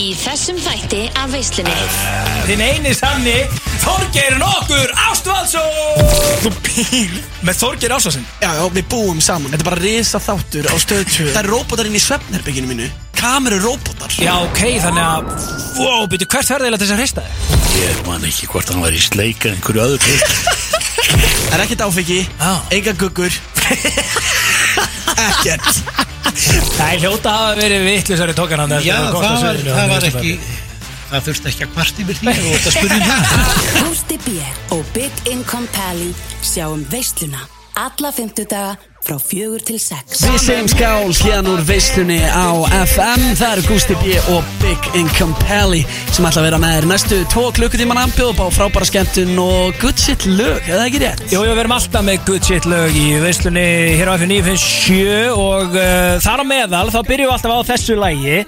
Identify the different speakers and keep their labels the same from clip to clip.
Speaker 1: í þessum þætti af veislunni
Speaker 2: Þinn eini sanni Þorgeir nokkur Ástvaldsson
Speaker 3: Þú býr
Speaker 2: Með Þorgeir Ástvaldsson
Speaker 3: Já, já, við búum saman
Speaker 4: Þetta er bara risa þáttur á stöðtjö
Speaker 3: Það er róbótar inn í svefnherbygginu mínu Kameru róbótar
Speaker 2: Já, ok, þannig að Wow, byrju, hvert verður eiginlega til þess að hrista þig?
Speaker 5: Ég man ekki hvort hann var í sleik en einhverju öðru pitt
Speaker 3: Það er ekkert áfengi
Speaker 2: Já.
Speaker 3: Enga guggur Ekkert
Speaker 2: Það er hljóta að hafa verið vittlisari tókan hann
Speaker 5: Já, það var, það var ekki Það þurfti ekki að kvart yfir því og það spurði það
Speaker 6: Gústi B. og Big Income Pally sjáum veisluna alla fymtudaga frá fjögur til sex.
Speaker 4: Við segjum skál hérna úr veislunni á FM Það eru Gusti B. og Big Income Pally sem ætla að vera með þér næstu tvo klukkutíman anbjóð bá frábæra skemmtun og good shit lög, eða ekki rétt?
Speaker 2: Jú, jú, við erum alltaf með good shit lög í veislunni hér á F957 og uh, þar á meðal þá byrjum við alltaf á þessu lægi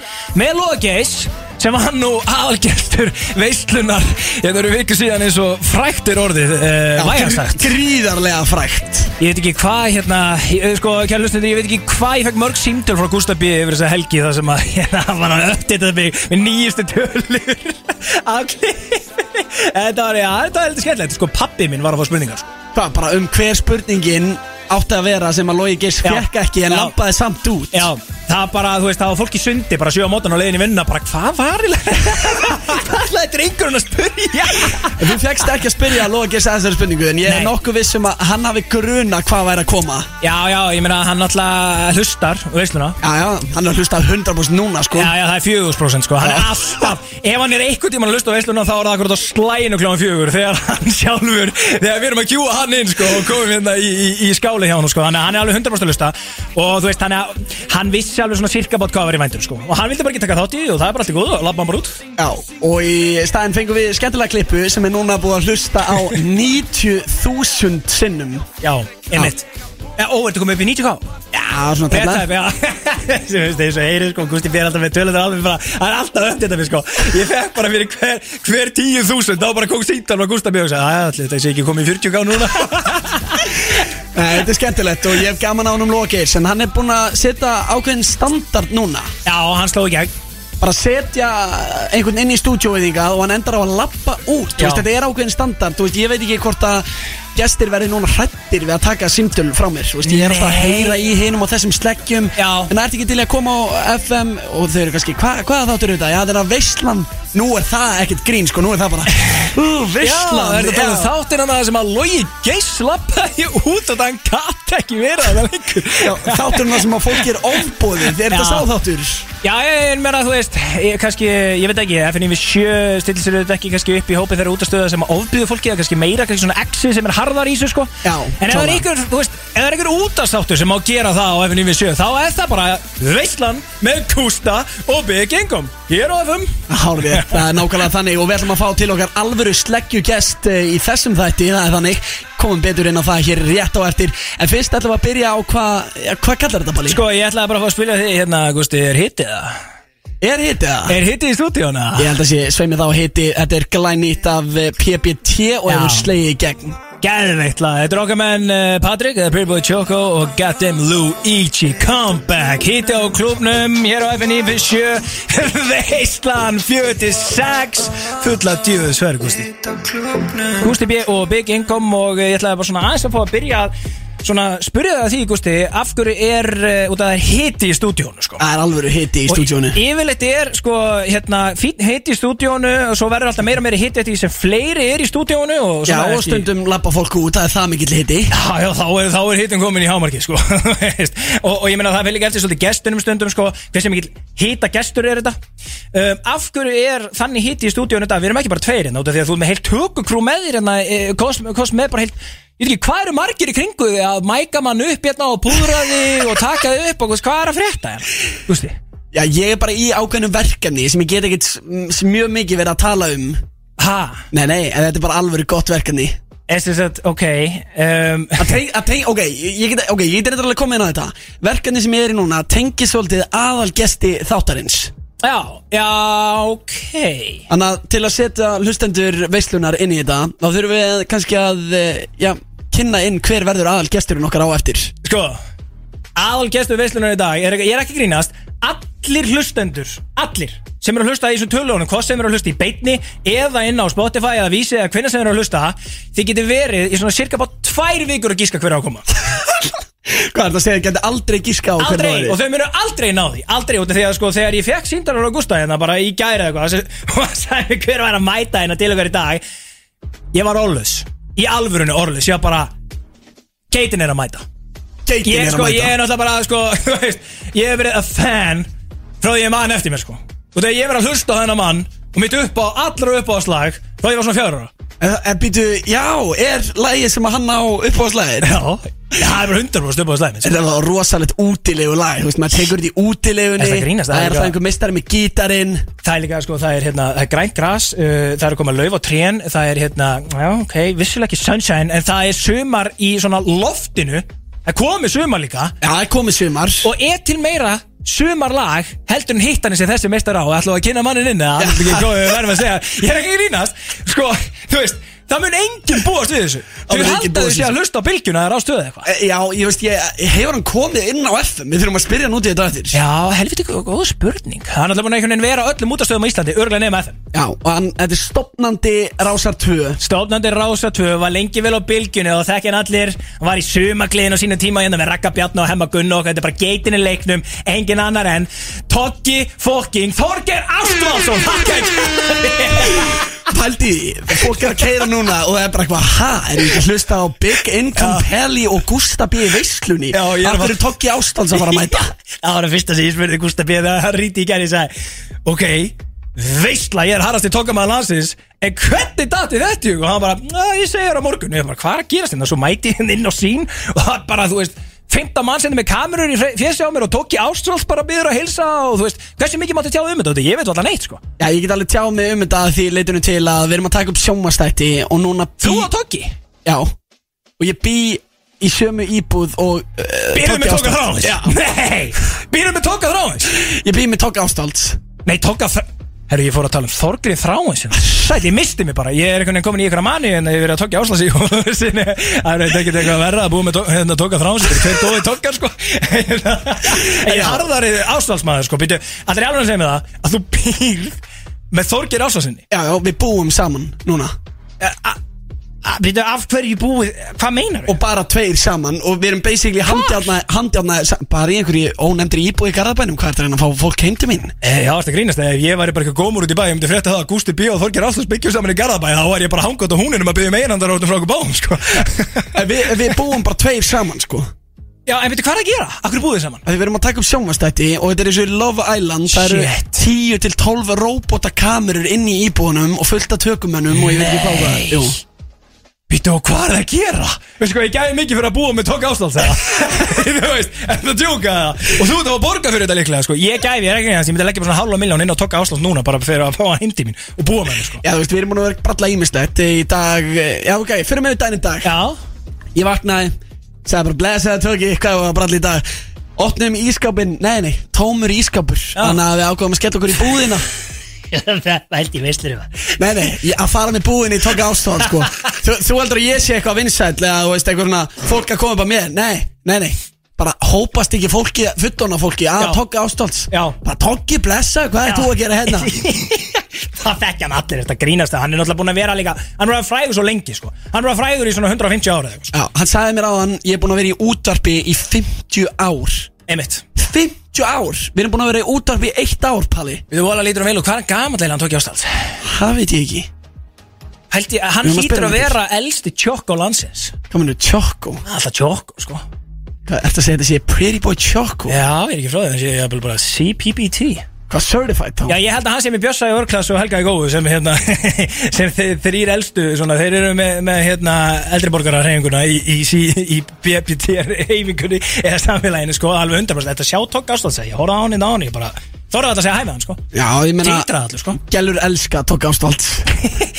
Speaker 2: með Lógeis sem var nú aðalgestur veislunar þetta eru viku síðan eins og fræktir orðið uh, vægansagt
Speaker 3: Gríðarlega frækt
Speaker 2: Ég veit ekki hvað hérna, ég, eh, sko, kæra hlustendur, ég veit ekki hvað ég fekk mörg símtöl frá Gustaf B. yfir þessa helgi þar sem að hérna, hann var að uppdata mig með nýjustu tölur af klippi. Þetta var, já, þetta var heldur skemmtilegt, sko, pappi minn var að fá spurningar, sko.
Speaker 4: Hvað, bara um hver spurningin átti að vera sem að Lógi Geirs
Speaker 2: Já.
Speaker 4: fekk ekki en
Speaker 2: Já.
Speaker 4: lampaði samt út
Speaker 2: Já, það var bara, þú veist, það var fólk í sundi, bara sjö á mótan á leiðin í vinnuna, bara hvað var í Hvað ætlaði drengurinn að spurja?
Speaker 4: En Þú fekkst ekki að spyrja Lógi Geirs að þessari spurningu en ég
Speaker 2: Nei.
Speaker 4: er nokkuð viss um að hann hafi gruna hvað væri að koma
Speaker 2: Já, já, ég meina, hann alltaf hlustar, veisluna.
Speaker 4: Já, já, hann er að hlusta 100% núna sko
Speaker 2: Já, já, það er fjögursprósent sko, hann er alltaf Ef hann er einhvern tímann að lusta á veisluna þá er það akkurat á slæinu kljóðan fjögur Þegar hann sjálfur, þegar við erum að kjúa hann inn sko Og komum hérna í, í, í skáli hjá hann sko Þannig að hann er alveg 100% að lusta Og þú veist, hann, er, hann vissi alveg svona cirka bát hvað var í vændum sko Og hann vildi bara ekki taka þátt í því og það er bara allt í góðu Og labba hann bara út
Speaker 4: Já, og í staðin fengum við skemmtilega klippu sem er núna búið að hlusta á 90.000 sinnum
Speaker 2: Já, einmitt Já, ó, ertu komið upp í 90k?
Speaker 4: Já, svona
Speaker 2: Þetta
Speaker 4: tefla
Speaker 2: er bara, sem veist, eins og heyrir sko, Gusti fyrir alltaf með tölundur alveg bara, það er alltaf öll þetta mér sko, ég fekk bara fyrir hver, hver tíu þúsund, þá bara kom síntan og Gusti mér og sagði, að allir, þetta sé ekki komið í 40 gá núna.
Speaker 4: Nei, þetta er skemmtilegt og ég hef gaman á honum Lógeis en hann er búin að setja ákveðin standard núna
Speaker 2: Já, hann sló í gegn.
Speaker 4: bara setja einhvern inn í stúdjóið þingað og hann endar á að lappa út Þú
Speaker 2: Já.
Speaker 4: veist, þetta er ákveðin standard, þú veist, ég veit ekki hvort að gestir verði núna hrættir við að taka símtöl frá mér, þú veist, ég er alltaf að
Speaker 2: Nei.
Speaker 4: heyra í hinum og þessum sleggjum
Speaker 2: Já.
Speaker 4: en það ert ekki til í að koma á FM og þau eru kannski, hva, hvað þáttur eru þetta? Já, þetta er að veislan, nú er það ekkert grín sko, nú er það bara, ú, veislan
Speaker 2: Já, er þetta talað um þáttinn hann að það sem að logi geis lappaði út og þann gatt ekki verið að það lengur.
Speaker 4: Já, þátturinn það sem að fólk er ofbóðið, er þetta
Speaker 2: Já.
Speaker 4: sáþáttur?
Speaker 2: Já, ég meina að þú veist, ég, kannski, ég veit ekki, FNV 7 stillir sér auðvitað ekki kannski upp í hópi þeirra útastöða sem ofbyðu fólki eða kannski meira, kannski svona exi sem er harðar í þessu sko.
Speaker 4: Já,
Speaker 2: En ef það er
Speaker 4: klálega.
Speaker 2: einhver, þú veist, ef það er einhver útastáttur sem má gera það á FNV 7, þá er það bara veislan með kústa og byggingum. Ég er á FM.
Speaker 4: Hárfið, það er nákvæmlega þannig og við ætlum að fá til okkar alvöru sleggjugest eh, í þessum þætti, það er þannig komum betur inn á það hér rétt á eftir en fyrst ætlum við að byrja á hvað ja, hvað kallar þetta Palli?
Speaker 2: Sko, ég ætlaði bara að fá að spila því hérna, Gusti, er hitið það?
Speaker 4: er hitt eða?
Speaker 2: Er hitið í stúdíóna?
Speaker 4: Ég held að sé, sveimi þá hitti, þetta er glænýtt af eh, PBT og
Speaker 2: Já.
Speaker 4: hefur slegið í gegn
Speaker 2: Gæðveikt lag, þetta er okkar menn eh, Patrick, eða Pretty Boy Choco og Goddamn Luigi Comeback Hitti á klubnum, hér á FNI 7, Veistlan 46, fulla djöðu sver Gústi Gústi B og Big Income og eh, ég ætlaði bara svona aðeins að fá að byrja að svona spyrja það því Gústi, af hverju er eh, út að það er hitti í stúdíónu sko
Speaker 4: Það er alvöru hitti í stúdjónu
Speaker 2: Og yfirleitt er sko hérna fín hitt í stúdíónu og svo verður alltaf meira og meira hitt eftir því sem fleiri er í stúdíónu og
Speaker 4: Já,
Speaker 2: svona
Speaker 4: og
Speaker 2: ekki-
Speaker 4: stundum lappa fólk út, það er það mikill hitti
Speaker 2: Já, já, þá er, þá er hitin komin í hámarki, sko Þú veist. og, og ég meina það fyrir ekki eftir svolítið gestunum stundum, sko Hversu mikill hita gestur er þetta um, Af hverju er þannig hiti í stúdíónu þetta Við erum ekki bara tveir hérna, út af því að þú er með heilt tökukrú með þér hérna, e, kost, kost með bara heilt Ég veit ekki, hvað eru margir í kringu því að mæka mann upp hérna og púðra þig og taka þig upp og þú veist, hvað er að frétta hérna? Þú veist þið?
Speaker 4: Já, ég er bara í ákveðnum verkefni sem ég get ekkert s- m- s- mjög mikið verið að tala um
Speaker 2: Ha,
Speaker 4: Nei, nei, en þetta er bara alvöru gott verkefni
Speaker 2: er þess að, ok um,
Speaker 4: Að teng- að teng- Ok, ég get okay, ég get reyndar alveg komið inn á þetta Verkefni sem ég er í núna tengir svolítið aðal gesti þáttarins
Speaker 2: Já, já, ok
Speaker 4: Þannig að til að setja hlustendur veislunar inn í þetta Þá þurfum við kannski að eh, já, kynna inn hver verður aðal gesturinn okkar á eftir
Speaker 2: Sko, aðal gestur veislunar í dag er, ég er ekki að grínast allir hlustendur, allir sem eru að hlusta í þessum tölunum, hvað sem eru að hlusta í beitni eða inn á Spotify eða Vísi eða hvernig sem eru að hlusta, þið getur verið í svona cirka bara tvær vikur að gíska hverja ákoma
Speaker 4: Hvað er það að segja, gæti aldrei gíska á hvernig
Speaker 2: aldrei, og þau munu aldrei ná því aldrei, út af því að sko, þegar ég fekk síndarar á Gústa hérna bara í gæra eitthvað sem- og sagði mér hver var að mæta hérna til okkar í dag ég var orðlaus, í alvörunni orðlaus ég var bara, Keitin er að mæta
Speaker 4: Geitin
Speaker 2: ég,
Speaker 4: er að
Speaker 2: sko,
Speaker 4: mæta
Speaker 2: ég er náttúrulega bara sko, þú veist, ég hef verið að fan frá því ég mann eftir mér sko. og þegar ég hef verið að hlusta á þennan mann og mitt upp á allra upp á slag þá ég var svona fjárra
Speaker 4: En, en býtu, Eh, já, er lægið sem að hann á uppáðslæðin
Speaker 2: já, það er bara 100% upp á slag
Speaker 4: Þetta er alveg rosalegt útilegu lag, þú veist, maður tekur þetta í útilegunni
Speaker 2: Er það að grínast? Það
Speaker 4: Það
Speaker 2: er
Speaker 4: er
Speaker 2: líka-
Speaker 4: það einhver mistari með gítarinn
Speaker 2: það er líka sko, það er, hérna, það er grænt gras uh, það er að koma lauf á trén það er hérna, já ok, vissulega ekki sunshine en það er sumar í svona loftinu það komið sumar líka
Speaker 4: Já, það er komið sumar
Speaker 2: og er til meira sumarlag heldur en hittanir sem þessi meistar á ætlum við að kynna mannin inn eða? Alveg ekki góð, við verðum að segja ég er ekki að grínast sko, þú veist, það mun enginn búast við þessu
Speaker 4: Það mun
Speaker 2: þau
Speaker 4: enginn
Speaker 2: halda
Speaker 4: búast
Speaker 2: þau sé
Speaker 4: við
Speaker 2: að hlusta á bylgjuna eða rástöðu eitthvað
Speaker 4: E, Já, ég veist, ég, hefur hann komið inn á FM Við þurfum að spyrja hann út í þetta eftir
Speaker 2: Já, helviti gó- góð spurning Það er náttúrulega búin að einhvern veginn vera á öllum útastöðum á Íslandi örgulega nema FM
Speaker 4: Já, og hann, þetta er stopnandi Rásar 2
Speaker 2: Stofnandi Rása 2 var lengi vel á bylgjunni og þekk hann allir Hann var í sumagliðin á sínu tíma hérna með Raka Bjarn og Hemma Gunn og okkar. þetta er bara geitin í leiknum, engin annar en Toggi fokking Þorger Ástvaldsson
Speaker 4: Pældi, í því, fólk er að keira núna og það er bara eitthvað Ha, er ég ekki að hlusta á Big Income Pelli og Gústa B. í Veislunni
Speaker 2: Já, ég er
Speaker 4: Af
Speaker 2: að-
Speaker 4: hverju tók ég ástans að fara að mæta
Speaker 2: Það var það fyrsta sem ég spurði Gústa B þegar hann ríti í gerð ég sagði, ok, veistla ég er harrasti tókamaður landsins en hvernig dati þetta í hug?" og hann bara, "Næ, ég segir á morgun og ég bara, hvað er að gerast hérna, svo mæti henn inn á sín og það er bara, þú veist 15 mann sendir með kamerur í fjessi á mér og tók í ástróls bara byður að hilsa og þú veist, hversu mikið máttu tjá um þetta, Þú veit, ég veit alltaf neitt sko
Speaker 4: Já, ég get alveg tjáð mig um þetta að því leitunum til að við erum að taka upp sjómastætti og núna bý...
Speaker 2: Þú og Toggi
Speaker 4: Já, og ég bý í sömu íbúð og uh,
Speaker 2: Býrðu með Tóka
Speaker 4: Ástvalds.
Speaker 2: Þráins Nei, býrðu með Tóka Þráins
Speaker 4: Já, ég bý með Tóka Ástalds
Speaker 2: Nei, Tóka Þráins Herru, ég fór að tala um Þorgrið Þráins hérna. Sæt, ég misti mig bara Ég er einhvern veginn komin í einhverja mani En ég hef verið að Tóka Áslasi Það er ekkert eitthvað verra að búa með Tó- hérna, Tóka Þráins Þetta er tveir dói Tókar, sko En ég harðari Áslagsmaður, sko Býtu, allir alveg að segja mig það Að þú býrð með Þorgrið Áslasinni
Speaker 4: Já, já, við búum saman núna
Speaker 2: Eh, Býtu, af hverju búið Hvað meinar
Speaker 4: Og bara tveir saman og við erum basically handjálnaði Bara í einhverju ónefndri íbúð í Garðabænum Hvað er það að fá fólk heim til mín?
Speaker 2: Eh, Já, það grínast, ef ég væri bara eitthvað gómur út í bæ Ég myndi frétta það að Gústi B. og Þorger Áslans byggjum saman í Garðabæ Þá væri ég bara hangat á húninum að byggja meinandar út um frá okkur báum, sko
Speaker 4: Eh, Við, við búum bara tveir saman, sko Af
Speaker 2: Já, en veitu hvað er að gera? Akkur búið þið saman?
Speaker 4: því Við erum að taka upp sjómastætti og þetta er eins og í Love Island Það
Speaker 2: Shit.
Speaker 4: eru 10-12 robotakamerur inn í íbúðunum og fullt af tökumönnum og ég veit ekki hvað það er Jú.
Speaker 2: Býtu, og hvað er að gera? Veistu hvað, ég gæði mikið fyrir að búa með Tók Áslans Þú veist, en það djóka það Og þú ert að fá borga fyrir þetta líklega, sko Ég gæði, ég er ekki hans, ég myndi að leggja bara svona hálfa miljón inn á Tók Áslans núna Bara fyrir að fá hann heim til mín og búa með mér, sko
Speaker 4: Já, þú veist, við erum búin að vera að bralla ímislegt í dag eh, Já, ok, fyrir mig við daginn í dag
Speaker 2: Já,
Speaker 4: Ég vaknaði, sagði bara blessaði tökki, hvað var að bralla í dag Opnum ískapin, nei, nei, tómur ískapur Þannig að við ákváðum að skella okkur í búðina
Speaker 2: það held ég veistlur um það
Speaker 4: Nei, nei, ég- að fara með búðin í tóka ástóð, sko þú, þú heldur að ég sé eitthvað vinsæll eða, þú veist, eitthvað svona fólk að koma bara mér Nei, nei, nei bara hópast ekki fólki, fullona fólki að
Speaker 2: Já.
Speaker 4: tóka ástóls
Speaker 2: Já.
Speaker 4: bara tóki blessa, hvað er
Speaker 2: Já.
Speaker 4: þú að gera hérna
Speaker 2: það þekki hann allir þetta grínast hann er náttúrulega búin að vera líka hann er að frægur svo lengi sko hann er að frægur í svona 150 ára eða eitthvað sko.
Speaker 4: Já, hann sagði mér á hann, ég er búin að vera í útvarpi í 50 ár
Speaker 2: sko. einmitt
Speaker 4: 50 ár Við erum búin að vera í útvarfi í eitt ár, Palli
Speaker 2: við þú vola lítur um heilu hvað er gammal leila hann tók í ástæð
Speaker 4: Það veit ég ekki
Speaker 2: held ég hann
Speaker 4: Við erum að
Speaker 2: lítur að
Speaker 4: spyrja
Speaker 2: um
Speaker 4: hann
Speaker 2: vera elsti tjokk á landsins
Speaker 4: Hvað mennur, Choco?
Speaker 2: Það er alltaf tjokk sko
Speaker 4: Hvað, ertu að segja þetta sé Pretty Boy Choco?
Speaker 2: já ég er ekki frá það þannig að ég er bara CPPT
Speaker 4: Hvað, certified þá?
Speaker 2: já ég held að hann sé með Bjössa í Örklass og Helga í Góðu sem hérna sem þeir, þeir elstu svona þeir eru með, með hérna eldriborgara reyfinguna í, í, í, í BPT reyfingunni eða samfélaginu sko alveg 100% þetta sjá tók ástæð ég horfði á hann inn á hann ég bara Þorðið alltaf að segja hæ með hann sko
Speaker 4: Já, ég meina
Speaker 2: Títrað allur sko
Speaker 4: Gellur elska Tók ástvalds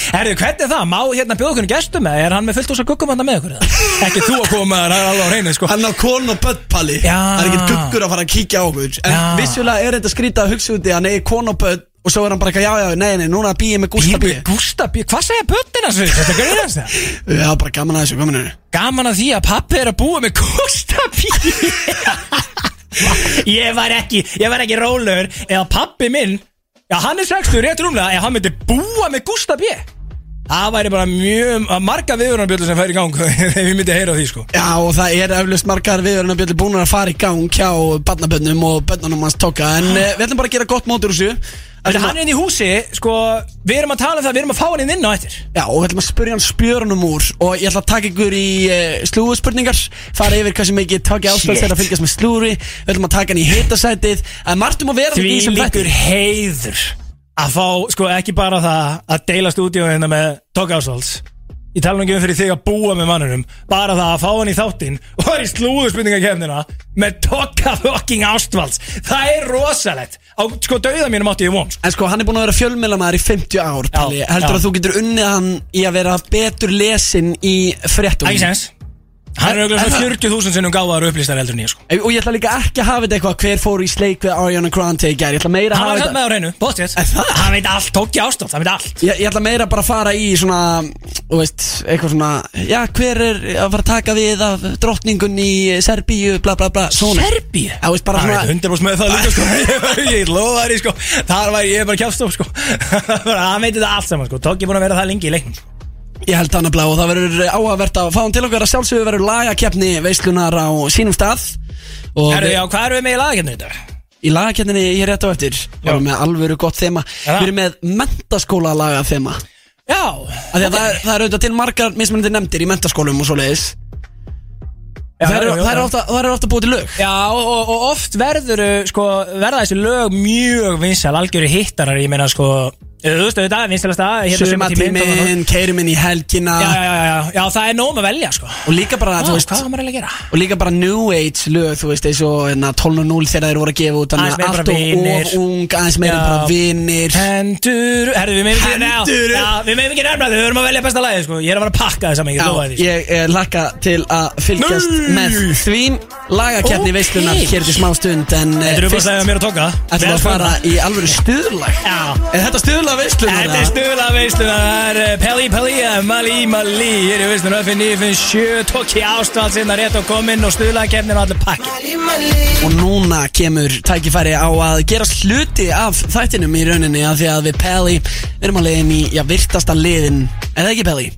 Speaker 2: Herðu, hvernig er það? Má hérna bjóða okkur gestum eða er hann með fullt hús að guggum hann með okkur? eða? Ekki þú að koma það er alveg á reynu sko
Speaker 4: Hann á kon og börn palli
Speaker 2: Já.
Speaker 4: Það er ekkert guggur að fara að kíkja á okkur En
Speaker 2: Já.
Speaker 4: vissulega er þetta skrýta að hugsa úti Hann eigi kon og börn Og svo er hann bara ekki Já, já, nei, nei, núna býði með Gústa
Speaker 2: Gústa
Speaker 4: býði
Speaker 2: B- Gústa B, hvað segja böttina svo? Þetta grínast það?
Speaker 4: Já, bara gaman að þessu, gaman að þessu
Speaker 2: Gaman að því að pappi er að búa með Gústa B Ég var ekki, ég var ekki rólur eða pappi minn Já, hann er 60, rétt rúmlega, ef hann myndi búa með Gústa B Það væri bara mjög, marga viðurunarbjöldu sem fær í gang ef ég myndi heyra á því sko
Speaker 4: Já og það er eflust margar viðverðin að bjöldi búin að fara í gang hjá barnabönnum og bönnunum hans tóka en uh, við ætlum bara að gera gott mótur úr þessu
Speaker 2: Þannig
Speaker 4: Ætlum
Speaker 2: Ah. hann
Speaker 4: að-
Speaker 2: er inn í húsi, sko, við erum að tala um það, við erum að fá hann inn inn á eftir
Speaker 4: Já og við ætlum að spyrja hann spjörunum úr og ég ætla að taka ykkur í uh, slúðspurningar fara yfir hversu mikið tóki ástæðs þegar að fylgjast með slúðri við ætlum að taka hann í hitasætið að margtum að vera
Speaker 2: Því
Speaker 4: í þessum
Speaker 2: líkur
Speaker 4: þætti.
Speaker 2: heiður að fá, sko, ekki bara það að deila stúdíóinu hérna með Tók Ásvalds Ég tala nú ekki um fyrir þig að búa með mannunum bara það að fá hann í þáttinn og það er í slúðurspurningakefnina með Tóka fucking Ásvalds Það er rosalegt á, sko, dauða mínum átti ég von sko.
Speaker 4: En sko hann er búin að vera fjölmjölamæður í 50 ár
Speaker 2: Já,
Speaker 4: Palli. heldur
Speaker 2: já.
Speaker 4: að þú getur unnið hann í að vera betur lesin í fréttum
Speaker 2: Æsens Hann er auðvitað
Speaker 4: er það-
Speaker 2: 40.000 sinnum gáðar upplýstar heldur nýja sko.
Speaker 4: og ég ætla líka ekki að hafa þetta eitthvað hver fór í sleik við Ariana Grande í gær ég ætla meira að
Speaker 2: Hann
Speaker 4: hafa
Speaker 2: var hérna- samt
Speaker 4: þetta
Speaker 2: með á reynu, bóttið
Speaker 4: Er það?
Speaker 2: Hann veit allt, Tóki Ásvalds, hann veit allt
Speaker 4: Ég, ég ætla meira bara að fara í svona, þú veist, eitthvað svona, já, hver er að fara að taka við af drottningun í Serbíu, bla bla bla, svona.
Speaker 2: Serbíu?
Speaker 4: Já, veist, bara
Speaker 2: Það er
Speaker 4: svona,
Speaker 2: hundar búst með það líka sko Ég var- Ég lofa þér í sko Þar var ég bara kjást sko Bara, Hann veitir það allt saman sko Tók ég búin að vera það lengi í leiknum sko.
Speaker 4: ég held hann að blá og það verður áhugavert að fá hann til okkar að sjálfsögur verður lagakeppni veislunar á sínum stað. Og
Speaker 2: Herru,
Speaker 4: við,
Speaker 2: já, hvað erum við með í lagakefninu þetta?
Speaker 4: í lagakeppninni ég er rétt á eftir, við erum með alvöru gott þema,
Speaker 2: Já.
Speaker 4: við erum með mentaskóla laga þema.
Speaker 2: Já
Speaker 4: Okay. Það, er- það er auðvitað til margar mismunandi nefndir í mentaskólum og svoleiðis.
Speaker 2: Já,
Speaker 4: Það
Speaker 2: já, já,
Speaker 4: er
Speaker 2: já.
Speaker 4: ofta, þær eru ofta búið til lög.
Speaker 2: Já, og, og oft verður uh, sko, verða þessi lög mjög vinsal algjöru hittarar, ég meina sko Þú veist, þetta er vinsalasta hérna sumartíminn og-
Speaker 4: Sumatíminn, keirum inn í helgina
Speaker 2: Já, já, já, já, já, það er nóg með að velja sko
Speaker 4: og líka bara,
Speaker 2: ah,
Speaker 4: þú veist,
Speaker 2: Hvað var maður eiginlega að gera?
Speaker 4: og líka bara New Age lög þú veist eins og hérna, 12.0 þegar þeir voru að gefa út
Speaker 2: Aðeins
Speaker 4: þannig
Speaker 2: meira bara
Speaker 4: að allt og
Speaker 2: vinir.
Speaker 4: of ung aðeins meira
Speaker 2: Já.
Speaker 4: bara vinnir
Speaker 2: Hendur, herru, við meðum ekki
Speaker 4: Hendur.
Speaker 2: Já, já, Við meðum ekki nefna, þau verðum að velja besta lagi sko. Ég er að fara að pakka þess að mikið, lofa því sko.
Speaker 4: ég eh, hlakka til að fylgjast
Speaker 2: Nei.
Speaker 4: með því lagakeppni
Speaker 2: Ókei.
Speaker 4: okay. veislunar hér til smá stund en eh,
Speaker 2: Þetta eru bara að
Speaker 4: fyrst
Speaker 2: segja mér að tóka
Speaker 4: ætlum við að fara í alvöru stuðlag
Speaker 2: Já.
Speaker 4: er þetta stuðlag veislunar?
Speaker 2: Þetta er stuðla veisluna, það er eh, Peli Peli, eh, Mali Mali Hér er veisluna F957, Tóki Ástvalds hérna rétt og kominn og stuðla kemnin og allir pakki
Speaker 4: Og núna kemur tækifæri á að gera sluti af þættinum í rauninni af því að við Peli við erum að leiðin í, já, virtasta liðin Er það ekki Peli?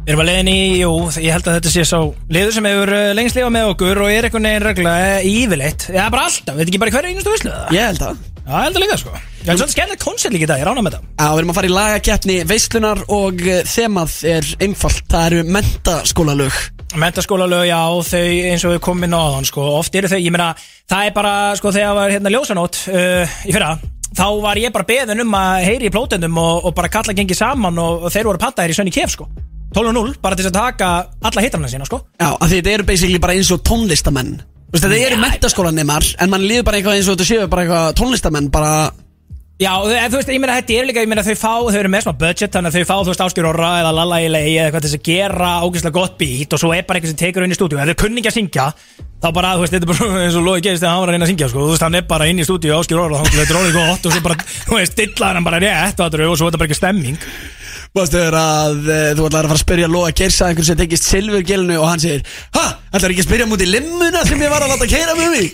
Speaker 2: Við erum að leiðin í, jú, ég held að þetta sé sá liður sem hefur eh, lengst lifað með okkur og er einhvern veginn regla eh, yfirleitt Já, bara alltaf, veit ekki bara í hverju einustu veislu það?
Speaker 4: Ég held það
Speaker 2: Já, ég held að líka sko Ég held svolítið skemmtilegt koncept líka í dag, ég rána með það
Speaker 4: Já, við erum að fara í lagakeppni veislunar og eh, þemað er einfalt, það eru mentaskólalög
Speaker 2: Mentaskóla já, þau eins og við komum inn á áðan sko, oft eru þau, ég meina það er bara, sko, þegar var hérna ljósanót uh, í fyrra, þá var ég bara beðin um að heyri í plótendum og, og bara kalla gengi saman og, og þeir voru pantaðir í Sönni Kef, sko, 12-0 bara til þess að taka alla hitarna sína, sko
Speaker 4: Já, af því þetta eru basically bara eins og tónlistamenn Þú veist, þetta eru mentaskólanemar en mann líður bara eitthvað eins og þetta séu bara eitthvað tónlistamenn bara,
Speaker 2: Já, og þau- þú veist, ég meina þetta er líka, ég meina þau fá, þau eru með smá budget þannig að þau fá, þú veist, Áskjur Orra eða Lalla í lei eða eitthvað til þess að gera ágæslega gott beat og svo er bara eitthvað sem tekur inn í stúdíu, ef þau kunni ekki að syngja þá bara, þú veist, þetta er bara eins og Lói gerist þegar hann var að reyna að syngja, sko, þú veist, hann er bara inn í stúdíu Áskjur Orra, þannig að þetta er orðið gott og svo bara, þú veist, stillar hann bara rétt og svo er þetta bara ekki stemming
Speaker 4: þú veist, þau eru að eh, þú ætlar að fara að spyrja Lóa Gersa einhvern sem tekist silfurgelinu og hann segir Ha, ætlar ekki að spyrja múti limmuna sem ég var að láta keira með mig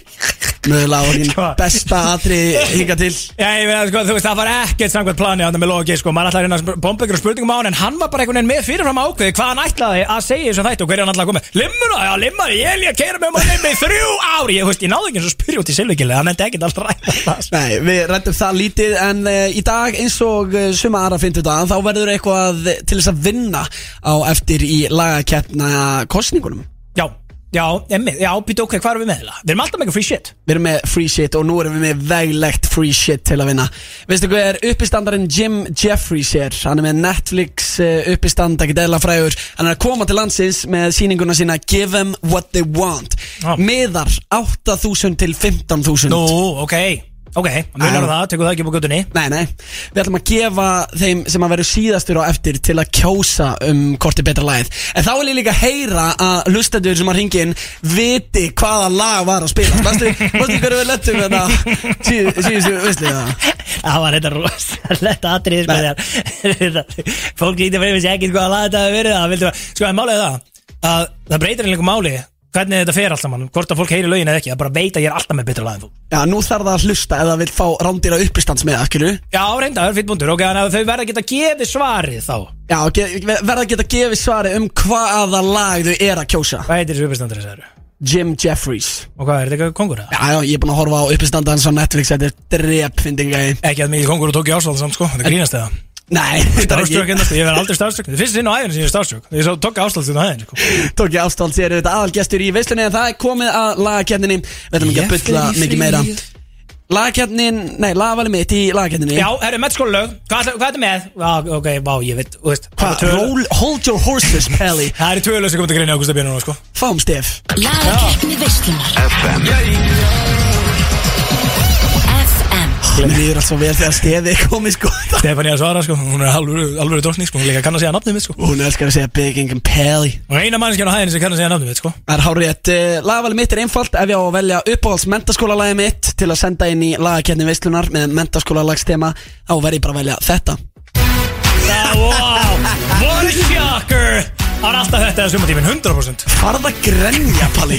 Speaker 4: Möðulega á hinn
Speaker 2: Sko.
Speaker 4: besta atri hinga til
Speaker 2: Já, ég meina, sko, þú veist, það var ekkert samkvæmt plani hann með Lóa Geir, sko, maður ætlaði að reyna að sp- bomba ykkur spurningum á hann, en hann var bara einhvern veginn með fyrirfram ákveði hvað hann ætlaði að segja þessu þættu og hverju hann ætlaði að koma, með. limmuna, já, limmar, ég er að keira með um að limma í þrjú ári, ég, þú veist, ég náði ekki eins og spyrja út í silvikilega, hann endi ekkert að ræða það, sko.
Speaker 4: Nei, við rættum það lítið en uh, í dag eins og uh, suma aðra fyndu dag þá verður eitthvað til þess að vinna á eftir í lagakeppna kostningunum.
Speaker 2: Já, já, emmi, já, býtu ok, hvað erum við með það? Við erum alltaf með eitthvað free shit.
Speaker 4: Við erum með free shit og nú erum við með veglegt free shit til að vinna. Veistu hvað er uppistandarinn Jim Jeffries er? Hann er með Netflix uh, uppistand, ekki dæla frægur. Hann er að koma til landsins með síninguna sína Give them what they want.
Speaker 2: Já.
Speaker 4: Miðar 8.000 til 15.000.
Speaker 2: Nú, ok, Ok, munar um það, tekur það ekki upp á göttunni
Speaker 4: Nei, nei, við ætlum að gefa þeim sem að verður síðastur á eftir til að kjósa um hvort er betra lagið En þá vil ég líka heyra að lustendur sem að ringi inn viti hvaða lag var að spila Vastu, vastu hverju við lettum þetta síð- síðustu, veistu það?
Speaker 2: Það var þetta rosalegt atrið
Speaker 4: Nei.
Speaker 2: með þér Fólk lítið fyrir vissi ekki hvað að laga þetta hafi verið það vildu að, sko, en málið er það að það breytir einhverjum máli hvernig þetta fer alltaf mann, hvort að fólk heyri lögin eða ekki, það bara veit að ég er alltaf með betra lag en þú
Speaker 4: Já, nú þarf það að hlusta ef það vil fá rándýra uppistands með, akkilu
Speaker 2: Já, reynda, það er fyrir búndur, ok, þannig að þau verða að geta gefið svarið þá
Speaker 4: Já, og ge- verða að geta gefið svari um hvaða lag þau er að kjósa
Speaker 2: Hvað heitir þessu uppistandari þessar?
Speaker 4: Jim Jeffries
Speaker 2: Og hvað er þetta eitthvað kongur? eða?
Speaker 4: Já, já, ég er búin að horfa á uppistandan svo Netflix, þetta er drep, fyndinga í
Speaker 2: Ekki að mikið kongur og tók ég ásvald samt sko, þetta grínast eða
Speaker 4: Nei, þetta er
Speaker 2: Starstruck
Speaker 4: ekki
Speaker 2: ennast, ég verð aldrei starstruck Þið finnst sinn á æðinu sem ég er starstruck Ég svo tók ásvald sinn á æðinu sko.
Speaker 4: Tók ég ástald sér auðvitað aðalgestur í veislunni en það er komið að lagakerninni Við ætlum ekki að bulla mikið meira Lagakernin, nei, lagavali mitt í lagakerninni
Speaker 2: Já, herri, mettskólalög, hvað ætla- hvað ertu með? Ah, ok, vá, ég veit, þú veist
Speaker 4: Hva,
Speaker 2: tvö-
Speaker 4: roll, Hold your horses, Pelly
Speaker 2: Það eru tvö lög sem komið til greinu Ágústa Björn núna, sko
Speaker 4: Fáum stef
Speaker 6: Lagakeppni veislunar FM
Speaker 4: Mér er allt svo vel þegar stefi komið sko
Speaker 2: Stefania Svara, sko, hún er alvöru, alvöru dókning, sko Hún líka kann að segja nafnum mitt, sko
Speaker 4: Hún elskar að segja Big Ingham Pelly
Speaker 2: Og eina mannskjarn á hæðinu sem kann að segja nafnum mitt, sko
Speaker 4: Það er hárétt, uh, lagavali mitt er einfalt ef ég á að velja uppáhalds mentaskólalagi mitt til að senda inn í lagakernin veislunar með mentaskólalagstema þá verð ég bara að velja þetta
Speaker 2: Ah, Wow, what a shocker Það er alltaf þetta að sumatíminn, 100%
Speaker 4: Farða grenja, Palli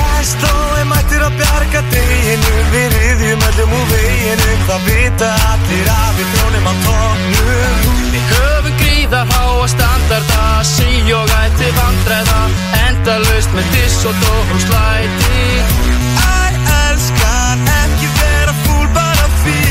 Speaker 7: Vestói mættir að bjarga deginu Við riðjum öllum úr veginu Það vita allir að við þjónum á tóknum
Speaker 8: Við höfum gríðar háa standarda Sí og ætti vandræða Endalaust með diss og dó og slæti
Speaker 7: Æ, elskan, ekki vera fúl bara því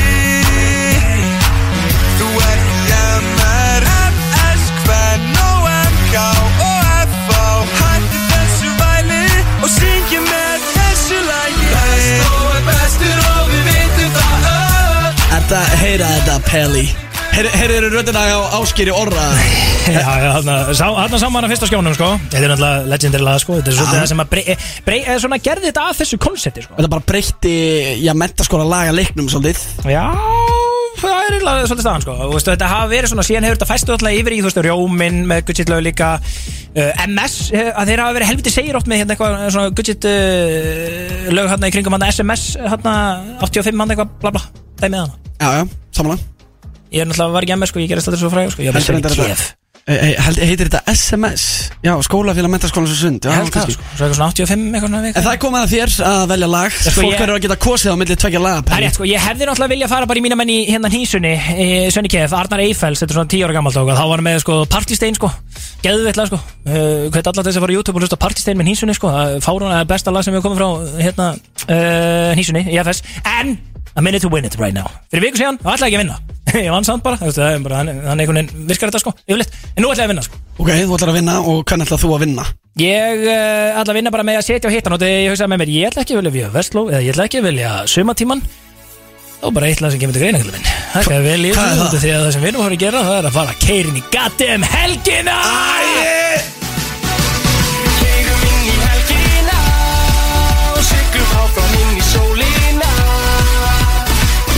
Speaker 7: Þú ert í MR, MS, Kvenn og MK og FH Hætti þessu væli og syngi með þessu lagi Vestói er bestur og við vitum það öll
Speaker 4: Þetta, heyra þetta, Peli Heyrðu röddina á áskýri orra
Speaker 2: Já, já, þarna sá, þarna sá maður að fyrsta skjónum sko Þetta er náttúrulega legendary lag sko Þetta er svolítið
Speaker 4: Já.
Speaker 2: það sem að brey, brey, eða svona gerði þetta að þessu konsepti sko
Speaker 4: Þetta bara breytti, já, mentaskóla laga leiknum svolítið
Speaker 2: Já, það er eiginlega svolítið staðan sko Og veistu, Þetta hafa verið svona, síðan hefur þetta fæstu alltaf yfir í Þú veist, Rjómin með Gudget lög líka uh, MS, eh, að þeir hafa verið helviti segir oft með hérna eitthvað svona Gudget uh, lög hérna í kringum hérna SMS hérna 85 hann eitthvað bla bla Dæmið hana
Speaker 4: Já, já, samanlega
Speaker 2: Ég er náttúrulega var ekki MS sko, ég gerist alltaf svo fræg sko Ég var
Speaker 4: Heldur
Speaker 2: bara
Speaker 4: þetta
Speaker 2: sem í
Speaker 4: þetta
Speaker 2: KF
Speaker 4: Hey, held, Heitir þetta SMS? Já, skólafélag mentaskóla svo sund já,
Speaker 2: Ég held það
Speaker 4: kannski.
Speaker 2: sko, svo eitthvað svona 85 eitthvað svona
Speaker 4: En það er komið að þér að velja lag
Speaker 2: sko,
Speaker 4: Fólk
Speaker 2: ég-
Speaker 4: verður að geta kosið á milli tvekja laga,
Speaker 2: Það er
Speaker 4: Peli
Speaker 2: rétt sko, ég hefði náttúrulega vilja fara bara í mína menn í hérna hnísunni, e, Svenni Kef, Arnar Eiffels, þetta er svona 10 ára gammalt og þá var hann með sko Partistein sko, geðveitlega sko, uh, hvert allar þess að fara á YouTube og hlusta á Partistein með hnísunni sko, fárun er besta lag sem við komum frá hérna uh, hnísunni, EFS, en a minute to win it right now. Fyrir viku síðan, þá ætlaði ég ekki að vinna, ég vann samt bara, þú veist, það er bara, hann, hann einhvern veginn virkar þetta sko, yfirleitt, en nú ætlaði ég að vinna sko.
Speaker 4: Ok, þú ætlar að vinna og hvernig ætlar þú að vinna?
Speaker 2: Ég uh, ætla að vinna bara með að setja á hittan og þegar ég hugsaði með mér, ég ætla ekki að vilja Vestló eða ég ætla ekki að vilja sumatíman þá er bara eitthvað sem kemur til greina minn. Það er vel í
Speaker 4: hvað er það?
Speaker 2: þessu því að það sem við nú vorum að gera það er að fara keirin í goddamn helgina
Speaker 7: Keirum inn í helgina og syklum áfram inn í sólina.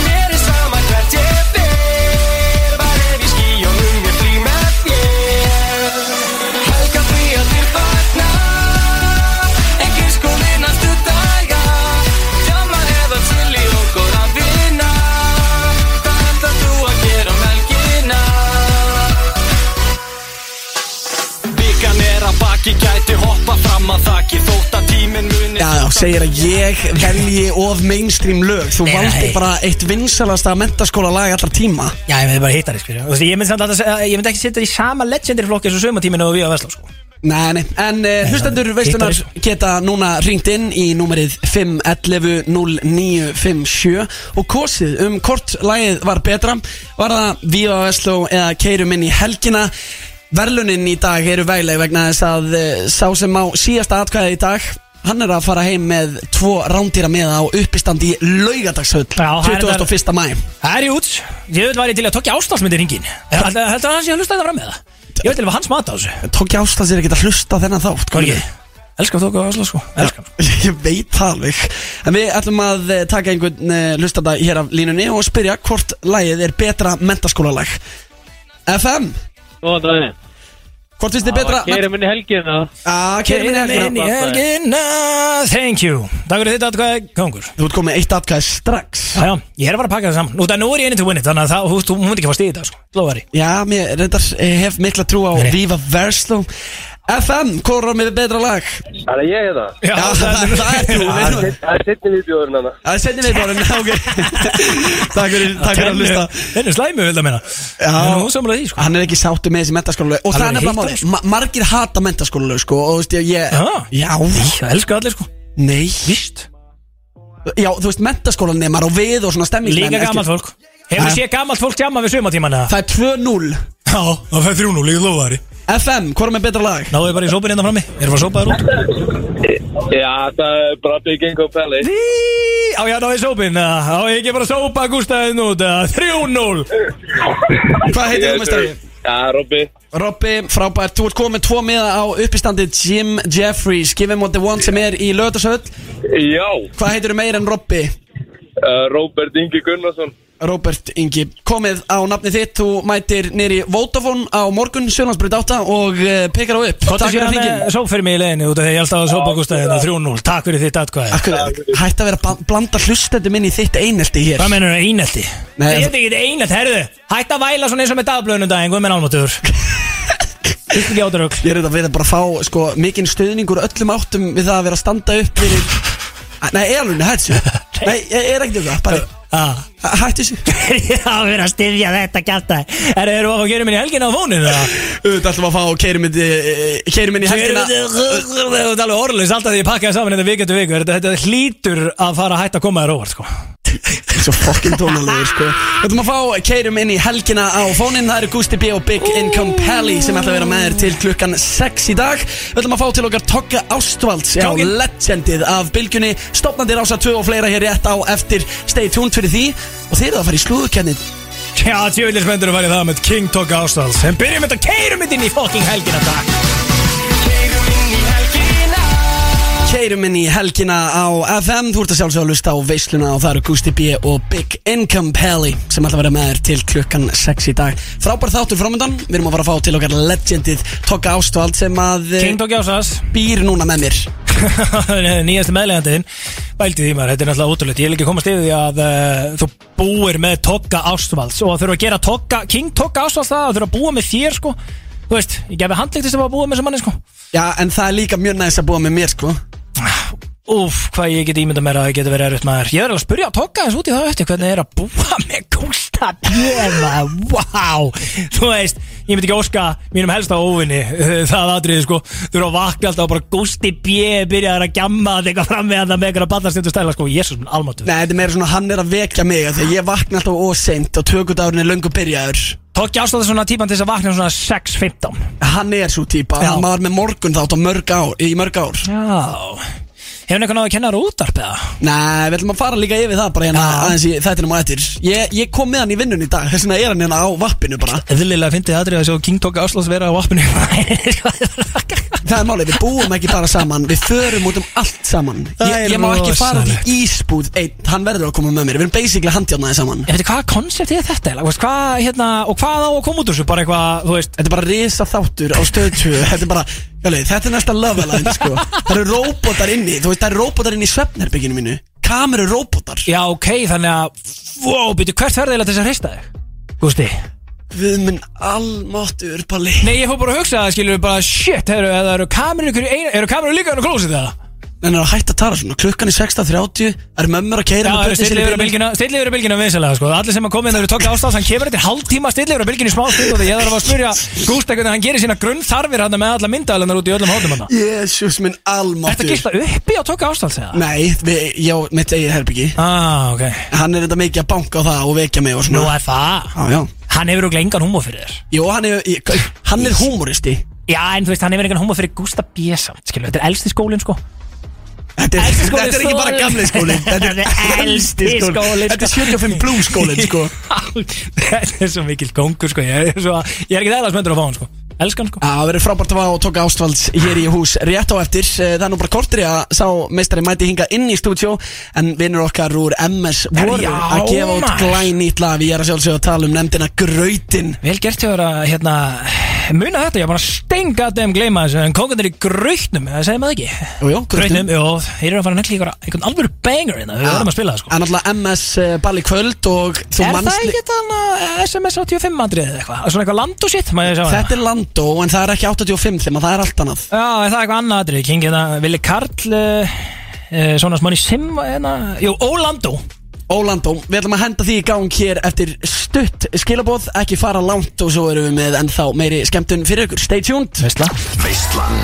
Speaker 7: Mér er sama hvert ég fer, bara ef í skýjónum ég flý með þér. Helgafríarnir vakna, en gifskólinn næstu sko daga. Djamma eða til í okkur að vinna. Hvað ætlar þú að gera um helgina? Vikan er að baki, gæti hoppa fram að þakki Þótt að tíminn muni
Speaker 4: Já, já, segir að ég velji of mainstream lög Þú
Speaker 2: Nei,
Speaker 4: valdi
Speaker 2: nei.
Speaker 4: bara eitt vinsalasta mentaskóla lag allra tíma
Speaker 2: Já, ég myndi bara hittar þér skilja Ég myndi samt alltaf að- ég myndi ekki setja í sama legendary flokki eins og sumatíminu og við að Vestló sko.
Speaker 4: Nei, nei, en uh, hlustendur
Speaker 2: það-
Speaker 4: veislunar
Speaker 2: hittar
Speaker 4: geta núna ringt inn í númerið 511-0957 og kosið um hvort lagið var betra var það Viva Vestló eða Keirum inn í helgina Verlunin í dag eru vegleg vegna þess að uh, sá sem á síðasta atkvæði í dag hann er að fara heim með tvo rándýra með á uppistand í laugadagshöll
Speaker 2: Já, það er
Speaker 4: 21. mæ
Speaker 2: Það er í út, ég veit væri til að tókja ástafsmyndir ringin Heldur að hann sé að hlusta þetta fram með það? Ég veit til að hans mat á þessu
Speaker 4: Tók ég ástæð sér ekki að hlusta þennan þátt
Speaker 2: Hvað er ekki? Elskar þóka á Oslo sko Elskar hann.
Speaker 4: Ég veit það alveg En við ætlum að eh, taka einhvern uh, lustanda hér af línunni og spyrja hvort lagið er betra mentaskólalag FM,
Speaker 9: Góðan daginn.
Speaker 4: hvort finnst þið betra
Speaker 9: Kæri minni helgin að
Speaker 4: Ah, Keirum
Speaker 2: Keirum inn í
Speaker 4: minni
Speaker 2: helgina Thank you Takk fyrir þitt atkvæði, kongur
Speaker 4: Þú ert komið eitt atkvæði strax
Speaker 2: Já, já, ég er að fara að pakka það saman Nú, það nú er ég inni til winning Þannig að það, þú veist, þú múnt ekki fara stíðið það sko Lóðari
Speaker 4: Já, mér reyndar eh, hef mikla trú á
Speaker 2: Nei.
Speaker 4: Viva Verslo FM, hvort er með betra lag?
Speaker 9: Það er ég hérna
Speaker 2: Já,
Speaker 4: það, það er trú við erum-
Speaker 9: Það er setni viðbjóðurinn hana
Speaker 4: Það er setjum við bara ok. Takk fyrir, takk fyrir að lusta
Speaker 2: Það er slæmi, vil það meina
Speaker 4: Já.
Speaker 2: Það er nú samlega því sko
Speaker 4: Hann er ekki sáttu með þessi mentaskólalög Og
Speaker 2: Hann
Speaker 4: það
Speaker 2: er sko.
Speaker 4: er nefnilega
Speaker 2: hitt
Speaker 4: máli Ma Margir hata mentaskólalög sko Og þú veist ég, ég
Speaker 2: Já.
Speaker 4: Já,
Speaker 2: Það elskar allir sko
Speaker 4: nei
Speaker 2: Vist
Speaker 4: Já, þú veist mentaskólanemar og við og svona stemmingsmenn
Speaker 2: Líka gammalt fólk Hefur
Speaker 4: Já.
Speaker 2: séð gammalt fólk tjama við sumatíman eða?
Speaker 4: Það er 2-0
Speaker 2: Já, það fæði þrjúnú, líka lóðari
Speaker 4: FM, hvort er með betra lag?
Speaker 2: Náðu þið bara í sópinn hérna frammi Erum við að sópa þér út?
Speaker 9: Já, það er bara Big Ingo Pelli
Speaker 2: Í, Á ég að náðu í sópinn eða? Á ég ekki bara að sópa Gústaðin út eða? 3-0
Speaker 4: Hvað heitir þú með stæði?
Speaker 9: Já, Robby
Speaker 4: Robby, frábært, þú ert komið með tvo miða á uppistandi Jim Jeffries Give him what they want sem er í lögðarsöld
Speaker 9: Já,
Speaker 4: Hvað heitir þú meir en Robby?
Speaker 9: uh, Robert Ingi Gunnarsson
Speaker 4: Robert Ingi, komið á nafni þitt Þú mætir nýri Vodafone á morgun Sjölandsbryd 8 og uh, pekar á upp
Speaker 2: Kottu sér
Speaker 4: fyrir hringinn.
Speaker 2: hann sóp fyrir mig í leginni út af því að ég held að sópa Gústaðin 3-0 Takk fyrir þitt atkvæði
Speaker 4: Akkur, hætt að vera að ba- blanda hlustendum inn í þitt einelti hér
Speaker 2: Hvað mennur það einelti?
Speaker 4: Nei,
Speaker 2: Ég
Speaker 4: það-
Speaker 2: er ekki einelti, herðu Hætt að væla svona eins og með dagblöðunum daginn Guð minn álmáttur Þetta ekki átrugl
Speaker 4: Ég er þetta að vera bara að fá sko, mikinn stuðningur öllum áttum við það að vera að standa upp fyrir Æ, Nei, er alveg, hættu þessu Nei, ég er ekkert eitthvað, bara
Speaker 2: Já,
Speaker 4: hættu þessu
Speaker 2: Já, við erum að styrja þetta kjarta Er það að fá að gera minni helgin á fónin?
Speaker 4: Þetta ætlum að fá eh, keirumindi keirumindi helgina
Speaker 2: Þetta er alveg orðlis alltaf því ég pakkaði saman þetta vikendu viku þetta, þetta hlýtur að fara að hætta að koma þér óvart sko.
Speaker 4: Svo fokkin tónalegur, sko Við ætlum að fá keirum inn í helgina á fóninn Það eru Gusti B og Big Income Pally sem ætla að vera með þér til klukkan 6 í dag Við ætlum að fá til okkar Togga Ástvalds Já,
Speaker 2: Kónginn.
Speaker 4: legendið af bylgjunni Stopnandi rása 2 og fleira hér rétt á eftir Stay tuned fyrir því Og þeir eru að fara í slúðukennið
Speaker 2: Já, tjóðilis mendur að fara í það með King Talk Ástals En byrjum þetta keirum þetta inn í fokking helgin að dag
Speaker 4: Keirum inn í helgina á FM Þú ert að sjálfsögja að lusta á veisluna og það eru Gusti B og Big Income Pally sem ætla að vera með þér til klukkan 6 í dag Frábær þáttur framöndan, við erum að fara að fá til okkar legendið Togga Ástvald sem að eh,
Speaker 2: King Talk Ástals
Speaker 4: býr núna með mér
Speaker 2: nýjastu meðlegandiðin Bælti því maður, þetta er náttúrulega ótrúlegt Ég vil ekki komast yfir því að uh, þú búir með Togga Ástvalds og að þurfa að gera Togga, King Togga Ástvalds það að þurfa að búa með þér sko Þú veist, ég gefi handlegtist að búa með þessum manni sko
Speaker 4: Já, en það er líka mjög næst að búa með mér sko
Speaker 2: Úf, hvað ég get ímynda mér að það getur verið erfitt maður Ég verður að spurja að togga eins út í það eftir Hvernig er að búa með Gústa Bjöma Vá, þú veist Ég myndi ekki óska mínum helsta óvinni eh, Það atriði sko Þú eru að vakna alltaf og bara Gústi Bjö Byrjaður að gjamma að teka fram með hann Með einhverja ballastundu stæla sko Jésús minn almáttu
Speaker 4: Nei, þetta er meira svona hann er að vekja mig af Því að ég vakna alltaf óseint og tökudárun er löngu byrjaður
Speaker 2: Toggi ástáði svona típan til þess að vakna um svona 6.15
Speaker 4: Hann er svo típa,
Speaker 2: Já.
Speaker 4: hann var með morgun þátt á mörg ár, í mörg ár
Speaker 2: Já Hefur hann eitthvað náðu að kenna rútarpiða?
Speaker 4: Nei, við ætlum að fara líka yfir það bara hérna
Speaker 2: Já.
Speaker 4: aðeins í þættinum á eftir ég, ég kom með hann í vinnun í dag, þess vegna er hann hérna á vappinu bara
Speaker 2: Eðlilega fyndið aðrið að sjá King Togga Áslás vera á appinu sko, Það
Speaker 4: Það er málið, við búum ekki bara saman, við förum út um allt saman
Speaker 2: Það
Speaker 4: Ég,
Speaker 2: er
Speaker 4: ég má ekki fara
Speaker 2: rosalegt.
Speaker 4: til Ísbúð einn, hann verður að koma með mér, við erum basically handjánaði saman
Speaker 2: Ég veit hvað koncept er þetta eiginlega? Þú veist, hvað, hérna, og hvað á að koma út úr þessu bara eitthvað, þú veist
Speaker 4: Þetta er bara risa þáttur á stöðtöðu, þetta er bara, jálfið, þetta er næsta love line sko Það eru róbótar inni, þú veist, það eru róbótar inni í svefnherbygginu mínu, kameru róbótar
Speaker 2: Já, ok, þannig að, wow, býtu, hvert ferði eiginlega til þess að hreista þig? Gústi
Speaker 4: Við minn almáttur, Palli
Speaker 2: Nei, ég fór bara að hugsa það, skilur bara, shit, heru, eða eru kamerur ykkur, í einu, eru kamerur líka hann að klósa þetta?
Speaker 4: Menn er að hætta að tala svona, klukkan er 16.30, er mömmur að
Speaker 2: Já,
Speaker 4: keira
Speaker 2: eru stillið yfir að bylgina, stillið yfir að bylgina vinsalega, sko Allir sem að koma inn, það eru tókja ástæðs, hann kemur eftir hálftíma stillið yfir að bylginu í smá stund og því ég þarf að spyrja Gústa hvernig hann gerir sína grunnþarfir hann með alla myndaðalennar út í öllum hóttum hann
Speaker 4: Jésús minn
Speaker 2: Þetta
Speaker 4: almáttur
Speaker 2: gista uppi á tókja ástæðs, eða?
Speaker 4: Nei, við, já, mitt eigið herbyggi
Speaker 2: Ah, ok
Speaker 4: Hann er þetta mikið að banka á það og vekja mig og
Speaker 2: Nú,
Speaker 4: svona
Speaker 2: FA,
Speaker 4: Já, já
Speaker 2: hann hefur örugglega engan húmor fyrir þér.
Speaker 4: Jó, hann er, ég, hann er humoristi
Speaker 2: Já, en þú veist, hann hefur einhvern hóma fyrir Gustaf B. samt, skilur, þetta er elsti skólinn, sko
Speaker 4: Þetta er,
Speaker 2: Elsti skólinn
Speaker 4: þetta er ekki bara
Speaker 2: stóri.
Speaker 4: gamli skólinn
Speaker 2: Þetta
Speaker 4: Þetta er
Speaker 2: er
Speaker 4: elsti
Speaker 2: elsti skólinn,
Speaker 4: skólinn Þetta er 75 blue skólinn sko
Speaker 2: Þetta er svo mikill kongur, sko, ég er, svo, ég er ekki það að smöndur að fá hann, sko Elskan sko
Speaker 4: Já, það verður frábært að fá að tóka ástvalds hér í hús rétt á eftir Eh, Það er nú bara kortir í að sá meistari mæti hinga inn í stúdjó En vinnur okkar úr MS voru
Speaker 2: Já,
Speaker 4: að gefa út
Speaker 2: maður.
Speaker 4: glænýtt lag Ég er að sjálfsögja að tala um nefndina Grautin
Speaker 2: Vel gert hjá þér að hérna Muna þetta, ég var bara að stenga að þeim gleyma þessu En kókandir í grautnum, það segir maður ekki
Speaker 4: Jú, jú, Grautin
Speaker 2: Grautnum, jú, þeir eru að fara að negli einhver, einhvern alvöru banger hérna Við verðum að spila það sko
Speaker 4: En alltaf MS eh, ball í kvöld og þú
Speaker 2: Er
Speaker 4: manst
Speaker 2: það ekki eh, þannig SMS 85 mandrið eða eitthvað? Svona eitthvað land og sitt, maður sjá
Speaker 4: Þetta er Landó en það er ekki 85 þeim að það er allt annað
Speaker 2: Já, er það er eitthvað annað aðrið, King, hérna, Vili Karl uh, uh, Svona smáni Sim, hérna Jú, Ólandó
Speaker 4: Ólandó, við ætlum að henda því í gang hér eftir stutt skilabóð Ekki fara langt og svo erum við með ennþá meiri skemmtun fyrir ykkur Stay tuned
Speaker 2: Veistla
Speaker 10: Veislan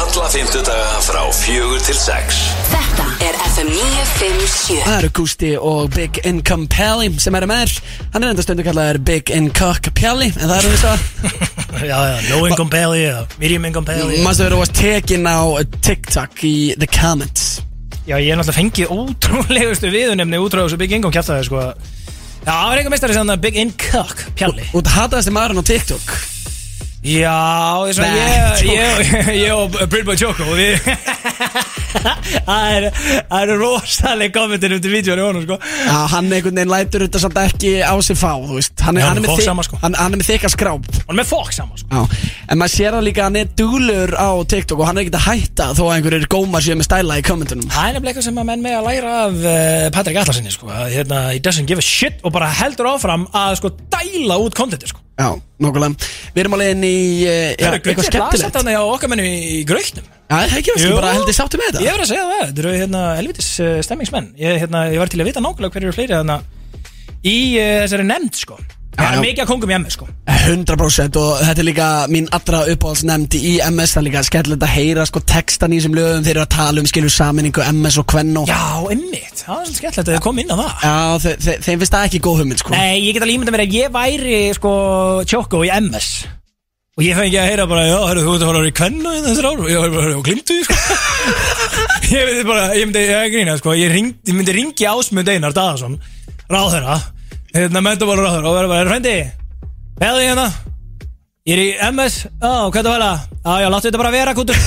Speaker 10: Alla fymtudaga frá fjögur til sex
Speaker 11: Þetta er FM 957
Speaker 4: Það eru Gusti og Big Income Pally sem eru með þér Hann er enda stundu kallaður Big Income Pally En það eru þess að
Speaker 2: Já, já, low income belly, já, medium income belly
Speaker 4: Mastu verið að tekin á TikTok í The Comments
Speaker 2: Já, ég er náttúrulega fengið ótrúlegustu viðunemni útrá þessu Big Income kjæftaði, sko Já, það var einhver meistari sem það Big In Cock, pjalli
Speaker 4: Út hataðasti maðurinn á TikTok
Speaker 2: Já, ég svona,
Speaker 4: Nei,
Speaker 2: ég, ég, ég, ég og Britboy Choco og við Það er- það eru rosaleg kommentin undir vídjónu honum, sko
Speaker 4: Já, hann einhvern veginn lætur þetta samt ekki á sig fá Þú veist, hann
Speaker 2: Já,
Speaker 4: er,
Speaker 2: hann
Speaker 4: hann er,
Speaker 2: fór
Speaker 4: með,
Speaker 2: saman, sko.
Speaker 4: hann, hann er með þykka skráp
Speaker 2: Hún er með fokk saman, sko
Speaker 4: Já, en maður sér það líka að hann er dúlur á TikTok og hann er ekkert að hætta þó að einhverjir gómar séu með stæla í kommentunum
Speaker 2: Það er nefnilega eitthvað sem að menn með að læra af uh, Patrik Allarsinni sko að, hérna, He doesn't give a shit og bara heldur áfram að sko dæla út kontenti sko
Speaker 4: Já, nokkulega Við erum alveg inn í eh, já,
Speaker 2: Það er
Speaker 4: eitthvað skemmtilegt Já,
Speaker 2: Þannig á okkar mennum í, í grautnum
Speaker 4: það er ekki veist,
Speaker 2: Jú.
Speaker 4: bara heldur sáttu með þetta
Speaker 2: Ég verður að segja það, þetta eru hérna helvitis uh, stemmingsmenn ég, hérna, ég var til að vita nákvæmlega hverju eru fleiri þarna í uh, þessari nefnd sko Það
Speaker 4: já.
Speaker 2: er mikið að kongum í emmi sko
Speaker 4: 100% og þetta er líka mín allra uppáhaldsnefnd í MS það er líka skemmtilegt að heyra sko textan í þessum lögum þeir eru að tala um skilur saminningu MS og Kvenno
Speaker 2: Já, emmitt, það var svolítið skemmtilegt að þið kom inn á það
Speaker 4: Já, þe þe þeim finnst það ekki góð hugmynd sko
Speaker 2: Nei, ég get alveg ímynda mér að ég væri sko tjókko í MS Og ég fengi að heyra bara, já, hörru, þú ert að fara í kvennu í þessar árum Ég var bara, og glimtu því, sko Ég myndi bara, ég myndi, ég er að grína, sko Ég, ring, ég myndi ringi ásmund Einar Daðarsson Ráðherra, hérna, mentabólu ráðherra Og verður bara, er frendi, beðið hérna Ég er í MS, já, hvað það vera? Já, já, láttu þetta bara vera, kútur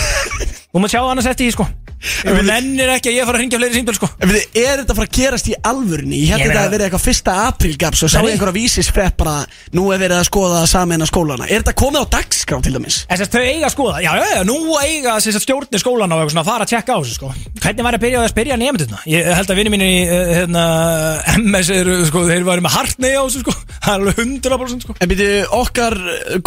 Speaker 2: Þú mátt sjá annars eftir því, sko Þú nennir ekki að ég fara að ringja fleiri síndöl, sko
Speaker 4: En við, er þetta að fara að gerast í alvörunni? Ég held
Speaker 2: Ég
Speaker 4: þetta
Speaker 2: meina-
Speaker 4: að vera eitthvað fyrsta aprílgaps og sá
Speaker 2: Nei.
Speaker 4: einhverja vísisfrepp bara nú er verið að skoða að sameina skólana Er þetta komið á dagskrá til dæmis?
Speaker 2: Þess að þau eiga að skoða, já, já, já, nú eiga þess að stjórnir skólan á eitthvað svona að fara að tjekka á þessu, sko. Hvernig var að byrja á því að spyrja nefndurna? Ég held að vinni mínir í, eh, hérna, MS eru, sko, þeir varum með hartnei á þessu, sko, það er alveg 100% sko.
Speaker 4: En byrju, okkar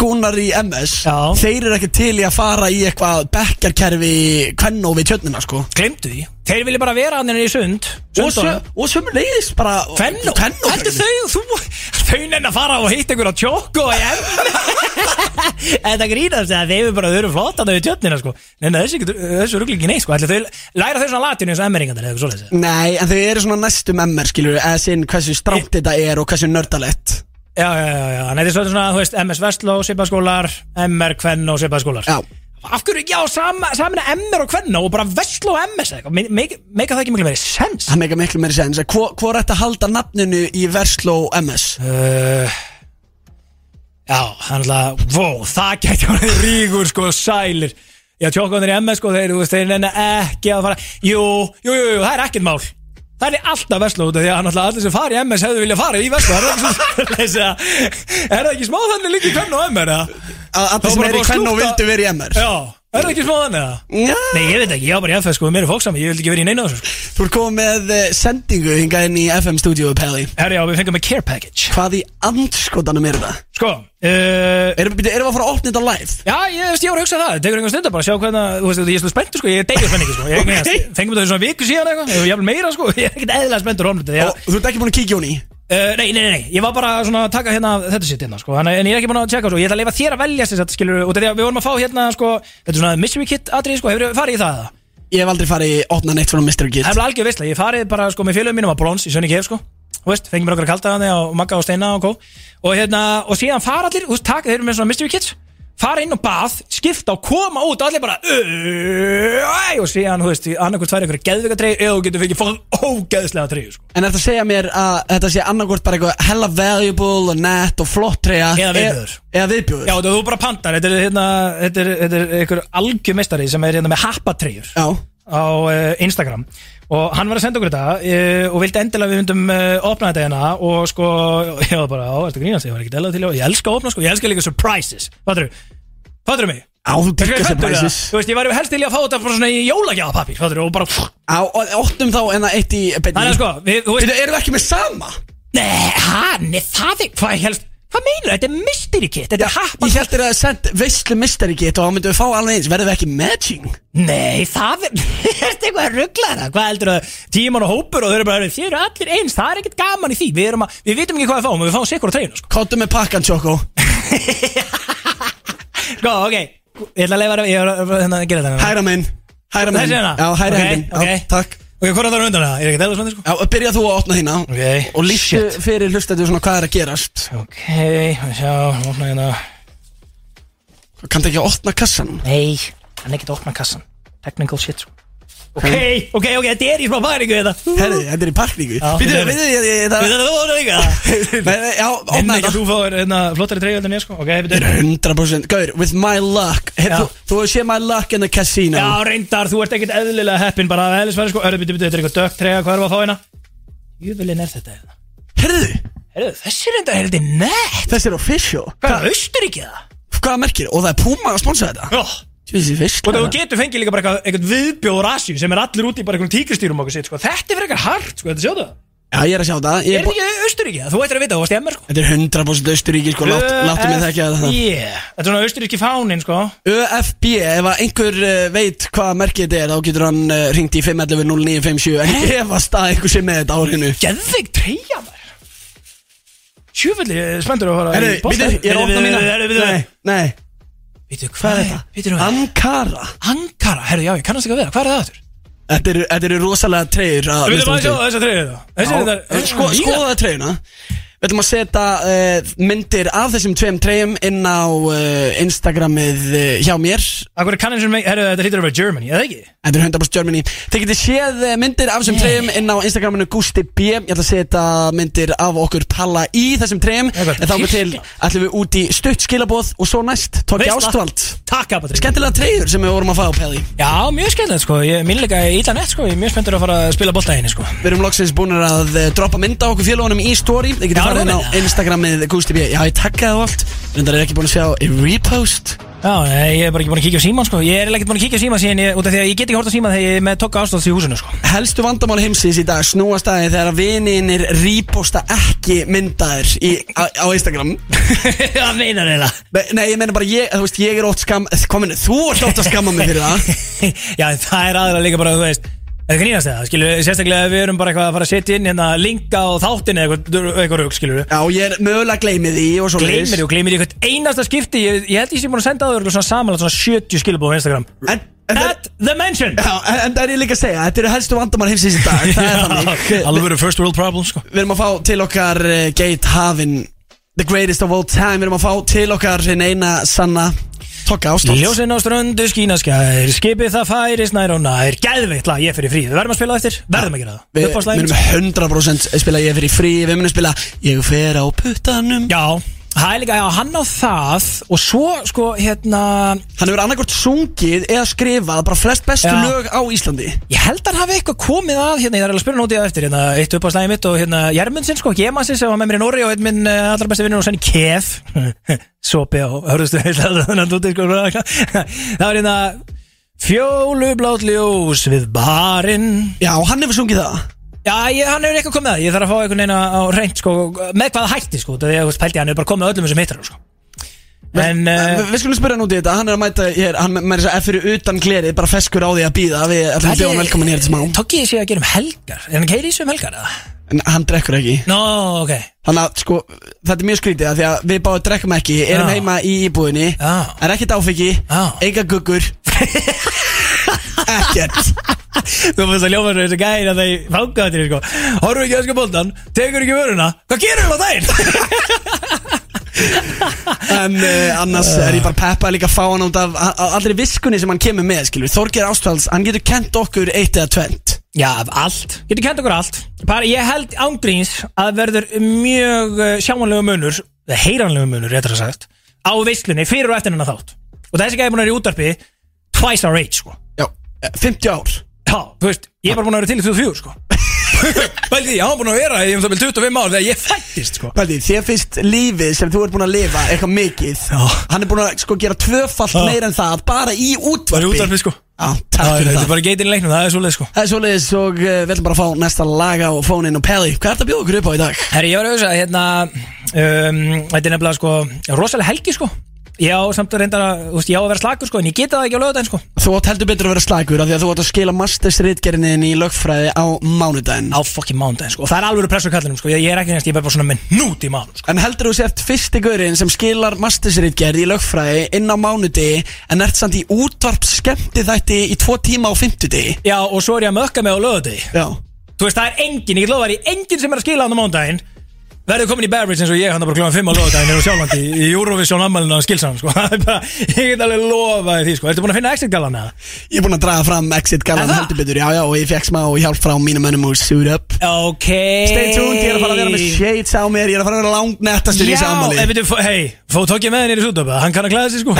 Speaker 4: gúnar í MS
Speaker 2: Já.
Speaker 4: Þeir eru ekki til í að fara í eitthvað bekkarkerfi Kvenno við tjötnina sko
Speaker 2: Glemdu því. Þeir vilja bara vera hann í sund,
Speaker 4: Og, sö,
Speaker 2: sundunum.
Speaker 4: og sömuleiðis bara
Speaker 2: Fenn og,
Speaker 4: Kvennó-
Speaker 2: heldur þau, þú, þau nenn að fara og hitta einhverja tjók og em Þetta grínast að þeir eru bara, þau eru flott að þau tjötnina, sko Nenna þessu, getur- þessu ruglingi nei, sko, ætli þau, læra þau svona latinu eins og emmeringandir eða eitthvað svoleiðis
Speaker 4: Nei, en þau eru svona næstum MR, skilur eða sinn hversu strámt þetta er og hversu nördalett
Speaker 2: Já, já, já, já, þannig að þetta er svolítið svona, þú veist, MS Vestló, Sipaskólar, MR, Kvenn og Sipaskólar.
Speaker 4: Já.
Speaker 2: Af hverju ekki á sama, samina MR og Kvenn og bara Vestló og MS eða eitthvað, Me- make- make það ekki miklu meiri sens?
Speaker 4: Það meika miklu meiri sens En Hvor, hvor ætti að halda nafninu í Versló MS?
Speaker 2: Uh, já, þannig að, wow, það gæti hann ríkur, sko, sælir. Já, tjókkandir í MS, sko, þeir, þú veist, þeir nenni ekki að fara, jú, jú, jú, jú, það er ekkert mál. Það er alltaf Vestló út af því að náttúrulega allir sem fara í MS hefðu viljað fara í Vestló. Það er ekki svo- er það ekki smá þannig líka í Kvenn og MR, eða?
Speaker 4: Að
Speaker 2: Það
Speaker 4: allir
Speaker 2: var bara
Speaker 4: sem er í
Speaker 2: búið að
Speaker 4: Kvenno
Speaker 2: slúta-
Speaker 4: vildu verið í MR
Speaker 2: Já, er það ekki smá þannig að?
Speaker 4: Já.
Speaker 2: Nei, ég veit ekki, ég á bara í FF sko, mér er fóksam, ég vil ekki vera í neina af þessu sko.
Speaker 4: Þú ert komið með eh, sendingu hingað inn í FM stúdíu, Pelli
Speaker 2: Herri, já, við fengum með Care Package
Speaker 4: Hvað í andskotanum er þetta?
Speaker 2: Sko, uh,
Speaker 4: Erum byrju, erum við að fara að opna þetta live?
Speaker 2: já, ég, veist, ég var að hugsa það, tekur einhvern stund að bara sjá hvernig, þú veist, ég er svolítið spenntur sko, ég er degjur spenningi sko, ég er ekki okay. fengum þetta svona viku síðan eitthvað, ég er jafnvel meira sko, ég er ekkert eðlilega spenntur honum þetta, já.
Speaker 4: Og þú ert ekki búin að kíkja hún í
Speaker 2: Uh, nei, nei, nei, nei, ég var bara svona að taka hérna þetta sitt hérna, sko, þannig, en ég er ekki búin að tjekka svo, ég ætla að leifa þér að velja sér þetta, skilur, út af því að við vorum að fá hérna, sko, þetta er svona mystery kit atrið, sko, hefur farið í það, eða?
Speaker 4: Ég hef aldrei farið að opna neitt svona Mr. Git
Speaker 2: Það er alveg algjör veistla, ég farið bara sko með félögum mínum á Brons í Sönni Kef sko Þú veist, fengi mér okkar kaldaðan á Magga og Steina og kó Og hérna, og síðan fara allir, þú veist, takk, þeir eru með svona mystery kits fara inn á bað, skipta og koma út og allir bara "Æ", og síðan, þú veist, annarkvæmt færi einhverja geðvika treyju eða þú getur fengið fólk ógeðslega treyju sko.
Speaker 4: En ertu að segja mér að þetta sé annarkvort bara eitthvað hella valuable og nett og flott treyja
Speaker 2: Eða viðbjóður.
Speaker 4: e- Eða viðbjóður
Speaker 2: Já, þú þú bara pantar, þetta er, hérna, þetta er, þetta er einhver algjör meistari sem er hérna með happatreyjur
Speaker 4: Já,
Speaker 2: á uh, Instagram og hann var að senda okkur þetta uh, og vildi endilega við myndum uh, opna þetta hérna og sko, ég var bara, á, ertu að grínast ég var ekki dæla til, ég elska að opna sko, ég elska líka surprises fattur þú mig?
Speaker 4: á, þú
Speaker 2: Hvernig
Speaker 4: dyrkast
Speaker 2: er
Speaker 4: þér
Speaker 2: hræddur við það?
Speaker 4: præsis
Speaker 2: Þú veist, ég væri helst til í að fá þetta bara svona í jólagjafapapir fattur og bara, þannig
Speaker 4: Á, og óttum þá en það eitt í
Speaker 2: að
Speaker 4: beinni
Speaker 2: sko við, þú veist,
Speaker 4: Veitu, erum við ekki með sama?
Speaker 2: nei, hann, það er, hvað helst hvað meinar, þetta er mystery kit, þetta er happa
Speaker 4: Ég held þér að senda veistlu mistari get og þá myndum við fá alveg eins Verðum við ekki matching?
Speaker 2: Nei, það er Ertu eitthvað rugglara? Hvað heldur það? Tíman og hópur og þau eru bara Þið eru allir eins, það er ekkert gaman í því Við, erum að, við vitum ekki hvað við fáum, en við fáum sikur á treyjuna sko.
Speaker 4: Kóttu með pakkan, Choco
Speaker 2: Gó, Sko, ok, ég ætla að leifa Ég er að hérna, gera þetta hérna.
Speaker 4: Hæra minn Hæra minn
Speaker 2: Þessi hérna?
Speaker 4: Já, hæra
Speaker 2: Ok,
Speaker 4: okay, hendin
Speaker 2: ok.
Speaker 4: Já, takk
Speaker 2: Ok, hvað er það á undan það? Ég er ekki dæla svona sko
Speaker 4: Já, byrja þú að opna þína
Speaker 2: Ok,
Speaker 4: Og lístu fyrir hlustættu svona hvað er að gerast
Speaker 2: Ok, við sjá, opna hérna
Speaker 4: Kanntu ekki að opna kassan?
Speaker 2: Nei, hann er ekki að opna kassan Technical shit sko Ok, ok, ok, þetta er í smá bæringu þetta
Speaker 4: Herri, þetta er í parkningu
Speaker 2: Já,
Speaker 4: Býtu,
Speaker 2: þetta er-
Speaker 4: býtu, ég- ég- ég-
Speaker 2: Við
Speaker 4: það-
Speaker 2: þetta þú voru líka
Speaker 4: Nei, nei, Já,
Speaker 2: En
Speaker 4: opna
Speaker 2: ekki
Speaker 4: þetta
Speaker 2: að þú fáir hérna, flottari treyju heldur en ég sko Ok, við
Speaker 4: 100% Gaur, with my luck Hef,
Speaker 2: Já.
Speaker 4: þú, þú hefur séð my luck in the casino
Speaker 2: Já, reyndar, þú ert ekkert eðlilega heppin bara að eðlisverði sko, örðu, byttu, byttu, þetta er eitthvað dökkt trega, hvað erum við að fá hérna? Júvilinn er þetta hérna.
Speaker 4: Herðu,
Speaker 2: Herðu, þessi reyndar er þetta nett.
Speaker 4: þessi er official
Speaker 2: Hvað er Austuríki það?
Speaker 4: Hvað merkir? Og það er Puma að sponsa þetta
Speaker 2: Já.
Speaker 4: Þessi fisk
Speaker 2: Og þú getur fengið líka bara eitthvað, eitthvað viðbjóður Asíu sem er allir úti í bara einhverjum tíkristýrum okkur sitt, sko. Þetta er fyrir eitthvað hart, sko, þetta sjá það.
Speaker 4: Já, ég er að sjá það Ég
Speaker 2: Er
Speaker 4: er bú-
Speaker 2: þetta ekki Austuríki það? Þú ættir að vita, þú varst í MR, sko.
Speaker 4: Þetta er 100% austuríki sko lát, Láttu mig þekka það
Speaker 2: Yeah. Þetta er svona austuríki fáninn, sko.
Speaker 4: ÖFB, ef að einhver eh, veit hvað merkið þetta er Þá getur hann uh, ringt í 511 0957 En ég efast að einhver sem með þetta á hennu
Speaker 2: Geðveik treyja, maður. Sjúfulli, spenntur að fara
Speaker 4: Herru,
Speaker 2: í posta.
Speaker 4: býtu, ég er að opna mína
Speaker 2: Herru, býtu,
Speaker 4: Nei, nei,
Speaker 2: býtu, hvað er þetta? Býtu, nú,
Speaker 4: Ankara
Speaker 2: Ankara, herru, já, ég kannast ekki að við það, hvað er það aftur?
Speaker 4: Þetta eru- þetta eru rosalega treyjur að-
Speaker 2: Við viljum að sjá
Speaker 4: Já,
Speaker 2: þessa treyju þá Þessi er þetta
Speaker 4: sko- Skoða treyjuna Við ætlum að setja uh, myndir af þessum tveim treyjum inn á uh, Instagramið uh, hjá mér
Speaker 2: Akkur er kannins með, herru, þetta hlýtur að vera Germany, eða ekki?
Speaker 4: Þetta er 100% Germany Þið getið séð eh, myndir af þessum treyjum inn á Instagraminu Gusti B Ég ætla að setja myndir af okkur Palla í þessum treyjum
Speaker 2: Ég veit,
Speaker 4: En þá við til
Speaker 2: Tyrkland.
Speaker 4: ætlum við út í stutt skilabóð Og svo næst, Tóki
Speaker 2: Veisla.
Speaker 4: Ástvald
Speaker 2: Takk, Abba Treyju
Speaker 4: Skemmtilega treyjur sem við vorum að fá, Pelli
Speaker 2: Já, mjög skemmtilegt, sko, ég minn líka illa nett, sko Ég er mjög spenntur að fara að spila bolta henni, sko
Speaker 4: Við erum loksins búinir að eh, droppa mynda okkur félagunum í story Þið
Speaker 2: Já,
Speaker 4: getið farið inn á
Speaker 2: erum við það?
Speaker 4: Instagramið Gusti B Já, ég takkaði það allt En það er ekki búin að sjá í repost
Speaker 2: Já, nei, ég er bara ekki búin að kíkja á síman, sko Ég er ekkert búin að kíkja á síman síðan, ég, út af því að ég get ekki hort á síman þegar ég er með tokka ástóðs í húsinu, sko
Speaker 4: Helstu vandamál heimsins í dag snúast aðeins þegar að vininir reposta ekki myndaðir í, á, á Instagram
Speaker 2: Já, meinar þeirra
Speaker 4: Nei, nei, ég meina bara ég, þú veist, ég er ótt skam Komin, þú ert ótt að skamma mig fyrir það
Speaker 2: Já, en það er aðra líka bara, þú veist Það grínast það, skilur, sérstaklega ef við erum bara eitthvað að fara að setja inn hérna linka á þáttin eða eitthvað, eitthvað rugg, skilur
Speaker 4: Já, ég er mögulega gleymið því og svo
Speaker 2: Gleimir og gleimir í hvert einasta skipti Ég, ég held ég sem búin að senda á þau svona samanlega svona 70 skilabóð á Instagram
Speaker 4: En, en, það-
Speaker 2: At the mansion
Speaker 4: já, en, en það er ég líka að segja, þetta eru helstu vandamál heimsins í dag Það er þannig
Speaker 2: Alveg verið first world problem sko
Speaker 4: Við erum að fá til okkar uh, Gate Havin The greatest of all time Við erum að fá til okkar hinn eina sanna Tokka ástofn
Speaker 2: Ljósin á ströndu skínaskær Skipið það færist nær og nær Gæðveitt lag ég fyrir frí Við verðum að spila það eftir Verðum að gera það
Speaker 4: Við við
Speaker 2: Uppáhaldslagið.
Speaker 4: erum 100% spila ég fyrir frí Við munum spila ég fer á puttanum
Speaker 2: Já Það er líka Já hann á það Og svo sko hérna
Speaker 4: Hann hefur annarkort sungið eða skrifað bara flest bestu
Speaker 2: Já.
Speaker 4: lög á Íslandi
Speaker 2: Ég held að hann hafi eitthvað komið að Hérna ég þarf alveg að spila nótið á eftir Hérna eitt upp á slæði mitt Og hérna Jermundsson sko Gemansson sem var með mér í Nóri Og einn minn eh, allra besti vinnur Og senni Kef Sopi á Hörðustu Það var hérna Fjólublátt ljós við barinn
Speaker 4: Já, hann hefur sungið það
Speaker 2: Já, ég, hann hefur eitthvað komið að, ég þarf að fá einhvern veginn á á hreint sko, með hvaða hætti sko, þegar ég pælti hann hefur bara komið að öllum þessum hittarum sko. En,
Speaker 4: Uh,
Speaker 2: uh,
Speaker 4: við skulum spyrja hann út í þetta, hann er að mæta hér, hann með þess að fyrir utan glerið, bara feskur á því að býða, við ætlum að bjóða hann velkomin hér til smá,
Speaker 2: Tók ég sé að gera um helgar, er hann keiri í sig um helgar eða?
Speaker 4: en hann drekkur ekki.
Speaker 2: Nó, ok,
Speaker 4: Þannig að sko, þetta er mjög skrítið að því að við báðum drekkum ekki, erum
Speaker 2: Já.
Speaker 4: heima í íbúðinni,
Speaker 2: Já.
Speaker 4: er ekkert áfengi,
Speaker 2: Já.
Speaker 4: enga guggur, ekkert.
Speaker 2: þú fannst að ljóma þessu gæri að þeir fangaða til sko, horfum ekki að ösku boltan, tekur ekki vöruna, hvað gerum við á daginn?
Speaker 4: En uh, annars er ég bara peppa líka að fá hann út af a- a- allri viskunni sem hann kemur með skilur. Þorgeir Ástvalds, hann getur kent okkur eitt eða tvent
Speaker 2: Já, af allt Getur kent okkur allt Bara ég held ángríns að verður mjög uh, sjáanlega munur eða heyranlega munur, réttar að sagt á veislunni fyrir og eftir hennar þátt og þessi gæði búin að vera í útarpi twice our age, sko
Speaker 4: Já, eh, 50 ár
Speaker 2: Já, þú veist, ég er bara búin að vera til í 24, sko Bældi, ég hafa búin að vera í um það byrjum 25 ár þegar ég fættist, sko
Speaker 4: Paldi, þér finnst lífið sem þú ert búin að lifa eitthvað mikið Hann er búin að sko gera tvöfalt
Speaker 2: Já.
Speaker 4: meira en það bara í útvarpi
Speaker 2: Bara í útvarpi, sko.
Speaker 4: Já, takk
Speaker 2: Það
Speaker 4: fyrir
Speaker 2: er
Speaker 4: það
Speaker 2: bara geitin í leiknum, það er svoleið, sko
Speaker 4: Það er svoleiðis og uh, við ætlum bara að fá næsta laga og fónin og Pelli Hvað er það að bjóða okkur upp á í dag?
Speaker 2: Herri, ég var að hugsa, hérna um, Þetta er nefnilega, sko, rosalega helgi, sko Ég á samt að reynda að, þú veist, ég á að vera slakur, sko En ég geta það ekki á lögudaginn, sko
Speaker 4: Þú átt heldur betur að vera slagur af því að þú átt að skila mastersritgerinin í lögfræði á mánudaginn
Speaker 2: Á fucking mánudaginn, sko Og það er alveg pressur kallinum, sko Ég, ég er ekki neist, ég er bara svona með nút í mánum, sko
Speaker 4: En heldur þú sért fyrsti gaurinn sem skilar mastersritgerð í lögfræði inn á mánudegi en ert samt í útvarp skemmti þætti í tvo tíma á fimmtudegi
Speaker 2: Já, og svo er ég að mökka mig á lögudagi
Speaker 4: Já
Speaker 2: Þú veist, það er engin, ég get lofað því, engin sem er að skila hann á mánudaginn Verður komin í beverage eins og ég hann bara kljóðan 5 á lögadaginn er á sjálfandi í Eurovision ammælinu á skilsanum sko. Það er bara, ég get alveg lofaði því sko. Ertu búin að finna exit galan eða?
Speaker 4: Ég er búinn að draga fram exit galan
Speaker 2: Er það?
Speaker 4: heldur betur Já, já, og ég fekk smá hjálp frá mínum mönnum úr Suit Up
Speaker 2: Ok
Speaker 4: Stay tuned, ég er að fara að vera með shades á mér Ég er að fara að vera langnettastur
Speaker 2: Já,
Speaker 4: í þessu ámali
Speaker 2: en veitum, hei, fó tók ég með henni í sútöpa Hann kann að klæða sig sko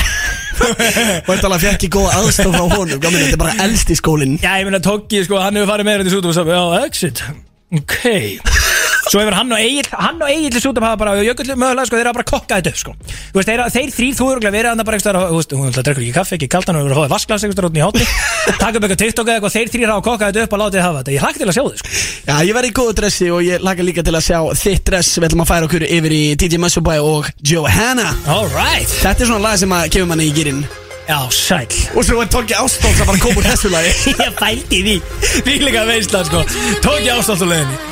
Speaker 4: Og þetta alveg fekk ég góða aðstof frá honum Gaman, þetta er bara elst í skólinn
Speaker 2: Já, ég meina tók ég sko, hann hefur farið með henni í sútöpa Já, exit, ok Svo hefur hann og Egil, hann og Egil í sútöpa hafa bara, jökull, mögulega sko, þeir hafa bara kokkað þetta upp sko Þú veist, þeir, þeir þrýr, þú eru örugglega verið hann bara einhverstaðar á- Þú veist, hún alltaf drekkur ekki kaffi, ekki kaldan, hún hefur að fá vasklas einhverstaðar út í hátni Takk upp eitthvað TikTok eða eitthvað, þeir þrýr hafa kokkað þetta upp og látið hafa þetta Ég hlakka til að sjá þið sko
Speaker 4: Já, ég verði í góðu dressi og ég laka líka til að sjá þitt dress Við ætlum að færa okkur yfir í DJ Musselbæ og Johanna
Speaker 2: All right,
Speaker 4: Þetta er svona lag sem að kemur manni í gýrin
Speaker 2: já, sæl
Speaker 4: Og svo er Tóki Ástóls að bara koma úr þessu lagi
Speaker 2: Ég fældi því, þvílega veistla sko Tók ég ástátt á leiðinni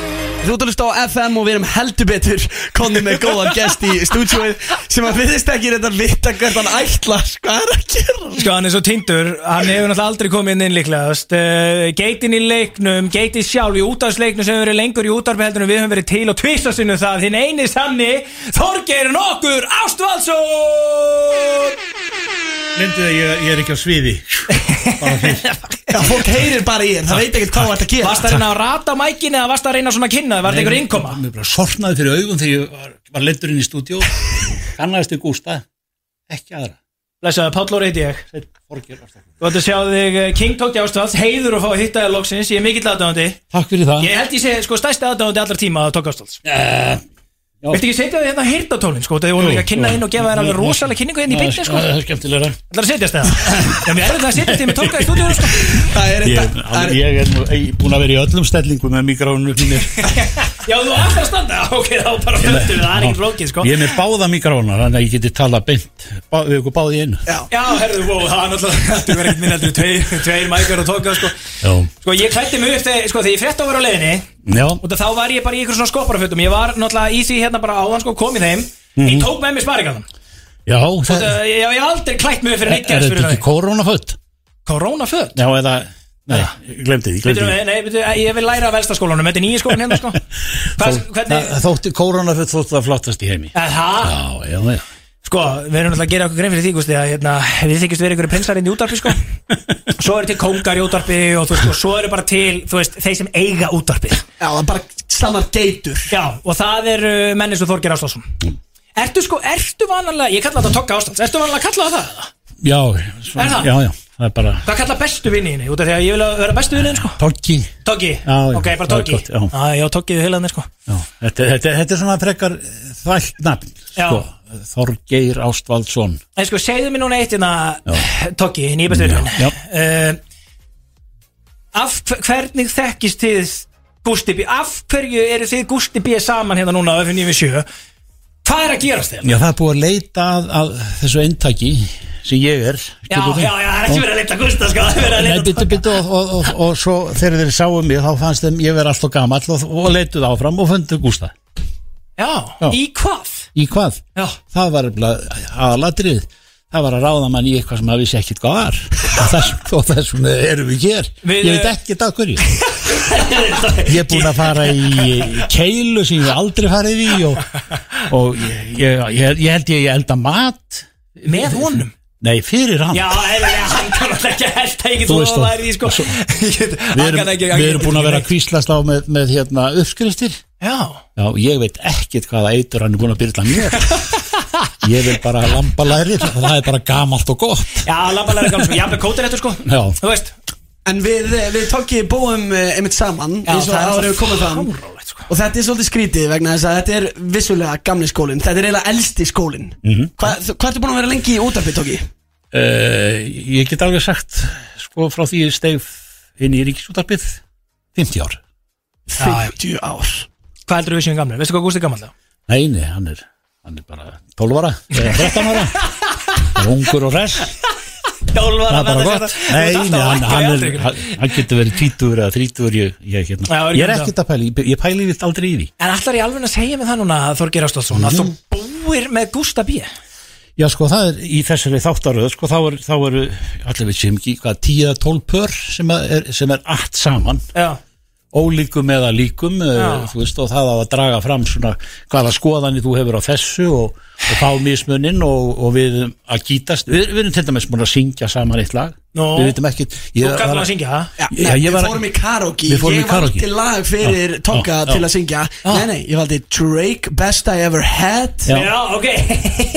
Speaker 4: Þú ert að hlusta á FM og við erum heldur betur Konnum með góðan gest í stúdíóið Sem að viðist ekki þetta vita hvert hann ætlar Hvað er að gera?
Speaker 2: Sko, hann er svo tindur, hann hefur náttúrulega aldrei komið hérna inn inn líklegast uh, Geitin í leiknum, geitið sjálf í útafsleiknum sem hefur verið lengur í útarbeheldunum Við höfum verið til og tvisa sinnum það Þinn eini sanni, Þorgeir nokkur Ástvaldsson
Speaker 5: Lindu það, ég, ég er ekki á sviði
Speaker 4: Já, fólk heyrir bara í þér, það veit ekkert hvað þú ert að gera
Speaker 2: Varst að reyna að rata mækinni eða varst að reyna svona að kynna þig? Var þetta einhver innkoma?
Speaker 5: Mér bara sortnaði fyrir augun þegar ég var, var lindur inn í stúdíó Kannaðist við Gústa Ekki aðra
Speaker 2: Blessaðu, Páll Lóri heiti ég
Speaker 5: Sveinn Þorgeir Ársæll.
Speaker 2: Þú ætti að sjá þig eh, King Tókti Ástvalds Heiður að fá að hitta þér loksins, ég er mikill aðdáðandi
Speaker 5: Takk fyrir það
Speaker 2: Ég held ég sé sko stærsti aðdáðandi allra tíma að Tók Ástvalds
Speaker 5: Eh, já.
Speaker 2: Viltu ekki setja þig hérna hirtatólin sko, þegar við vorum líka að kynna
Speaker 5: Jú,
Speaker 2: þinn og gefa þér alveg
Speaker 5: jú,
Speaker 2: rosalega kynningu hérna í
Speaker 5: það-
Speaker 2: beinni sko
Speaker 5: Það er skemmtilegra
Speaker 2: Það er að setjast það Já, mér erum það að setjast því með tóka í stúdíu sko.
Speaker 4: Það er
Speaker 5: Ég,
Speaker 4: þetta það er-
Speaker 5: ég er nú ei, búin að vera í öllum stellingum með mikrófónum mínir
Speaker 2: Já, þú ætlar að standa Ok, þá bara fluttum við, það er ekkert flókið sko.
Speaker 5: Ég er með báða mikrófónar þannig að ég geti tala beint bá, við ykkur báði einu
Speaker 2: Já, herðu, wow, það er náttúrulega Þú verður ekkert minn heldur tveir, tveir mækar og tóka sko.
Speaker 5: Já,
Speaker 2: sko, ég klætti mig upp þegar, sko, þegar ég frétt á að vera á leiðinni
Speaker 5: já,
Speaker 2: Og þá var ég bara í ykkur svona skopparafötum Ég var náttúrulega í því hérna bara áðan sko, kom í þeim Ég tók með mér sparingarnum
Speaker 5: já það,
Speaker 2: Það- Ég hef aldrei klætt mig upp fyrir
Speaker 5: Er
Speaker 2: neitt gerðs
Speaker 5: þetta
Speaker 2: fyrir
Speaker 5: ekki
Speaker 2: það
Speaker 5: koronafött?
Speaker 2: Koronaföt?
Speaker 5: Já, eða, nei, ég glemdi því, ég glemdi
Speaker 2: Veitum,
Speaker 5: því
Speaker 2: nei, veitum, ég vil læra af velstaskólanum Þetta er nýja skólinn hérna sko. Hvað,
Speaker 5: Þó-
Speaker 2: hvernig,
Speaker 5: það- Þótti koronafött þótti það flottast í heimi
Speaker 2: Eh, það,
Speaker 5: Já, já, já
Speaker 2: Sko, við erum náttúrulega að gera okkur grein fyrir því Gústi, að hérna, við þykist verið ykkur prinsarinn í útarpi sko. svo eru til kóngar í útarpi og, þú veist, og svo eru bara til þú veist, þeir sem eiga útarpi
Speaker 4: Já, það er bara stannar geitur
Speaker 2: Já, og það eru mennins og Þorgir Ástásson Ertu sko, ertu vanalega ég kalla þetta Togga Ástás, ertu vanalega að kalla það það?
Speaker 5: Já,
Speaker 2: Er
Speaker 5: svona,
Speaker 2: það?
Speaker 5: já, já, það er bara
Speaker 2: Hvað kalla bestu vinniðinni? Út af því að ég vil að vera bestu vinniðin sko
Speaker 5: Toggi
Speaker 2: Toggi,
Speaker 5: Já, já,
Speaker 2: ok, bara
Speaker 5: það er
Speaker 2: Toggi
Speaker 5: gott, já.
Speaker 2: Já, já, Toggi við heilaðinni sko
Speaker 5: já, þetta, þetta, þetta er svona frekar eh, þvælt nafn sko. Þorgeir Ástvaldsson
Speaker 2: En sko, segðu mér núna eitt hérna Toggi, hinn í bestu vinniðin
Speaker 5: Já, já.
Speaker 2: uh, Af hver- hvernig þekkist þið Gústi B Af hverju eru þið Gústi B saman hérna núna á F97 Hvað er að gerast hérna? þér?
Speaker 5: Já, það er búið að leita að, að þessu eintaki sem ég er
Speaker 2: Já, já, já, það er ekki verið að leita Gústa sko, það er verið að
Speaker 5: Nei,
Speaker 2: leita
Speaker 5: byttu, byttu og, og, og, og svo þegar þeir sáu mig þá fannst þeim ég vera alltaf gamall og, og leituð áfram og fundu Gústa
Speaker 2: Já,
Speaker 5: Já.
Speaker 2: í hvað?
Speaker 5: Í hvað?
Speaker 2: Já,
Speaker 5: það var nefnilega aðalatrið það var að ráða mann í eitthvað sem að vissi ekkit hvað var og þess- og þess vegna erum við hér
Speaker 2: Við- eh,
Speaker 5: ég veit ekkit að hverju ég er búin að fara í keilu sem ég hef aldrei farið í og, og ég, ég, ég, ég held ég, ég elda mat
Speaker 2: Með honum
Speaker 5: nei, fyrir hann
Speaker 2: Já, eða hann kann alltaf ekki að helta ekki
Speaker 5: Þú
Speaker 2: þú
Speaker 5: veist
Speaker 2: að
Speaker 5: það.
Speaker 2: væri því sko
Speaker 5: Svo-
Speaker 2: Ég get-
Speaker 5: við
Speaker 2: hann
Speaker 5: erum,
Speaker 2: kann ekki- hann
Speaker 5: við erum
Speaker 2: getur
Speaker 5: búin að
Speaker 2: ekki
Speaker 5: vera að
Speaker 2: neitt.
Speaker 5: kvíslast á með, með hérna, uppskriftir
Speaker 2: Já,
Speaker 5: já, ég veit ekkit hvaða eitur hann er búin að byrja mér ég vil bara lampa lærið það er bara gamalt og gott
Speaker 2: já, labbalæri gammal sko, jafnveg kótir þetta sko
Speaker 5: Já.
Speaker 2: Þú veist,
Speaker 4: En við, eh, við tókki búum eh, einmitt saman
Speaker 2: Já,
Speaker 4: eins og
Speaker 2: það er
Speaker 4: það eru
Speaker 2: alveg
Speaker 4: komið fram
Speaker 2: fáránlegt, sko.
Speaker 4: Og þetta er svolítið skrítið vegna þess að þetta er vissulega gamli skólinn Þetta er eiginlega elsti skólinn mm
Speaker 2: Mhm.
Speaker 4: -hmm. Hvað hva ertu búin að vera lengi í útarpið tókki?
Speaker 5: uh, ég get alveg sagt sko frá því ég steif inn í ríkisútarpið 50 ár
Speaker 4: 50 ár
Speaker 2: hvað heldur við séum gamlir? Veistu hvað Gústi er gammal þá?
Speaker 5: Nei, nei, hann er, hann er bara 12 ára, eða 13 ára Bara Ungur og hress, það
Speaker 2: Jólvar
Speaker 5: er bara gott Nei, nei, hann, hann, er, hann, hann getur verið 20 eða 30 ég, ég, hérna.
Speaker 2: Já, er
Speaker 5: ég er
Speaker 2: ekki
Speaker 5: ekkert að pæli, ég pæli við aldrei í því
Speaker 2: En allar ég alveg að segja mig það núna Þorgeir Ástoldsson að þú búir með Gústa B
Speaker 5: Já, sko, það er í þessari þáttaröð sko, þá eru, þá eru, allir við sem ekki hvað, 10 eða 12 pör sem að er, sem er allt saman,
Speaker 2: Já,
Speaker 5: ólíkum eða líkum uh, þú veist, og það á að draga fram svona hvaða skoðanir þú hefur á þessu og, og fá mismuninn og, og við erum að gítast, við, við erum til dæmis búin að syngja saman eitt lag
Speaker 2: Nú.
Speaker 5: við veitum ekkit
Speaker 2: þú
Speaker 5: ég,
Speaker 2: kallar
Speaker 5: var-
Speaker 2: að syngja það
Speaker 4: Já,
Speaker 5: Já, ég
Speaker 4: við
Speaker 5: var-
Speaker 4: fórum í karaoke
Speaker 5: Við fórum í
Speaker 4: Ég
Speaker 5: karaoke.
Speaker 4: valdi lag fyrir
Speaker 5: Já,
Speaker 4: tókka
Speaker 5: já,
Speaker 4: til
Speaker 5: já.
Speaker 4: að syngja Nei, nei, ég valdi Drake Best I Ever Had
Speaker 5: Já.
Speaker 2: Já, ok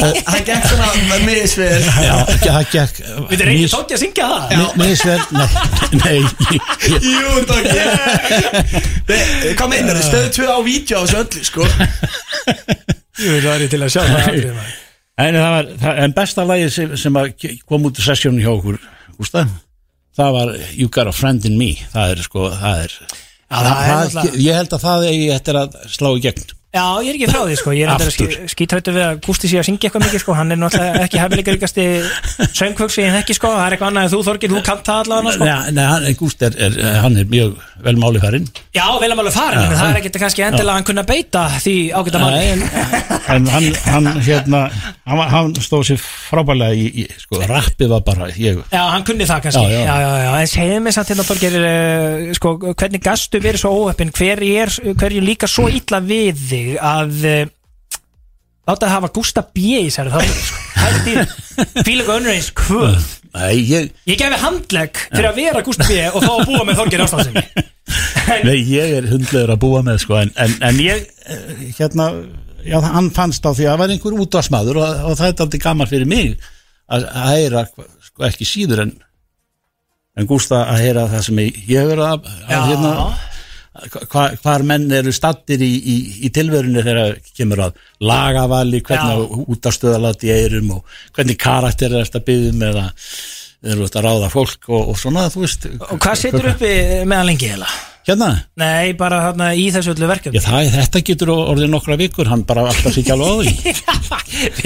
Speaker 4: Það gekk svona misfyr
Speaker 5: já, ekki, það gekk
Speaker 2: Við erum ekki tókja að syngja það
Speaker 5: misvel, nei, nei ég,
Speaker 4: Jú, tókki Nei, Hvað meinar þið? Stöðu 2 á vídeo á þessu öllu, sko
Speaker 2: Ég veit að það er til að sjá það aldrei, maður.
Speaker 5: en, það var, það, en besta lagi sem, sem að ke- kom út í sessjónu hjá okkur Gústa, það var You Got a Friend in Me það er sko, það er,
Speaker 2: Já, það er náttúrulega-
Speaker 5: ég held að það eigi eftir að slá í gegn
Speaker 2: Já, ég er ekki frá því sko Ég er
Speaker 5: Aftur.
Speaker 2: þetta skítrættu við að Gústi sé að syngja eitthvað mikið sko Hann er náttúrulega ekki hefileikaríkasti söngfugsi en ekki sko Það er eitthvað annað en þú Þorgir, þú kant það allavega sko
Speaker 5: Nei, nei hann, Gúst er, er, hann er mjög vel málifærin
Speaker 2: Já, vel að mála farin En það er ekkert kannski endilega að hann kunna beita því ágæta manni
Speaker 5: en, en hann, hann, hérna, hann, var- hann stóð sér frábælega í, í sko, rappi var bara ég,
Speaker 2: Já, hann kunni það kannski
Speaker 5: Já, já.
Speaker 2: En segðu mig samt hérna Þorgir uh, sko, Hvernig gastu verið svo óöppin Hver er, hverju líka svo illa við þig að uh, Láta það hafa Gústa B í særi þáttur sko. Hætti þín Fílega önnurins kvöð
Speaker 5: nei, ég,
Speaker 2: Ég gefi handlegg fyrir að vera Gústi B og þá að búa með Þorgeir Ástafsinni
Speaker 5: nei, ég er hundlegur að búa með sko, en, en, en ég eh, hérna, já, hann fannst á því að það var einhver útvarsmaður og, og það er aldrei gaman fyrir mig að að heyra sko, ekki síður en en Gústa að heyra það sem ég, ég hefur að,
Speaker 2: Já.
Speaker 5: að hérna, hva, hvar menn eru stattir í, í, í tilverunni þegar kemur að lagavali, hvernig
Speaker 2: Já.
Speaker 5: útastöðalat í eirum og hvernig karakter er þetta byggðum um eða eru þetta að ráða fólk og, og svona, þú veist
Speaker 2: Og hvað setur uppi meðan lengi heila?
Speaker 5: Hérna,
Speaker 2: Nei, bara þarna í þessu öllu verkefni
Speaker 5: já, það, þetta getur orðið nokkra vikur, hann bara alltaf sér ekki alveg á því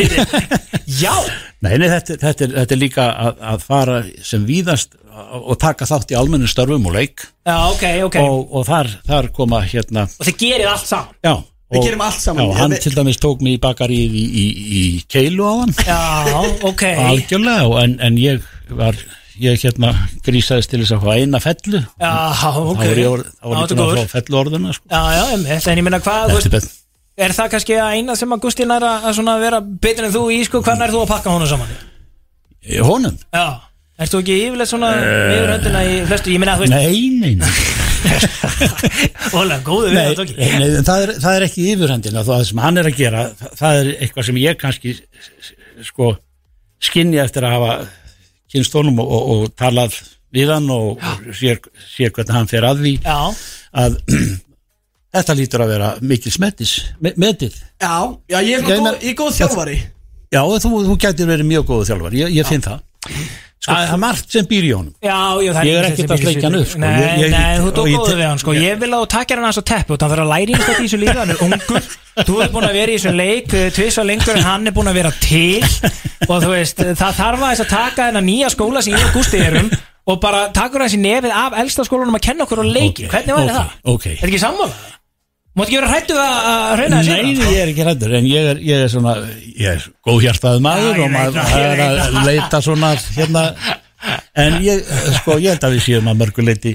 Speaker 2: Já,
Speaker 5: Nei, nei þetta, er- þetta, er, þetta er líka að, að fara sem víðast og taka þátt í almennum störfum og leik
Speaker 2: já, ok, ok Og,
Speaker 5: og, og þar, þar koma hérna
Speaker 2: þið gerir allt saman
Speaker 5: Já,
Speaker 4: Við
Speaker 5: og-
Speaker 4: gerum allt saman.
Speaker 5: Já, hann
Speaker 4: Við-
Speaker 5: til dæmis tók mig í bakaríð í, í, í keilu á hann
Speaker 2: Já, ok
Speaker 5: Algjörlega, og en, en ég var ég hérna grísaðist til þess að hvað eina fellu
Speaker 2: Já, ok
Speaker 5: þá var ég orð, þá
Speaker 2: Já,
Speaker 5: var ég
Speaker 2: þetta er
Speaker 5: búin að
Speaker 2: góður.
Speaker 5: fá fellu orðuna sko.
Speaker 2: Já, já, emmitt, en ég meina hvað, þú veist,
Speaker 5: Þetta er betur
Speaker 2: er það kannski að eina sem að Gústín er að að svona vera betur en þú í, sko, hvernig er þú að pakka honum saman?
Speaker 5: Eh, Honum?
Speaker 2: Já, ert þú ekki yfirleitt svona
Speaker 5: Eh.
Speaker 2: yfir höndina í flestu, ég meina, þú veist,
Speaker 5: Nei, nei, nei,
Speaker 2: ólega, góðu við
Speaker 5: nei,
Speaker 2: þetta ekki
Speaker 5: nei, nei en það, er, það er ekki yfirhendina það sem hann er að gera, það- það er eitthvað sem ég kannski s- s- sko skinja eftir að hafa kynst honum og, og, og talað við hann og sér, sér hvernig hann fer að því
Speaker 2: Já,
Speaker 5: að þetta lítur að vera mikil smettis, me- metið
Speaker 4: Já, já, ég er
Speaker 5: Ég
Speaker 4: góð,
Speaker 5: meina-
Speaker 4: ég er góð þjálfari
Speaker 5: Já, þú, þú gætir verið mjög góðu þjálfar Ég, ég finn það sko, Það er margt sem býr í honum
Speaker 2: Já, já, það
Speaker 5: Ég er
Speaker 2: ekki
Speaker 5: ekkert
Speaker 2: þessi
Speaker 5: að
Speaker 2: mikil
Speaker 5: sleikja hann
Speaker 2: svipur.
Speaker 5: upp, sko.
Speaker 2: Nei,
Speaker 5: Ég- ég-
Speaker 2: nei, þú
Speaker 5: og
Speaker 2: tók
Speaker 5: ég-
Speaker 2: góðu við hann sko. Ég vil að þú takir hann aðeins á teppu Þannig að það að læri einhvern í þessu líka Hann er ungur, þú er búin að vera í þessum leik Tvisa lengur en hann er búin að vera til Og þú veist, það þarf aðeins að taka Þennan nýja skóla sem ég og Gústi erum Og bara takur hans í nefið af elsta skólanum Að kenna okkur á leikin,
Speaker 5: Ok,
Speaker 2: hvernig væri
Speaker 5: ok,
Speaker 2: það?
Speaker 5: ok.
Speaker 2: Er ekki sammála? Mátt ekki vera hrættu að að hrauna
Speaker 5: Nei,
Speaker 2: þessi
Speaker 5: ég er ekki rættur En ég er, ég er svona Ég er góð hjartaði maður
Speaker 2: Já, ég
Speaker 5: Og
Speaker 2: veit
Speaker 5: maður
Speaker 2: það, ég
Speaker 5: maður er
Speaker 2: veit
Speaker 5: að leita svona hérna. En ég, sko, ég held að við séum að mörgu eh, leiti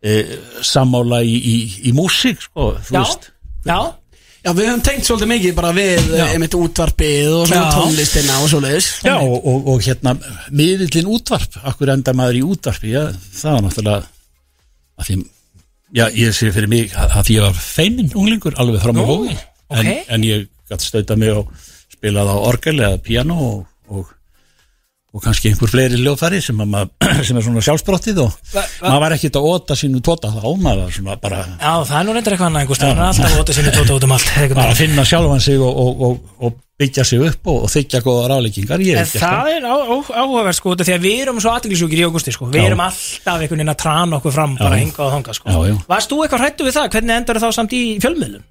Speaker 5: e, Sammála í, í, í músík sko, Þú
Speaker 2: Já,
Speaker 5: veist
Speaker 2: já,
Speaker 4: Já, við höfum tengt svolítið mikið bara við
Speaker 2: Já.
Speaker 4: eh, einmitt útvarpið og svona
Speaker 2: Já.
Speaker 4: tónlistina og svoleiðis
Speaker 5: Já, og, og, og hérna, miðillin útvarp, akkur enda maður í útvarpi, já, það var náttúrulega, að því, já, ég sé fyrir mig að, að því ég var feiminn unglingur alveg fram á
Speaker 2: Nú,
Speaker 5: hófi, en,
Speaker 2: ok.
Speaker 5: en ég gætt stauta mig og spilaði á orgel eða piano og, og, og kannski einhver fleiri ljófæri sem, að maður, sem er svona sjálfsbrottið og maður var ekkert að óta sínu tóta þá, maður var svona bara,
Speaker 2: Já, það er nú reyndar eitthvað annað einhvers staðar, hann er alltaf óta sinni tóta út um allt einhvern
Speaker 5: bara að
Speaker 2: veginn.
Speaker 5: finna sjálfan sig og, og, og, og byggja sig upp og, og þykja góða ráleikingar, ég
Speaker 2: En
Speaker 5: hef gert
Speaker 2: það er á- á- áhugavert sko út af því að við erum svo aðteglisjúkir í augusti sko Við
Speaker 5: Já.
Speaker 2: erum alltaf einhvern veginn að trana okkur fram bara
Speaker 5: Já.
Speaker 2: hingað og þangað sko
Speaker 5: Já, já.
Speaker 2: Varst þú eitthvað hrættu við það? Hvernig endar þá samt í fjölmiðlum?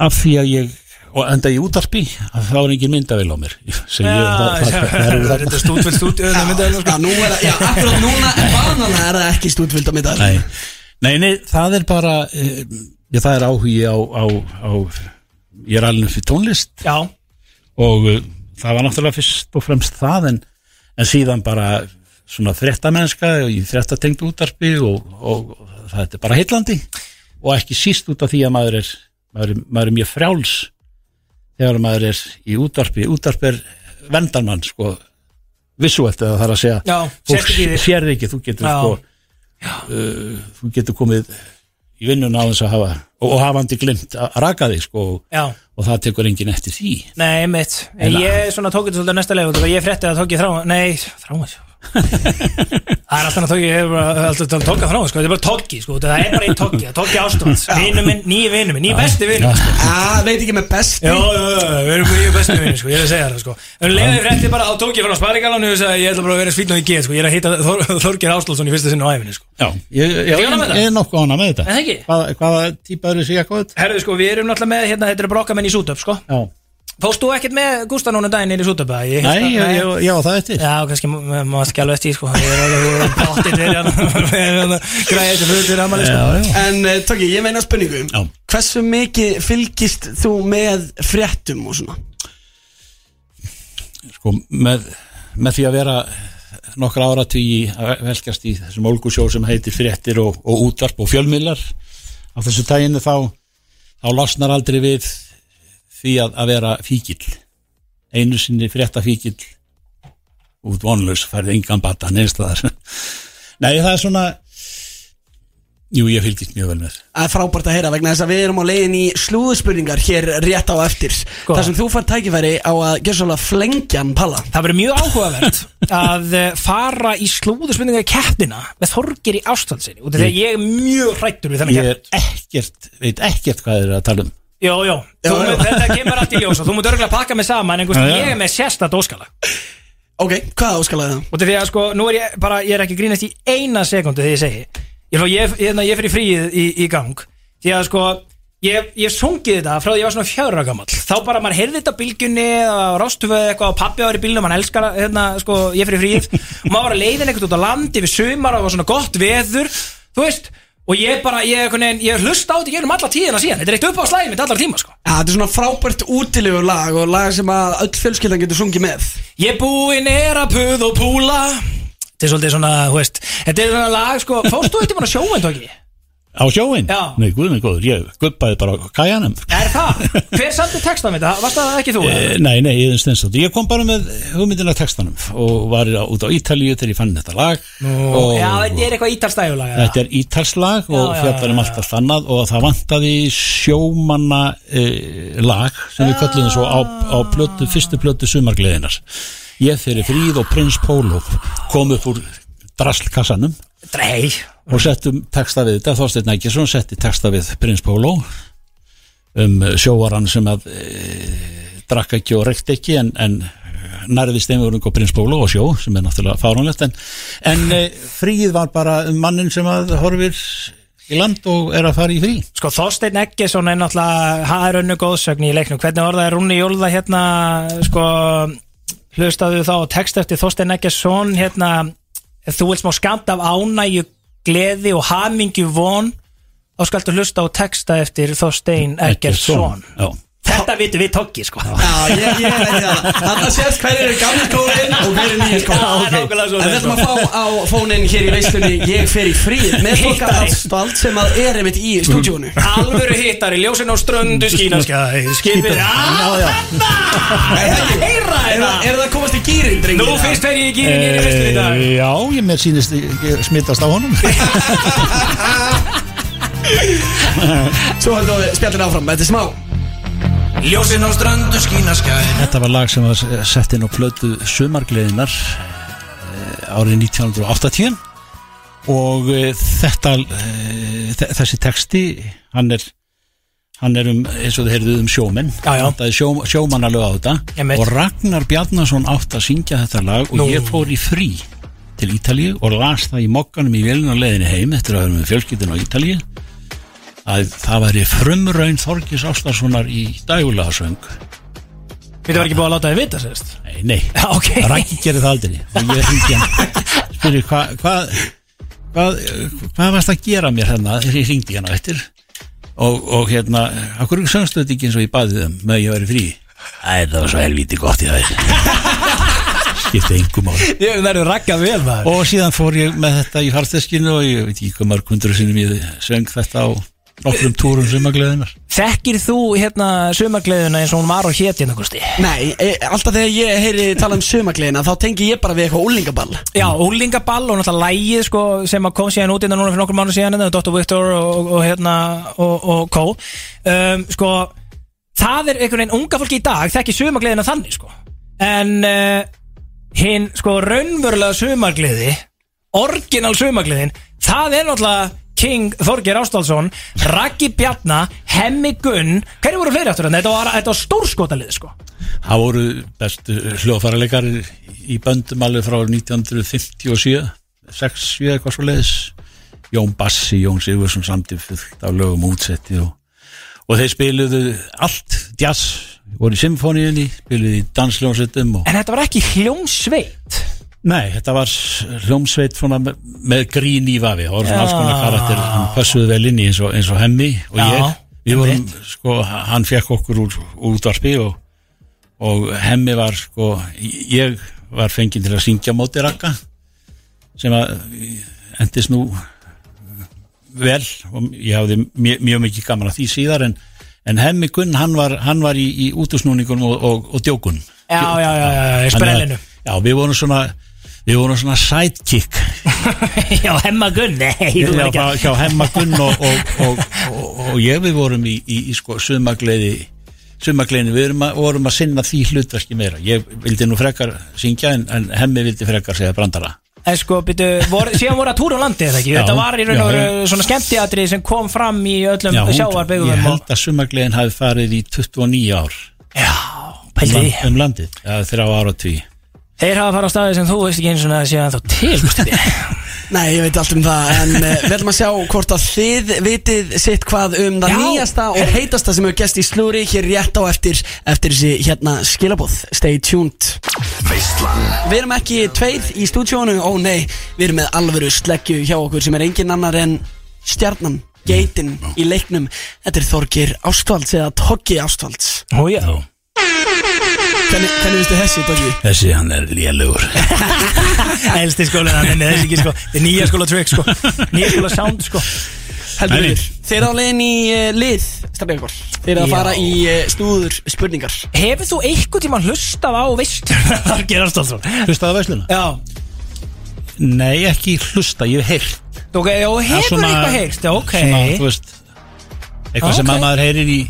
Speaker 5: af því að ég og enda í útarpi að það var engin myndavél á mér sem ég það- það- það eru
Speaker 2: Þetta er
Speaker 5: þarna.
Speaker 2: stúdvill stúdvill myndavél
Speaker 4: Já,
Speaker 2: sko
Speaker 4: nú er það, já, akkurat núna en vanalega er það ekki stúdvild á middar
Speaker 5: nei, nei, nei, það er bara eh, ég, það er áhugi á, á, á ég er alveg fyrir tónlist
Speaker 2: Já,
Speaker 5: og eh, það var náttúrulega fyrst og fremst það en, en síðan bara svona fréttamennska og ég fréttatengt útarpi og, og, og það er bara heillandi og ekki síst út af því að maður er maður er, maður er mjög frjáls þegar maður er í útarpi útarpi er vendarmann sko vissu eftir það þarf að segja
Speaker 2: Já, sérst ekki í
Speaker 5: fólk
Speaker 2: þig.
Speaker 5: sér ekki, þú getur
Speaker 2: Já.
Speaker 5: sko uh, þú getur komið í vinnuna á þess að hafa og, og hafandi glimt að að raka þig sko og,
Speaker 2: já
Speaker 5: og það tekur enginn eftir því
Speaker 2: Nei, mitt, en
Speaker 5: Eila.
Speaker 2: ég svona tók þetta svolítið á næsta leið, út af því að ég frétti að tók ég þrá Nei, þrá Það er alltaf að tók ég, ég er bara alltaf að tóka þrá sko, þetta er bara tóki sko, út af það er bara einn tóki, tóki ástofans Vinnu minn, nýju vinnu minn, nýju besti vinnu sko.
Speaker 4: Já, Ah, veit ekki með besti
Speaker 2: Já, já, já, já, við erum mjög bestu vinni, sko, ég er að segja það, sko En leiðið frétti bara, þá tók ég frá sparigalanu og sagði, ég ætla bara að vera svín og ég get, sko Ég er að hitta Þor, Þorgeir Áslóðsson í fyrsta sinni á æfinni, sko
Speaker 5: Já, ég, ég,
Speaker 2: Ertu ekki ánægð með
Speaker 5: ég,
Speaker 2: það?
Speaker 5: er nokkuð ánað með þetta
Speaker 2: Er það ekki?
Speaker 5: Hvaða, hvaða típa eru þessi jakkuð?
Speaker 2: Herðu, sko, við erum náttúrulega með, hérna, þetta er brokkamenn í sútöp, sko
Speaker 5: Já,
Speaker 2: Fóst þú ekkert með Gústa núna um daginn inn í sútöp, að ég
Speaker 5: nei, ég, ég, já, það eftir
Speaker 2: Já, kannski má- má- má það ekki alveg eftir, sko Ég er alveg báttið fyrir hann Græði þetta fyrir fyrir ammali, sko
Speaker 5: já,
Speaker 4: En uh, Tóki, ég meina spurningu
Speaker 5: Já.
Speaker 4: Hversu mikið fylgist þú með fréttum og svona?
Speaker 5: Sko, með, með því að vera nokkra áratví að velkast í þessum ólgusjó sem heitir fréttir og, og útvarp og fjölmiðlar á þessu tæginu þá þá losnar aldrei við því að, að vera fíkil einu sinni frétta fíkil út vonlaus færði engan bata neðstæðar Nei, það er svona Jú, ég fylgist mjög vel með
Speaker 4: Það er frábært að heyra vegna þess að við erum á leiðin í slúðspurningar hér rétt á eftir Þar sem þú fær tækifæri á að gera svolítið flengjan palla
Speaker 2: Það verður mjög áhugavert að eh, fara í slúðurspurninga keppnina með Þorgeir í ástandsinni út af því að ég er mjög hrættur við þennan
Speaker 5: ég
Speaker 2: keppni
Speaker 5: er ekkert, veit ekkert hvað þeir eru að tala um
Speaker 2: Jó, jó,
Speaker 4: Jó,
Speaker 2: þú,
Speaker 4: jó.
Speaker 2: Mynd, þetta kemur allt í ljósa Þú mútt örgulega pakka mig saman en, gúst,
Speaker 5: Já, já.
Speaker 2: ég er með sérstætt óskala Og
Speaker 4: Ok, hvað áskalaði það?
Speaker 2: þetta því að sko, nú er ég bara Ég er ekki að grínast í eina sekundu þegar ég segi Ég, ég, ég, hérna, ég fyrir fríið í, í gang Því að sko Ég, ég sungið þetta frá því ég var svona fjára gamall Þá bara maður heyrði þetta á bylgjunni og rástufu eitthvað og pappi var í bílnum hann elskar að, hérna, sko, ég fyrir fríið og maður var að leiðin eitthvað út á landi við sumar og það var svona gott veður þú veist, og ég bara, ég, einhvern veginn- ég hlusta á þetta gerum alla tíðina síðan þetta er eitt upp á slæðið mitt allar tíma sko.
Speaker 4: Ja, þetta er svona frábært útilegur lag og lag sem að öll fjölskyldan getur sungið með
Speaker 2: Ég búinn er að puð og púla Þetta er svolítið svona, þú veist Þetta er svona lag, sko, fórstu þú eitthvað að sjóa en tóki?
Speaker 5: Á sjóin?
Speaker 2: Já.
Speaker 5: Nei, guð minn góður, ég guppaði bara á kajanum
Speaker 2: Er það? Hver samti texta með þetta? Varst það ekki þú?
Speaker 5: Eh, Nei, nei, ég, stensat, ég kom bara með hugmyndina af textanum og var á- út á Ítalíu þegar ég fann þetta lag og
Speaker 2: Já, þetta er eitthvað ítalstæðulag eða?
Speaker 5: þetta er ítalslag og
Speaker 2: Já, já,
Speaker 5: fjallar um
Speaker 2: já,
Speaker 5: allt allt annað og það vantaði sjómanna e, lag sem við köllum svo á, á plötu, fyrstu plötu sumargleðinar ég fyrir fríð og prins Pólo kom upp úr draslkassanum
Speaker 2: Drei
Speaker 5: og settum texta við þetta, Þorsteinn Ækjesson setti texta við Prins Póló um eh, sjóarann sem að e, drakk ekki og reykt ekki en, en nærðist einhverjum og Prins Póló og sjó sem er náttúrulega fáránlegt en, en e, fríð var bara um mannin sem að horfir í land og er að fara í frí
Speaker 2: Sko, Þorsteinn Eggesson er náttúrulega Það er önnu góðsögn í leiknum Hvernig orðaði Rúni Jólða hérna Sko, hlustaðu þá á text eftir Þorsteinn Eggesson hérna Ef þú vilt smá skamt af ánægju Gleði og hamingju von Þá skaltu hlusta á texta eftir Þorsteinn Eggesson
Speaker 5: Já.
Speaker 12: Þetta vitum við toggi sko
Speaker 4: Já, ég, ég er ekki það Þannig að sést hverju eru gamli skólinn og hverju eru nýja
Speaker 12: Já,
Speaker 4: skólinn
Speaker 12: ok.
Speaker 4: En við ætlum að fá á fónin hér í veistunni Ég fer í fríð með fólka aðstald sem að er einmitt í stúdíónu
Speaker 12: Alvöru hittar í ljósin á ströndu skínaskæ Skipir
Speaker 5: Já, já.
Speaker 12: Þetta Heyra
Speaker 4: Er það
Speaker 12: þetta
Speaker 4: er það að komast í gýrin, drengir?
Speaker 12: Nú fyrst fer ég í gýrin í vestu í dag
Speaker 5: Eh, Já, ég mér sýnist ég smittast á honum
Speaker 4: Svo höldum við spjallin áfram, þetta er smá
Speaker 7: Ljósin á strandu skína skæ
Speaker 5: Þetta var lag sem var sett inn á plötu Sumargleðinar eh, árið 1980 og eh, þetta eh, þe- þessi texti hann er hann er um, eins og þið heyrðuð um sjómenn
Speaker 2: Já, já.
Speaker 5: það er sjó, sjómannalög á þetta
Speaker 2: Einmitt.
Speaker 5: og Ragnar Bjarnason átt að syngja þetta lag og
Speaker 2: Nú.
Speaker 5: ég fór í frí til Ítalíu og las það í mokkanum í vélina á leiðinni heim eftir að vera með fjölskyldin á Ítalíu að það væri frumraun Þorgis Ástarssonar í dægulegasöng
Speaker 2: Við varum ekki búið að láta þið vita, sérst
Speaker 5: Nei, nei,
Speaker 2: Já, ok.
Speaker 5: Raggi gerir það aldrei og ég hringi hann spyrir hvað hvað hvað hva varst að gera mér hérna þegar ég hringi hann á eftir og, og hérna, akkur ekki söngstu þetta ekki eins og ég baði þeim með að ég væri frí Æ, það var svo helvítið gott í það skipta engum á
Speaker 2: Ég verður rakkað vel maður
Speaker 5: og síðan fór ég með þetta í harteskinu og ég veit ekki hvað mörg hundru sinni ég söng þetta á nokkrum túrum sumagleðinar
Speaker 2: Þekkir þú hérna sumargleðuna eins og hún var og héti hérna Gusti?
Speaker 4: Nei, e, alltaf þegar ég heyri tala um sömagliðina þá tengi ég bara við eitthvað úlingaball
Speaker 2: Já, úlingaball og náttúrulega lægið sko sem að kom síðan út innan núna fyrir nokkur mánu síðan hérna, Dr. Victor og, og, og hérna og, og Kó um, sko, það er einhvern veginn unga fólki í dag þekkir sumargleðina þannig sko en uh, hinn sko raunverulega sumargleði orginal sumargleðin það er náttúrulega King Þorgir Ástálsson Raggi Bjarna, Hemmi Gunn hverju voru fleiri áttur en þetta var, þetta var stórskotalið sko
Speaker 5: það voru bestu hljóðfæraleikar í böndum alveg frá 1957 6, 7 eitthvað svo leiðis Jón Bassi, Jón Sigurðsson samt fullt af lögum útsetti og, og þeir spiluðu allt jazz, voru í symfóníunni spiluðu í dansljónsettum og
Speaker 2: en þetta var ekki hljómsveit
Speaker 5: Nei, þetta var hljómsveit svona me- með grín í vafi það voru svona alls konar karakter hann passuðu vel inn í eins og, eins og hemmi og
Speaker 2: Já,
Speaker 5: ég við vorum, sko, hann fekk okkur úr úr útvarpi og, og hemmi var, sko ég var fenginn til að syngja á móti rakka sem að endist nú vel og ég hafði mjög, mjög mikið gaman að því síðar en, en hemmi Gunn, hann var, hann var í, í útusnúningun og, og, og djókun
Speaker 2: já, já, já, já, já, í
Speaker 5: Þannig að-
Speaker 2: sprellinu
Speaker 5: Já, við vorum svona Við vorum svona sidekick
Speaker 2: Já, Hemma Gunn, nei, þú
Speaker 5: hjá,
Speaker 2: er ekki
Speaker 5: hjá, hjá Hemma Gunn og, og, og, og, og ég við vorum í, í, í sko sumagleði sumagleðinu, við vorum að, vorum að sinna því hlutverki meira, ég vildi nú frekar syngja en, en hemmi vildi frekar segja brandara
Speaker 2: En sko, byrju, vor, síðan voru að túra um landið eða ekki
Speaker 5: Já,
Speaker 2: Þetta var í raun
Speaker 5: já,
Speaker 2: og
Speaker 5: já.
Speaker 2: veru svona skemmtiatri sem kom fram í öllum
Speaker 5: hún- ég
Speaker 2: sjávarbyggum Um og...
Speaker 5: held að sumagleðin hafi farið í 29 ár
Speaker 2: Já,
Speaker 5: um,
Speaker 2: pældi því
Speaker 5: land- um landið, ja, þrjá ára tví
Speaker 2: Þeir hafa farið á staði sem þú veist ekki eins og það sé ennþá til, sko, gústi því
Speaker 4: Nei, ég veit allt um það En uh, við ætlum að sjá hvort að þið vitið sitt hvað um það
Speaker 2: Já.
Speaker 4: nýjasta og heitasta sem hefur gæst í slúri hér rétt á eftir eftir þessi hérna skilabóð Stay tuned
Speaker 10: Veislan
Speaker 4: Við erum ekki tveir í stúdíónu, ó nei Við erum með alvöru sleggju hjá okkur sem er engin annar en stjarnan, geitin í leiknum Þetta er Þorgir Ástvalds eða Toggi Ástvalds
Speaker 2: Ó já
Speaker 4: Hvernig, hvernig vistu þessi, Toggi?
Speaker 5: þessi hann er lélugur
Speaker 2: Elsti skólinn, hann er þessi ekki sko Þetta er nýja skóla trick sko Nýja skóla sound sko
Speaker 4: Heldur
Speaker 5: Nei, nei.
Speaker 4: við Þeir á leiðin í uh, lið, staflega ykkur Þeir eru
Speaker 2: Já.
Speaker 4: að fara í uh, snúður spurningar
Speaker 2: Hefur þú einhvern tímann hlustað á veistur Þar gerast alltaf
Speaker 5: Hlustaðu veisluna?
Speaker 2: Já,
Speaker 5: Nei, ekki hlusta, ég hef heyrt
Speaker 2: ok, já,
Speaker 5: Já,
Speaker 2: hefur
Speaker 5: svona-
Speaker 2: eitthvað heyrst, já, ok
Speaker 5: svona, þú veist eitthvað
Speaker 2: Já,
Speaker 5: sem
Speaker 2: ok.
Speaker 5: að maður heyrir í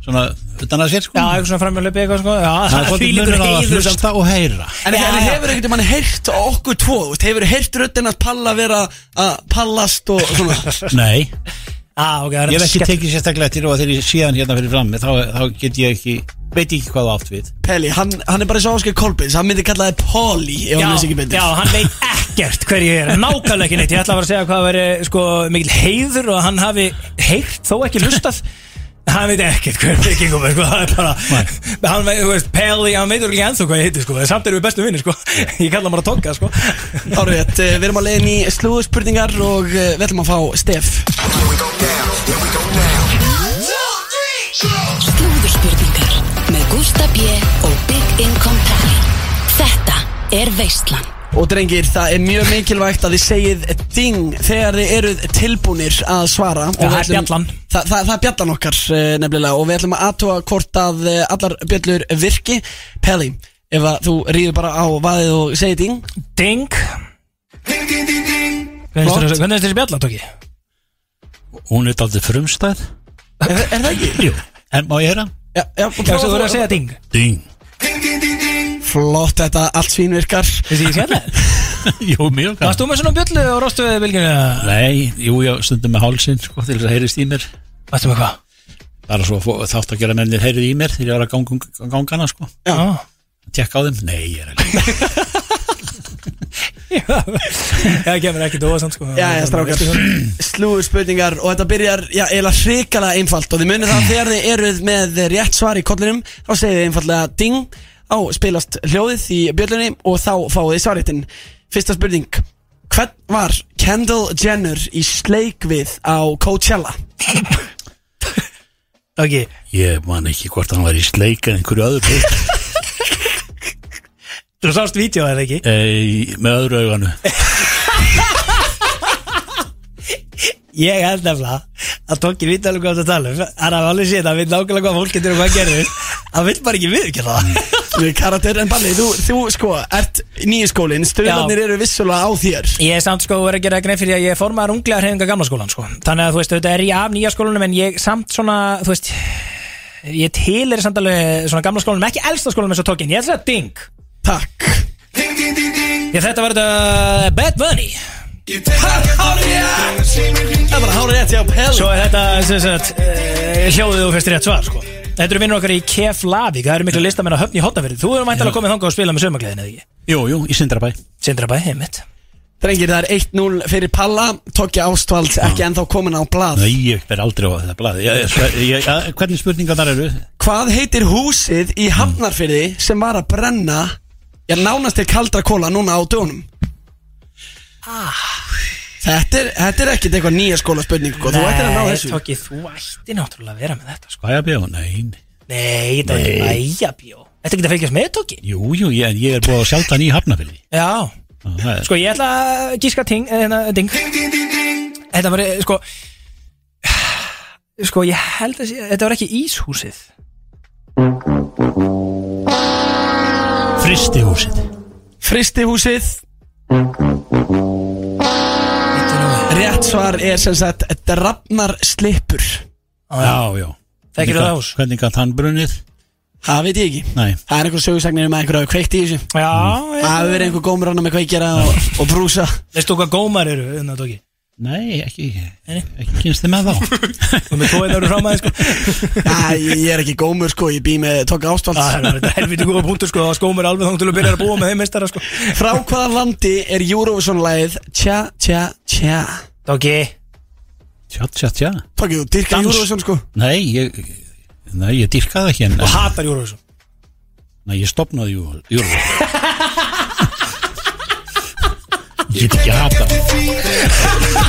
Speaker 5: svona utan að sér sko
Speaker 2: Já, eitthvað svona framjálöpi eitthvað sko Já,
Speaker 5: það er
Speaker 2: því
Speaker 5: svolítið
Speaker 2: lítur
Speaker 5: munur á að
Speaker 2: heiður samt
Speaker 5: hlusta og heyra
Speaker 4: En
Speaker 2: Já.
Speaker 4: ja. hefur ekkert mann heyrt okkur tvo þú veist, Hefur heyrt röddinn að palla vera að pallast og svona
Speaker 5: nei,
Speaker 2: Já, Ah, ok, það er
Speaker 5: ég hef ekki
Speaker 2: skemmt-
Speaker 5: tekið sérstaklega til og þegar ég sé hann hérna fyrir fram þá, þá get ég ekki, veit ég ekki hvað það átt við
Speaker 4: Peli, hann, hann er bara svo áskil Kolbins Hann myndi kalla þið Polly ef hann
Speaker 2: Já,
Speaker 4: vissi ekki betur
Speaker 2: já, hann veit ekkert hver ég er Nákvæmlega ekki neitt, ég ætla að vera að segja hvað veri sko, mikil heiður og að hann hafi heyrt þó ekki hlustað Hann veit ekkert hver byggingum er, sko, það er bara Hann veit, þú veist, Peli, hann veitur ekki ennþá hvað ég heiti, sko en Samt erum við bestu vinni, sko Ég kalla hann bara Togga, sko
Speaker 4: Þá erum við, eh, við erum á leiðin í slúður spurningar og eh, við ætlum að fá Stef
Speaker 6: Slúður Fóðurspurningar með Gústa B. og Big Income Pally. Þetta er Veistland.
Speaker 4: Og drengir, það er mjög mikilvægt að þið segið ding þegar þið eruð tilbúnir að svara Og
Speaker 2: það
Speaker 4: við
Speaker 2: er
Speaker 4: ætlum-
Speaker 2: bjallan.
Speaker 4: það, það, það er bjallan okkar eh, nefnilega og við ætlum að aðtúa hvort að eh, allar bjallur virki Pelli, ef að þú rýður bara á vaðið og segir ding
Speaker 2: Ding
Speaker 7: Ding, ding, ding, ding
Speaker 2: Hvernig
Speaker 4: Flott.
Speaker 2: finnst þér- hvernig finnst þessi bjalla tóki?
Speaker 5: Hún er daldið frumstæð
Speaker 4: Er, er það ekki?
Speaker 5: Jú En má ég hera?
Speaker 4: Já, já,
Speaker 2: Já,
Speaker 4: og
Speaker 2: þú
Speaker 4: prófa
Speaker 2: voru að segja ding
Speaker 5: Ding
Speaker 7: Ding, ding, ding, ding
Speaker 4: Flott, þetta allt svín virkar
Speaker 2: Þessi ég skella
Speaker 5: Jú, mjög gaman.
Speaker 2: Varst þú með svona bjöllu og rostu við vilkinu?
Speaker 5: Nei, jú, já, stundum með hálsinn sko, til þess að heyrist í mér
Speaker 2: Varstu með hvað?
Speaker 5: bara svo að fó- þátt að gera mennir heyrið í mér þegar ég var að ganga, gangana sko
Speaker 2: Já
Speaker 5: tjekka á þeim, nei, ég er ekki
Speaker 2: Það kemur ekkert óvæsamt sko
Speaker 4: Já, já, strákar, slúður spurningar og þetta byrjar, já, eiginlega hrikalega einfalt og þið munið það þegar þið eruð með rétt svar í kollinum þá segið þið einfallega ding á spilast hljóðið í bjöllunni og þá fáið þið svarréttin Fyrsta spurning Hvern var Kendall Jenner í sleik við á Coachella?
Speaker 2: Ok
Speaker 5: ég man ekki hvort hann var í sleik en einhverju öðru
Speaker 2: Þú sást vídeo eða ekki?
Speaker 5: e, með öðru auganu
Speaker 2: Ég held nefnilega að Tóki viti alveg hvað það tala um Hann hafði alveg séð að hann veit nákvæmlega hvað fólk getur og hvað gerir Hann vil bara ekki viðkjöla það
Speaker 4: Við karakter en balli, þú, þú sko ert nýjaskólin, stöðlarnir eru vissulega á þér
Speaker 2: Ég er samt sko verið að gera grein fyrir að ég er formaður unglega hreyfinga gamla skólan sko Þannig að þú veist, auðvitað er ég af nýja skólanum en ég samt svona, þú veist Ég til er samt alveg svona gamla skólanum, ekki elsta skólanum eins og Tókin Ég ætla að ding
Speaker 4: Takk
Speaker 7: Ding, ding, ding, ding
Speaker 2: Ég þetta verið að Bad Bunny
Speaker 7: Ég tek að hálfja Segð mér hringi
Speaker 4: Það er bara hárið rétt hjá Pelli
Speaker 2: Svo er þetta sem sagt, eh, hljóðið og fyrst rétt svar sko. Þetta eru vinnur okkar í Keflavík Það eru miklu listamenn að höfn í hotnafyrði Þú erum mæntalega komið þangað að spila með sömagleðin eða ekki
Speaker 5: jú, jú, í Sindrabæ
Speaker 2: Sindrabæ, heimitt
Speaker 4: Drengir, það er 1-0 fyrir Palla Tókja Ástvald ekki ennþá komin á blað
Speaker 5: nei, ég ber aldrei á þetta blað ég, ég, ég, ég, hvernig spurningar þar eru?
Speaker 4: Hvað heitir húsið í Hafnarfyrði sem var að brenna Já, nánast til kaldra kóla núna á dögunum Þetta er, þetta er ekkert eitthvað nýja skóla spurning Þú ættir að ná þessu
Speaker 2: Tóki, þú ætti náttúrulega að vera með þetta sko.
Speaker 5: hvað er að bjóða? nei, nei.
Speaker 2: Nei, þetta er bæjabjó Þetta er ekki að fylgjast með Tóki
Speaker 5: jú, jú, ég, ég er búið að sjálta hann í hafnafili
Speaker 2: Já, sko ég ætla að gíska ting, eh, hérna, ding
Speaker 7: Ding, ding, ding, ding
Speaker 2: Þetta var, eh, sko Sko, ég held að sé- þetta var ekki Íshúsið
Speaker 5: fristihúsið
Speaker 4: Fristihúsið Rétt svar er sem sagt Drafnar slippur
Speaker 5: já, já
Speaker 2: Þekkirðu
Speaker 5: Hvernig
Speaker 2: það
Speaker 5: gat-
Speaker 2: hús?
Speaker 5: hvernig gætt hann brunnið?
Speaker 4: Það veit ég ekki
Speaker 5: nei,
Speaker 4: Það er einhver sögursagnir um að einhver hafa kveikt í þessu
Speaker 2: Já,
Speaker 4: Það hefur verið einhver gómur ána með kveikjara og, og brúsa
Speaker 2: veistu hvað gómar eru hérna, Tóki?
Speaker 5: nei, ekki ekki kynst þið með þá
Speaker 2: Og með tóið eru fram aðeins sko
Speaker 4: Já, ég ég er ekki gómur sko, ég bý með Tóka Ástvald
Speaker 2: Ah, Það er þetta helviti góða punktur sko Það skómur alveg þang til að byrja að búa með þeim meistara sko
Speaker 4: Frá hvaða landi er Eurovision-læð Tja, tja, tja
Speaker 2: Tóki
Speaker 5: tjá, tjá, tjá
Speaker 4: Tóki, þú dyrka
Speaker 5: Dans.
Speaker 4: Eurovision sko
Speaker 5: Nei, ég, nei, ég dýrka það ekki en,
Speaker 2: Og hatar Eurovision
Speaker 5: Nei, ég stopnaði jú, jú. Ég get ekki að hata það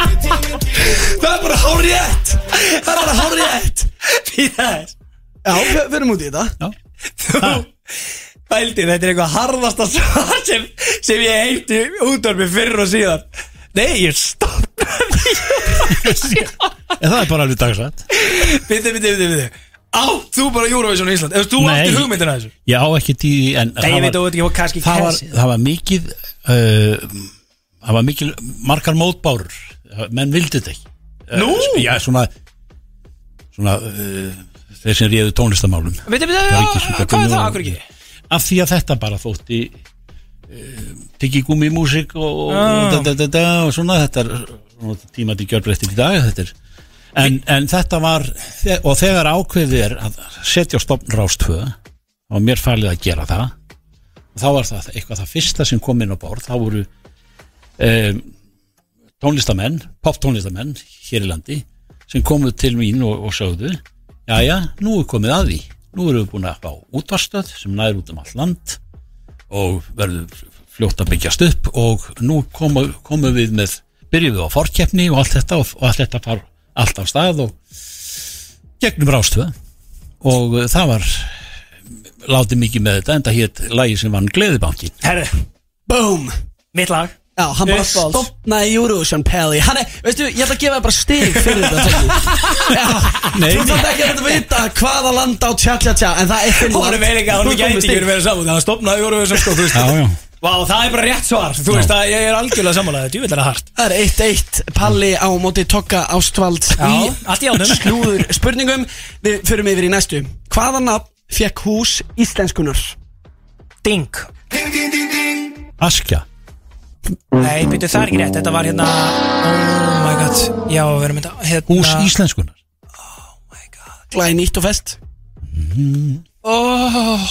Speaker 4: Það er bara hárétt Það er bara hárétt
Speaker 2: Yes.
Speaker 4: Já, við við erum út í þetta
Speaker 2: Pældi, þetta er eitthvað harðasta svar sem, sem ég heiti útvarfi fyrr og síðan Nei, ég stopp
Speaker 5: En það er bara alveg dagsrætt
Speaker 2: Bindi, bindi, bindi, bindi Átt þú bara Eurovision í Ísland Ef þú
Speaker 5: Nei.
Speaker 2: áttir hugmyndina að um þessu
Speaker 5: Ég á ekki tí en
Speaker 2: Nei, ég veit
Speaker 5: það,
Speaker 2: að þú
Speaker 5: var,
Speaker 2: veit ekki, kannski
Speaker 5: það, var,
Speaker 2: kannski-
Speaker 5: það var mikið uh, Það var mikið margar mótbárur Menn vildu þetta ekki Uh,
Speaker 2: Nú?
Speaker 5: Já, svona Svona uh, Þeir sem réðu tónlistamálum
Speaker 2: Bindi, bindi,
Speaker 5: Það er ekki svona
Speaker 2: hvað er
Speaker 5: gömlu-
Speaker 2: það, akkur ekki?
Speaker 5: Af því að þetta bara þótti uh, Tyggi gúmi músik og, og,
Speaker 2: Ah.
Speaker 5: da, da, da, da, og svona Þetta er svona, tímati gjörbreyttir í dag Þetta er En, en þetta var, þe- og þegar ákveðið er að setja á stopn rástvöð og mér fælið að gera það og þá var það eitthvað það fyrsta sem kom inn á borð, þá voru um, tónlistamenn, poptónlistamenn hér í landi sem komuð til mín og, og sögðu jæja, nú er komið að því nú erum við búin að fá útvarstöð sem næður út um allt land og verður fljótt að byggjast upp og nú komu, komu við með byrjuðu á forkeppni og allt þetta og, og allt þetta far allt af stað og gegnum rástöð og uh, það var látið mikið með þetta en það hétt lagi sem vann Gleðibankin
Speaker 2: Herðu,
Speaker 4: Boom
Speaker 2: mitt lag
Speaker 4: Já, hann bara
Speaker 2: Uppáhalds.
Speaker 4: stopnaði Eurovision Pelli Hann er, veistu, ég ætla að gefa þér bara stig fyrir þetta Tommy. Já,
Speaker 5: Nei,
Speaker 4: þú
Speaker 5: nei.
Speaker 4: þarf ekki að vita hvaða land á tja tja tja En það er Finnland
Speaker 2: Hún er meira ekki að
Speaker 4: Þú
Speaker 2: hún
Speaker 4: komið
Speaker 2: gæti ekki
Speaker 4: stig.
Speaker 2: verið saman Það stopnaði Eurovision sko, þú veist
Speaker 5: Já, já.
Speaker 2: Vá, það er bara rétt svar Þú veist að ég er algjörlega samanlega Þú vil það hart
Speaker 4: Það er 1-1 Palli á móti Tokka Ástvalds
Speaker 2: Já,
Speaker 4: í
Speaker 2: allt í ánum.
Speaker 4: slúður spurningum Við förum yfir í næstu Hvaða nafn fekk hús íslenskunar?
Speaker 2: Ding
Speaker 5: Askja
Speaker 2: Nei, byrju, það er ekki rétt Þetta var hérna Oh my god Já, við erum þetta hérna,
Speaker 5: Hús Íslenskunar
Speaker 4: Glæði nýtt og fest
Speaker 2: oh,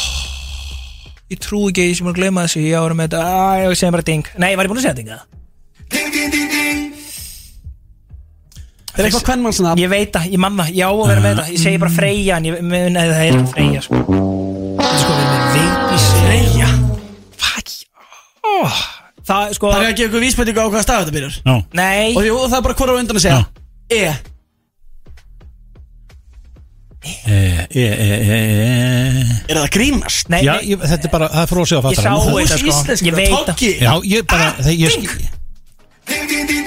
Speaker 2: Ég trú ekki að Ég sem er að gleyma þessu Já, við erum þetta Æ, ég segi bara ding Nei, var ég búin að segja ding eða?
Speaker 4: Er eitthvað kvennmannsnafn?
Speaker 2: Ég veit það, ég manna Já, við erum þetta Ég segi bara freyja En ég mun að það er ekki freyja sko. Þetta er sko, við erum með veiti freyja Fuck oh, Það, sko
Speaker 4: Það er að gefa ykkur vísbendingu á hvaða stað þetta byrjar
Speaker 5: Já,
Speaker 2: Nei
Speaker 4: Og jú, það er bara hvora á undan að segja E
Speaker 5: e, e, e, e, e.
Speaker 4: Er það að grínast?
Speaker 2: Nei,
Speaker 5: Já
Speaker 2: nei,
Speaker 5: ég, þetta er bara, það er frósið á
Speaker 2: Ég sá Ah,
Speaker 5: fattarann
Speaker 2: þetta
Speaker 4: Hús
Speaker 2: sko Ég
Speaker 4: íslenskunar,
Speaker 2: veit það
Speaker 4: Tokki
Speaker 5: Já, ég bara, það ég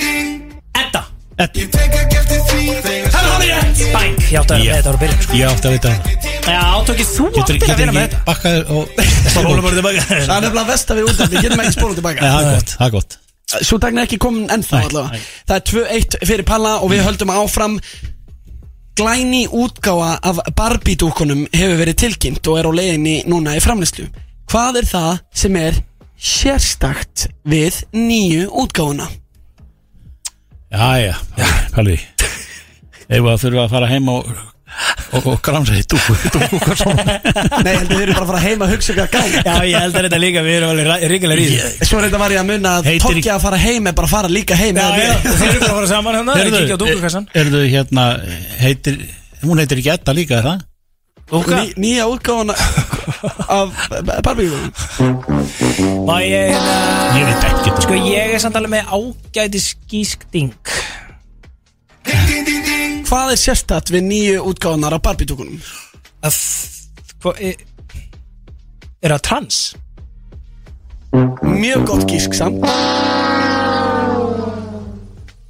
Speaker 2: Edda
Speaker 5: Edda,
Speaker 2: Það er hann rétt Bæk, ég átti að vera með
Speaker 5: Já.
Speaker 2: þetta ára byrjun sko
Speaker 5: Ég átti að vita það
Speaker 2: Já, tókið þú
Speaker 5: Getur,
Speaker 2: átti að
Speaker 5: getur
Speaker 2: vera með
Speaker 5: ekki
Speaker 2: þetta
Speaker 5: bakkaður og
Speaker 2: Það rólum bara
Speaker 4: Það
Speaker 2: tilbaka
Speaker 4: er nefnilega vest að við útum, við getum ekki spólum
Speaker 5: Nei,
Speaker 4: tilbaka
Speaker 5: það er gott, það er gott
Speaker 4: Svo dagn er ekki komin ennþá
Speaker 5: Nei,
Speaker 4: allavega
Speaker 5: nei.
Speaker 4: Það er 2-1 fyrir Palla og við höldum áfram Glæni útgáfa af Barbie-dúkunum hefur verið tilkynnt og er á leiðinni núna í framlýslu Hvað er það sem er sérstakt við nýju útgáfuna?
Speaker 5: Jæja, Palli Ef að þurfa að fara heim og og, og gramsa í dúku dúku hvað svona
Speaker 4: Nei, heldur þau eru bara að fara heim að hugsa hvað gæði
Speaker 2: Já, ég held að þetta líka, við erum alveg ríkilega ríð Já,
Speaker 4: Svo reynda var ég að munna að
Speaker 5: Heitir í-
Speaker 4: Tokki að fara heim er bara að fara líka heim eða
Speaker 2: já,
Speaker 4: við.
Speaker 2: þeir eru bara að fara saman hérna Þeir kíkja á dúkukassan
Speaker 5: er þau hérna heitir, hún heitir ekki Edda líka er það?
Speaker 2: Dúka?
Speaker 4: Ný, Nýja útgáfuna af Barbie-dúkunum
Speaker 2: Má ég, hérna,
Speaker 5: Ég veit ekki þetta
Speaker 2: sko ég er samt alveg með ágæti skískding
Speaker 4: Hvað er sérstætt við nýju útgáðunar á Barbie-dúkunum?
Speaker 2: Að, hvað, er er það trans?
Speaker 4: Mjög gott gísk samt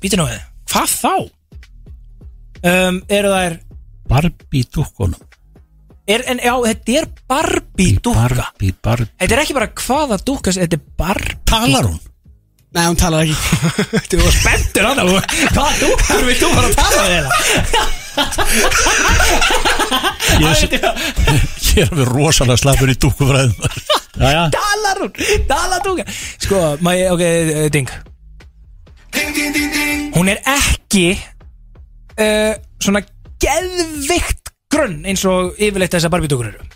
Speaker 2: Býtu nú við, hvað þá? Um, eru þær
Speaker 5: sko- Barbie dúkunum
Speaker 2: er, en já, þetta er Barbie dúka
Speaker 5: Barbie, Barbie
Speaker 2: Þetta er ekki bara hvaða dúka Þetta er Barbie
Speaker 5: Talar hún?
Speaker 4: Nei, hún talar ekki
Speaker 2: Þú var spenntur hann Hvaða dúkur vilt þú bara að tala þeirra?
Speaker 5: Ég er, ég er alveg rosalega slappur í dúkufræðum Jæja,
Speaker 2: Dalar hún, dalar dúka Sko, má ég, ok, eh, ding Hún er ekki uh, Svona geðvikt grunn Eins og yfirleitt þessar Barbie dúkur eru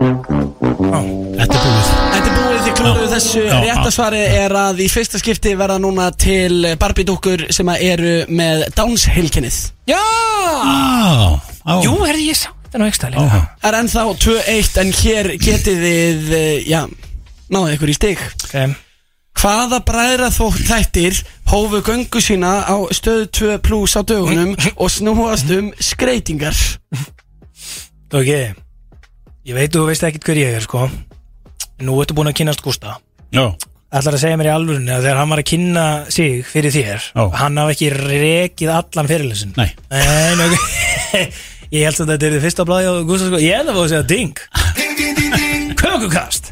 Speaker 5: þetta er búið
Speaker 4: Þetta er búið því klóruðu
Speaker 5: Já.
Speaker 4: þessu
Speaker 5: Já, já.
Speaker 4: Réttasvari er að í fyrsta skipti verða núna til Barbie-dúkur sem að eru með Downs-heilkennið
Speaker 2: Já,
Speaker 5: Á, á
Speaker 2: jú, herði ég sá Þetta er nú ekstra líka
Speaker 5: Áhá.
Speaker 4: Það er ennþá 2-1 en hér getið þið, eh, já, náðu ykkur í stig
Speaker 2: okay.
Speaker 4: Hvaða bræðra þótt þættir hófu göngu sína á stöðu 2 plus á dögunum og snúast um skreitingar?
Speaker 2: ok, ég veit þú veist ekkit hver ég er sko Nú ertu búin að kynnast Gústa
Speaker 5: Já,
Speaker 2: ætlar að segja mér í alvörunni að þegar hann var að kynna sig fyrir þér,
Speaker 5: Já.
Speaker 2: hann hafi ekki rekið allan fyrirlesin
Speaker 5: Nei.
Speaker 2: Nei, ok Ég held að þetta er þið fyrsta blæði á Gústa sko. Ég held að það var að segja ding Kökukast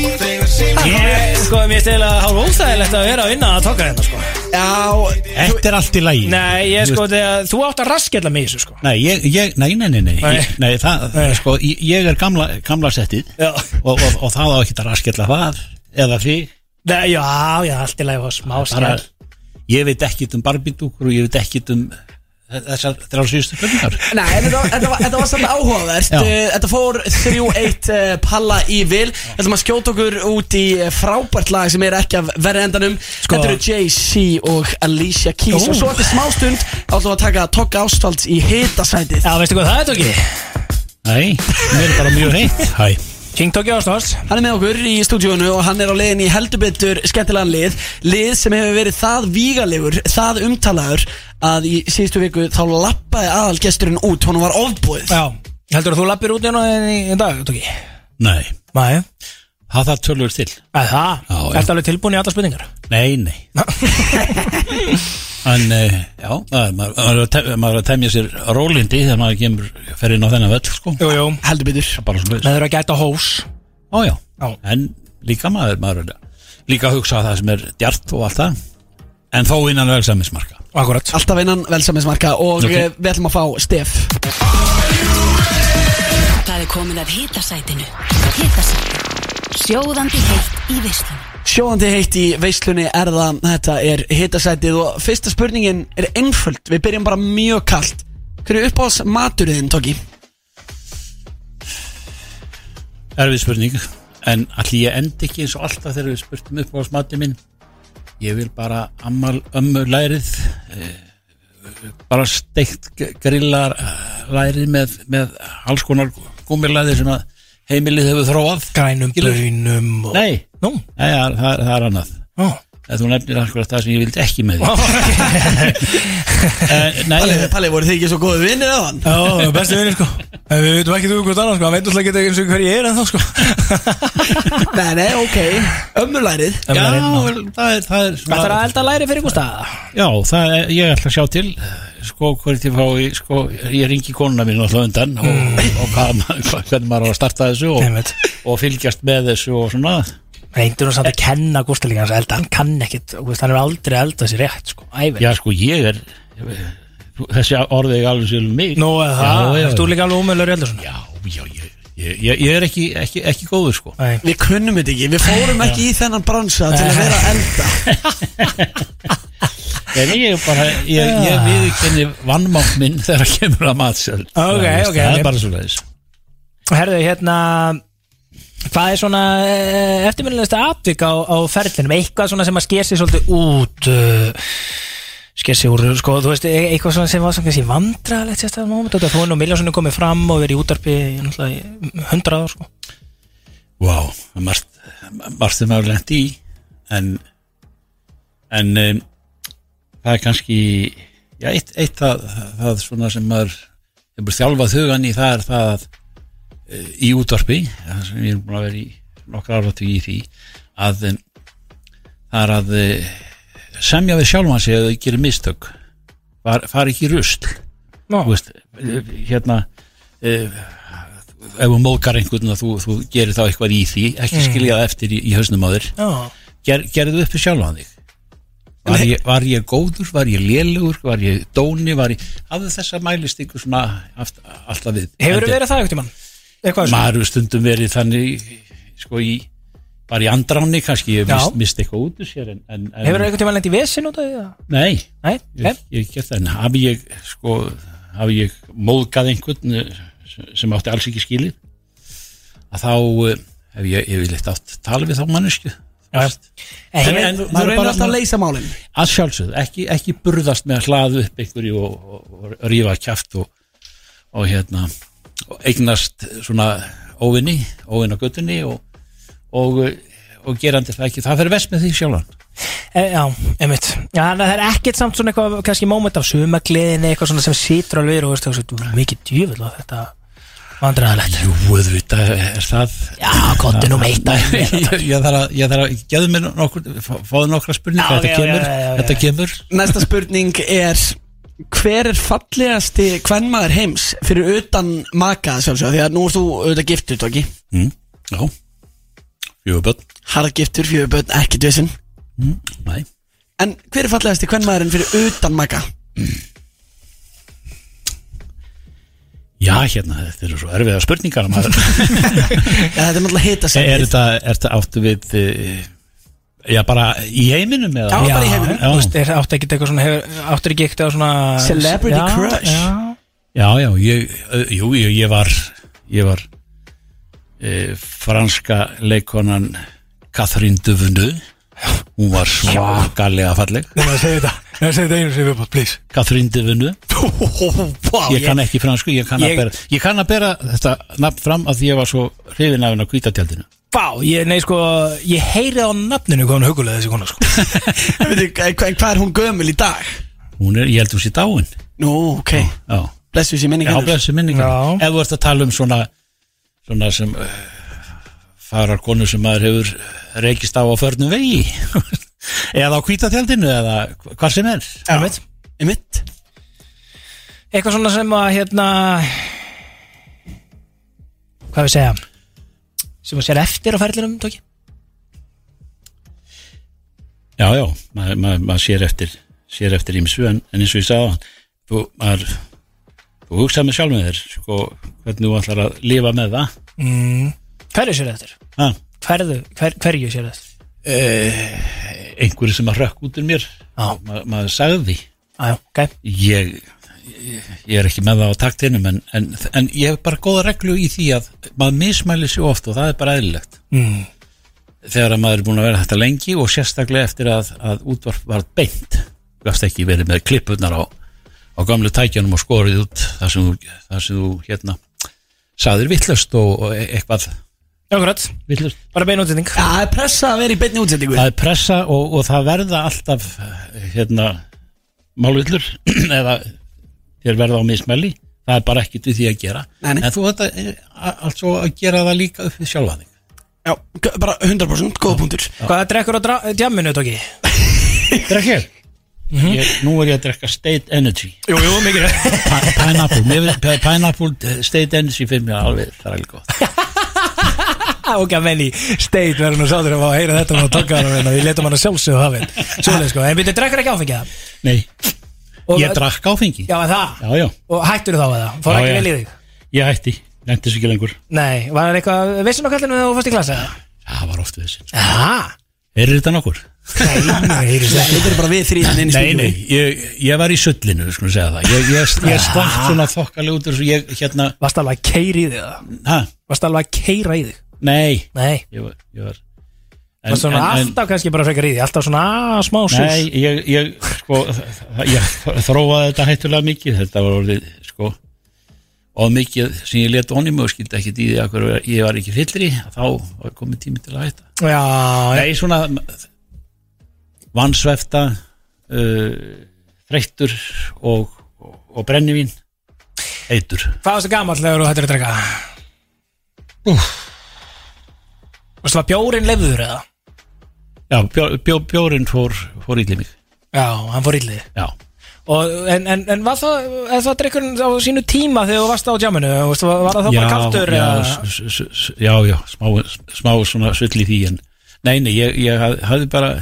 Speaker 2: Ég, sko, mér stila hálf óþægilegt að vera að vinna að toka hérna, sko
Speaker 4: Já,
Speaker 5: þetta er allt í lagi
Speaker 2: Nei, ég,
Speaker 5: Þú
Speaker 2: sko, þegar þú átt að raskella mig í þessu, sko
Speaker 5: Nei, ég, ég, nei, nei, nei, nei,
Speaker 2: Nei.
Speaker 5: nei. nei það,
Speaker 2: Nei.
Speaker 5: sko, ég- ég er gamla, gamla settið
Speaker 2: Já.
Speaker 5: og, og, og það á ekki að raskella það eða því,
Speaker 2: Nei, já, já, allt í lagi og smá
Speaker 5: bara
Speaker 2: skell
Speaker 5: ég veit ekkit um barbindúkur og ég veit ekkit um þessar, þessar síðustu spurningar
Speaker 4: Nei, en þetta, var- þetta, var, þetta var samt áhugavert
Speaker 5: Já.
Speaker 4: Eh, Þetta fór 3-1 eh, palla í vil Þetta maður skjóta okkur út í eh, frábært lag sem er ekki af verri endanum Þetta eru Jay-Z og Alicia Keys
Speaker 2: Ú.
Speaker 4: Og svo eftir smástund átlum við að taka Togga Ástvalds í hitasætið
Speaker 2: Já, veistu hvað það er, Tóki?
Speaker 5: Nei, mér er bara mjög heitt Hæ,
Speaker 2: King Tóki Ástofs
Speaker 4: Hann er með okkur í stúdíónu og hann er á leiðin í heldurbyttur skemmtilegan lið Lið sem hefur verið það vígalegur, það umtalaður Að í síðustu viku þá lappaði aðalgesturinn út, honum var ofbúið
Speaker 2: Já, heldur þú lappir út hérna í, í dag, Tóki?
Speaker 5: Nei,
Speaker 2: Nei,
Speaker 5: það þarf tölur til
Speaker 2: að það,
Speaker 5: Já, já.
Speaker 2: ertu alveg tilbúin í alla spurningar?
Speaker 5: Nei, nei En, eh, já, maður- maður maður er að tem- maður er að temja sér rólindi þegar maður kemur fer inn á þennan völl, sko
Speaker 2: Jú, jú,
Speaker 4: Heldurbyttur
Speaker 5: Bara svona
Speaker 2: það eru að gæta hós
Speaker 5: Ó, já.
Speaker 2: Já.
Speaker 5: En líka maður, maður er líka að hugsa að það sem er djart og allt það En þó innan vegsammismarka
Speaker 2: Akkurat
Speaker 4: Alltaf innan velsaminsmarka og
Speaker 5: Ok.
Speaker 4: okay. við ætlum að fá Stef
Speaker 6: Það er komið að hitasætinu Hitasætinu Sjóðandi heitt í veislunum
Speaker 4: Sjóðandi heitt í veislunni er það, þetta er hitasætið Og fyrsta spurningin er einföld, við byrjum bara mjög kalt Hver er uppáhalds maturinn, Tóki?
Speaker 5: Erfið spurning En allir ég endi ekki eins og alltaf þegar við spurtum upp á smati minn Ég vil bara ammal ömmu lærið eh, bara steikt g- grillar eh, lærið með, með alls konar gúmilæði sem að heimilið hefur þróað
Speaker 2: Grænum,
Speaker 5: Skilur.
Speaker 2: brunum og...
Speaker 5: Nei,
Speaker 2: Nú,
Speaker 5: Nei, það, það, er- það er annað
Speaker 2: ó
Speaker 5: Ef Þú nefnir akkurat það sem ég vildi ekki með því Eh, Nei,
Speaker 4: Palli,
Speaker 5: ég-
Speaker 4: Palli, voru þið ekki svo góðu vinnir á hann?
Speaker 2: Já, bestu vinni sko En við veitum ekki þú hvort annað sko Hann veit alltaf ekki eins og hver ég er en þá sko
Speaker 4: Nei, nei, ok, ömmulærið
Speaker 5: já,
Speaker 2: Það er inn á-
Speaker 5: vel, það er, það er
Speaker 2: Þetta er að elda læri fyrir ykkur staða
Speaker 5: Já, það er, ég ætla að sjá til sko hvort ég fá sko, ég ringi konuna mín alltaf undan og,
Speaker 2: Mm.
Speaker 5: og hvað, ma- hvað- hvernig maður á að starta þessu
Speaker 2: Nei,
Speaker 5: og,
Speaker 2: veit.
Speaker 5: og fylgjast með þessu og svona
Speaker 2: Reyndur hún samt
Speaker 5: Eh.
Speaker 2: að kenna Gústa líka hans að elda Hann kann ekkit, þú veist, hann er aldrei að elda sér rétt sko Ævinn
Speaker 5: Já, sko, ég er þessi orðið er alveg sér um mig
Speaker 2: Nú, eða það,
Speaker 5: já, já,
Speaker 2: ertu líka alveg umöðlur í elda svona
Speaker 5: já, já, ég, ég, ég ég er ekki, ekki, ekki góður sko
Speaker 2: Nei
Speaker 4: Við kunnum þetta ekki, við fórum ekki í þennan bransa til að vera að elda
Speaker 5: en ég er bara, ég, ég viðkenni vannmátt minn þegar að kemur að matsöld
Speaker 2: Ok, ok,
Speaker 5: það
Speaker 2: ok.
Speaker 5: er bara svo leiðis
Speaker 2: Herðu, hérna Hvað er svona eftirminnilegsta atvik á, á ferlinum? Eitthvað svona sem að sker sig svolítið út uh, sker sig úr, sko, þú veist e- eitthvað svona sem var svona kannski vandralegt sérstæðan moment, þetta þú og Miljássonu komið fram og verið í útarpi í náttúrulega hundrað ár, sko
Speaker 5: Vá, það er margt, margt sem maður lent í en en um, það er kannski já, eitt, eitt að, það svona sem maður hefur þjálfað hugan í það er það að eh, í útvarpi, það sem ég er búin að vera í nokkra áratu í því að em, það er að eh, semja við sjálfan sig að þau gerir mistök far, far ekki í rusl
Speaker 2: Ná,
Speaker 5: þú veist, eh, hérna eh, ef þú mókar einhvern að þú, þú gerir þá eitthvað í því ekki skilja það eftir í, í hausnum á þér
Speaker 2: já,
Speaker 5: Ger, gerðu uppi sjálfan þig var ég, var ég góður, var ég lélugur var ég dóni, var ég hafðu þessa mælist ykkur svona aft, alltaf við
Speaker 2: hefur
Speaker 5: En-
Speaker 2: verið það eitthvað mann? Eitthvað svona?
Speaker 5: maður hefur stundum verið þannig sko í bara í andráni kannski, ég
Speaker 2: Já.
Speaker 5: mist, mist eitthvað út úr sér en, en, en
Speaker 2: Hefur eitthvað tíma lent í vesen út af því? eða?
Speaker 5: nei,
Speaker 2: Nei,
Speaker 5: ég
Speaker 2: nei,
Speaker 5: ég hef gert það en hafi ég sko hafi ég móðgað einhvern eh, sem átti alls ekki skilið að þá eh, hef ég yfirleitt átt tala við þá mannesku
Speaker 2: já. En
Speaker 5: En-
Speaker 2: hefur-
Speaker 5: en-
Speaker 4: Þú
Speaker 5: Maður er
Speaker 4: reynir
Speaker 5: bara-
Speaker 4: alltaf að leysa málin
Speaker 5: að sjálfsögðu, ekki, ekki burðast með að hlaðu upp einhverju og, og, og rífa kjaft og, og hérna og eignast svona óvinni, óvinn á göttunni og, og, og gerandi það ekki það fyrir vest með því sjálfan
Speaker 2: E, já, einmitt Já, þannig að það er ekkert samt svona eitthvað kannski moment af sumagliðinni eitthvað svona sem situr alveg í þér og veist þú veist, þú er mikið djöfull og þetta vandræðalegt
Speaker 5: Jú, auðvitað er það
Speaker 2: Já, kontu nú meitt að
Speaker 5: Ég, ég þarf að, ég þarf að, gefðu mér nokkur fá- fáðu nokkra spurningar,
Speaker 2: Já,
Speaker 5: þetta
Speaker 2: já,
Speaker 5: kemur
Speaker 2: já, já, já,
Speaker 5: þetta
Speaker 2: já.
Speaker 5: kemur,
Speaker 4: Næsta spurning er Hver er fallegasti kvennmaður heims fyrir utan maka sjálfsög Því að nú ert þú auðvitað giftur, Tóki
Speaker 5: mm, já fjöguböld,
Speaker 4: Harðgiftur, fjögur börn, ekkert vissin
Speaker 5: næ
Speaker 4: En hver er fallegasti kvennmaðurinn fyrir utan maka?
Speaker 5: já, hérna, þetta eru svo erfiða spurningar maður.
Speaker 4: Ja, þetta er náttúrulega hitasætið
Speaker 5: er þetta, er þetta áttu við eh, já, bara í heiminum eða?
Speaker 4: Já, bara í heiminum.
Speaker 2: Þú veist, er átt ekki eitthvað svona hefur, áttur ekki eitthvað svona
Speaker 4: Celebrity
Speaker 2: já,
Speaker 4: crush.
Speaker 2: Já,
Speaker 5: Já, já, ég, ö, jú, ég, ég var ég var eh, e, franska leikonan Catherine Duvenu Hún var svakalega falleg
Speaker 13: Nei, maður segir þetta Nei, maður segir þetta einu sem við bara, please
Speaker 5: Catherine de Venu
Speaker 13: Vá,
Speaker 5: Ég kann ekki fransku, ég kann
Speaker 13: Ég-
Speaker 5: að bera Ég kann að bera þetta nafn fram að því ég var svo hrifin af henni á kvítatjaldinu
Speaker 2: Vá, ég, nei sko, ég heyrið á nafninu hvað hún er hugulega þessi kona sko
Speaker 4: Veitu, hva- Hvað hvað er hún gömul í dag?
Speaker 5: Hún er, ég held hún sér dáin
Speaker 4: Nú, ok
Speaker 5: Já,
Speaker 4: Blessu sér minning
Speaker 5: já
Speaker 4: hennar.
Speaker 5: blessu minningar
Speaker 2: Já.
Speaker 5: Ef þú ert að tala um svona svona sem uh, farar konu sem maður hefur reykist á á förnum vegi eða á kvítatjaldinu eða hvað sem er
Speaker 2: Einmitt.
Speaker 4: Í mitt
Speaker 2: Eitthvað svona sem að hérna Hvað við segja Sem að sér eftir á ferðlinum, Tóki
Speaker 5: Já, já, maður ma ma maður sér eftir sér eftir ímsu en, en eins og ég sagði hann þú, maður, þú hugsaði með sjálf með þér sko, hvernig þú ætlar að lifa með það
Speaker 2: Hverju sér eftir?
Speaker 5: ha,
Speaker 2: Hverðu, hver, hverju sér eftir?
Speaker 5: einhverju sem að rökk út um mér
Speaker 2: Já.
Speaker 5: Ma maður sagði því
Speaker 2: Æjá, ok
Speaker 5: ég, ég, ég er ekki með það á taktinum en, en, en ég hef bara góða reglu í því að maður mismæli sér oft og það er bara eðlilegt
Speaker 2: mm.
Speaker 5: þegar að maður er búin að vera þetta lengi og sérstaklega eftir að, að útvarp var beint þú gafst ekki verið með klippunar á, á gamlu tækjanum og skorið út þar sem þú, þar sem þú hérna sagðir vittlust og, og e- eitthvað
Speaker 2: Akkurat,
Speaker 5: vittlust
Speaker 2: bara bein útsetning
Speaker 4: Já, það er pressa að vera í beinni útsendingu
Speaker 5: það er pressa og, og það verða alltaf hérna málvillur eða þér verða á mismæli það er bara ekkit við því að eh, gera
Speaker 4: Nei, nei.
Speaker 5: en þú þetta altså að gera það líka upp við sjálfa þig
Speaker 4: Já, g- bara 100% góða punktur
Speaker 2: Hvað drekkur á dra- eh, djamminu, Tóki?
Speaker 5: Drekkel Mhm. ég, nú er ég að drekka State Energy
Speaker 2: Jú, jú, mikið rétt.
Speaker 5: Pi- Pineapple, mér finnst pi- Pineapple eh, State Energy fyrir mér alveg, það er alveg gott
Speaker 2: Á, ok, menn í steit verður nú sáður að fá að heyra þetta og taka hann að vinna, við letum hann að sjálfsögðu hafið Svoleið sko, en byrju, drekkur ekki áfengið það?
Speaker 5: Nei,
Speaker 2: Og-
Speaker 5: ég drakk áfengi
Speaker 2: Já, en það,
Speaker 5: já, já,
Speaker 2: og hættur þá að það, fór
Speaker 5: Já,
Speaker 2: ekki
Speaker 5: já.
Speaker 2: vel í þig
Speaker 5: ég hætti, nefndi sér ekki lengur
Speaker 2: Nei, var það eitthvað, vissum á kallinu þegar þú fórst í klasa?
Speaker 5: það var oft við þessi,
Speaker 2: Já,
Speaker 5: er þetta nokkur?
Speaker 2: nei, nei, nei
Speaker 4: Þetta er bara við þrý hann inn í
Speaker 5: Nei,
Speaker 4: stúdíu
Speaker 5: nei, ég, ég var í sullinu, við skulum segja það Ég, ég, ég slapp svona þokkalega út og ég, hérna,
Speaker 2: Varst alveg að keira í þig það?
Speaker 5: hæ,
Speaker 2: Varst alveg að keira í þig?
Speaker 5: nei
Speaker 2: Nei,
Speaker 5: Ég var, ég var en,
Speaker 2: varst svona alltaf kannski bara frekar í þig, alltaf svona ah, smá sús
Speaker 5: Nei, ég, ég, sko, það- ég þróaði þetta hættulega mikið Þetta var orðið, sko Og mikið sem ég let honum og skildi ekkit í því að hverju ég var ekki fyllri Þá var komið tími til að hætta
Speaker 2: Já, já,
Speaker 5: Nei, svona Vansvefta uh, Þreyttur og, og, og brennivín Eitur
Speaker 2: hvað varstu gamall þegar þú hættur að drekka? Úff Varstu að bjórin lefður eða?
Speaker 5: Já, bjó, bjó, bjórin fór, fór íli mig
Speaker 2: Já, hann fór illið
Speaker 5: Já,
Speaker 2: Og, en, en, en var það, er það drikkurinn á sínu tíma þegar þú varst á djaminu? Varstu- Var það þá
Speaker 5: já,
Speaker 2: bara kaltur?
Speaker 5: já,
Speaker 2: eða?
Speaker 5: s- s- s- já, já smá, smá svona svill í því en Nei, nei, ég, ég haf- hafði bara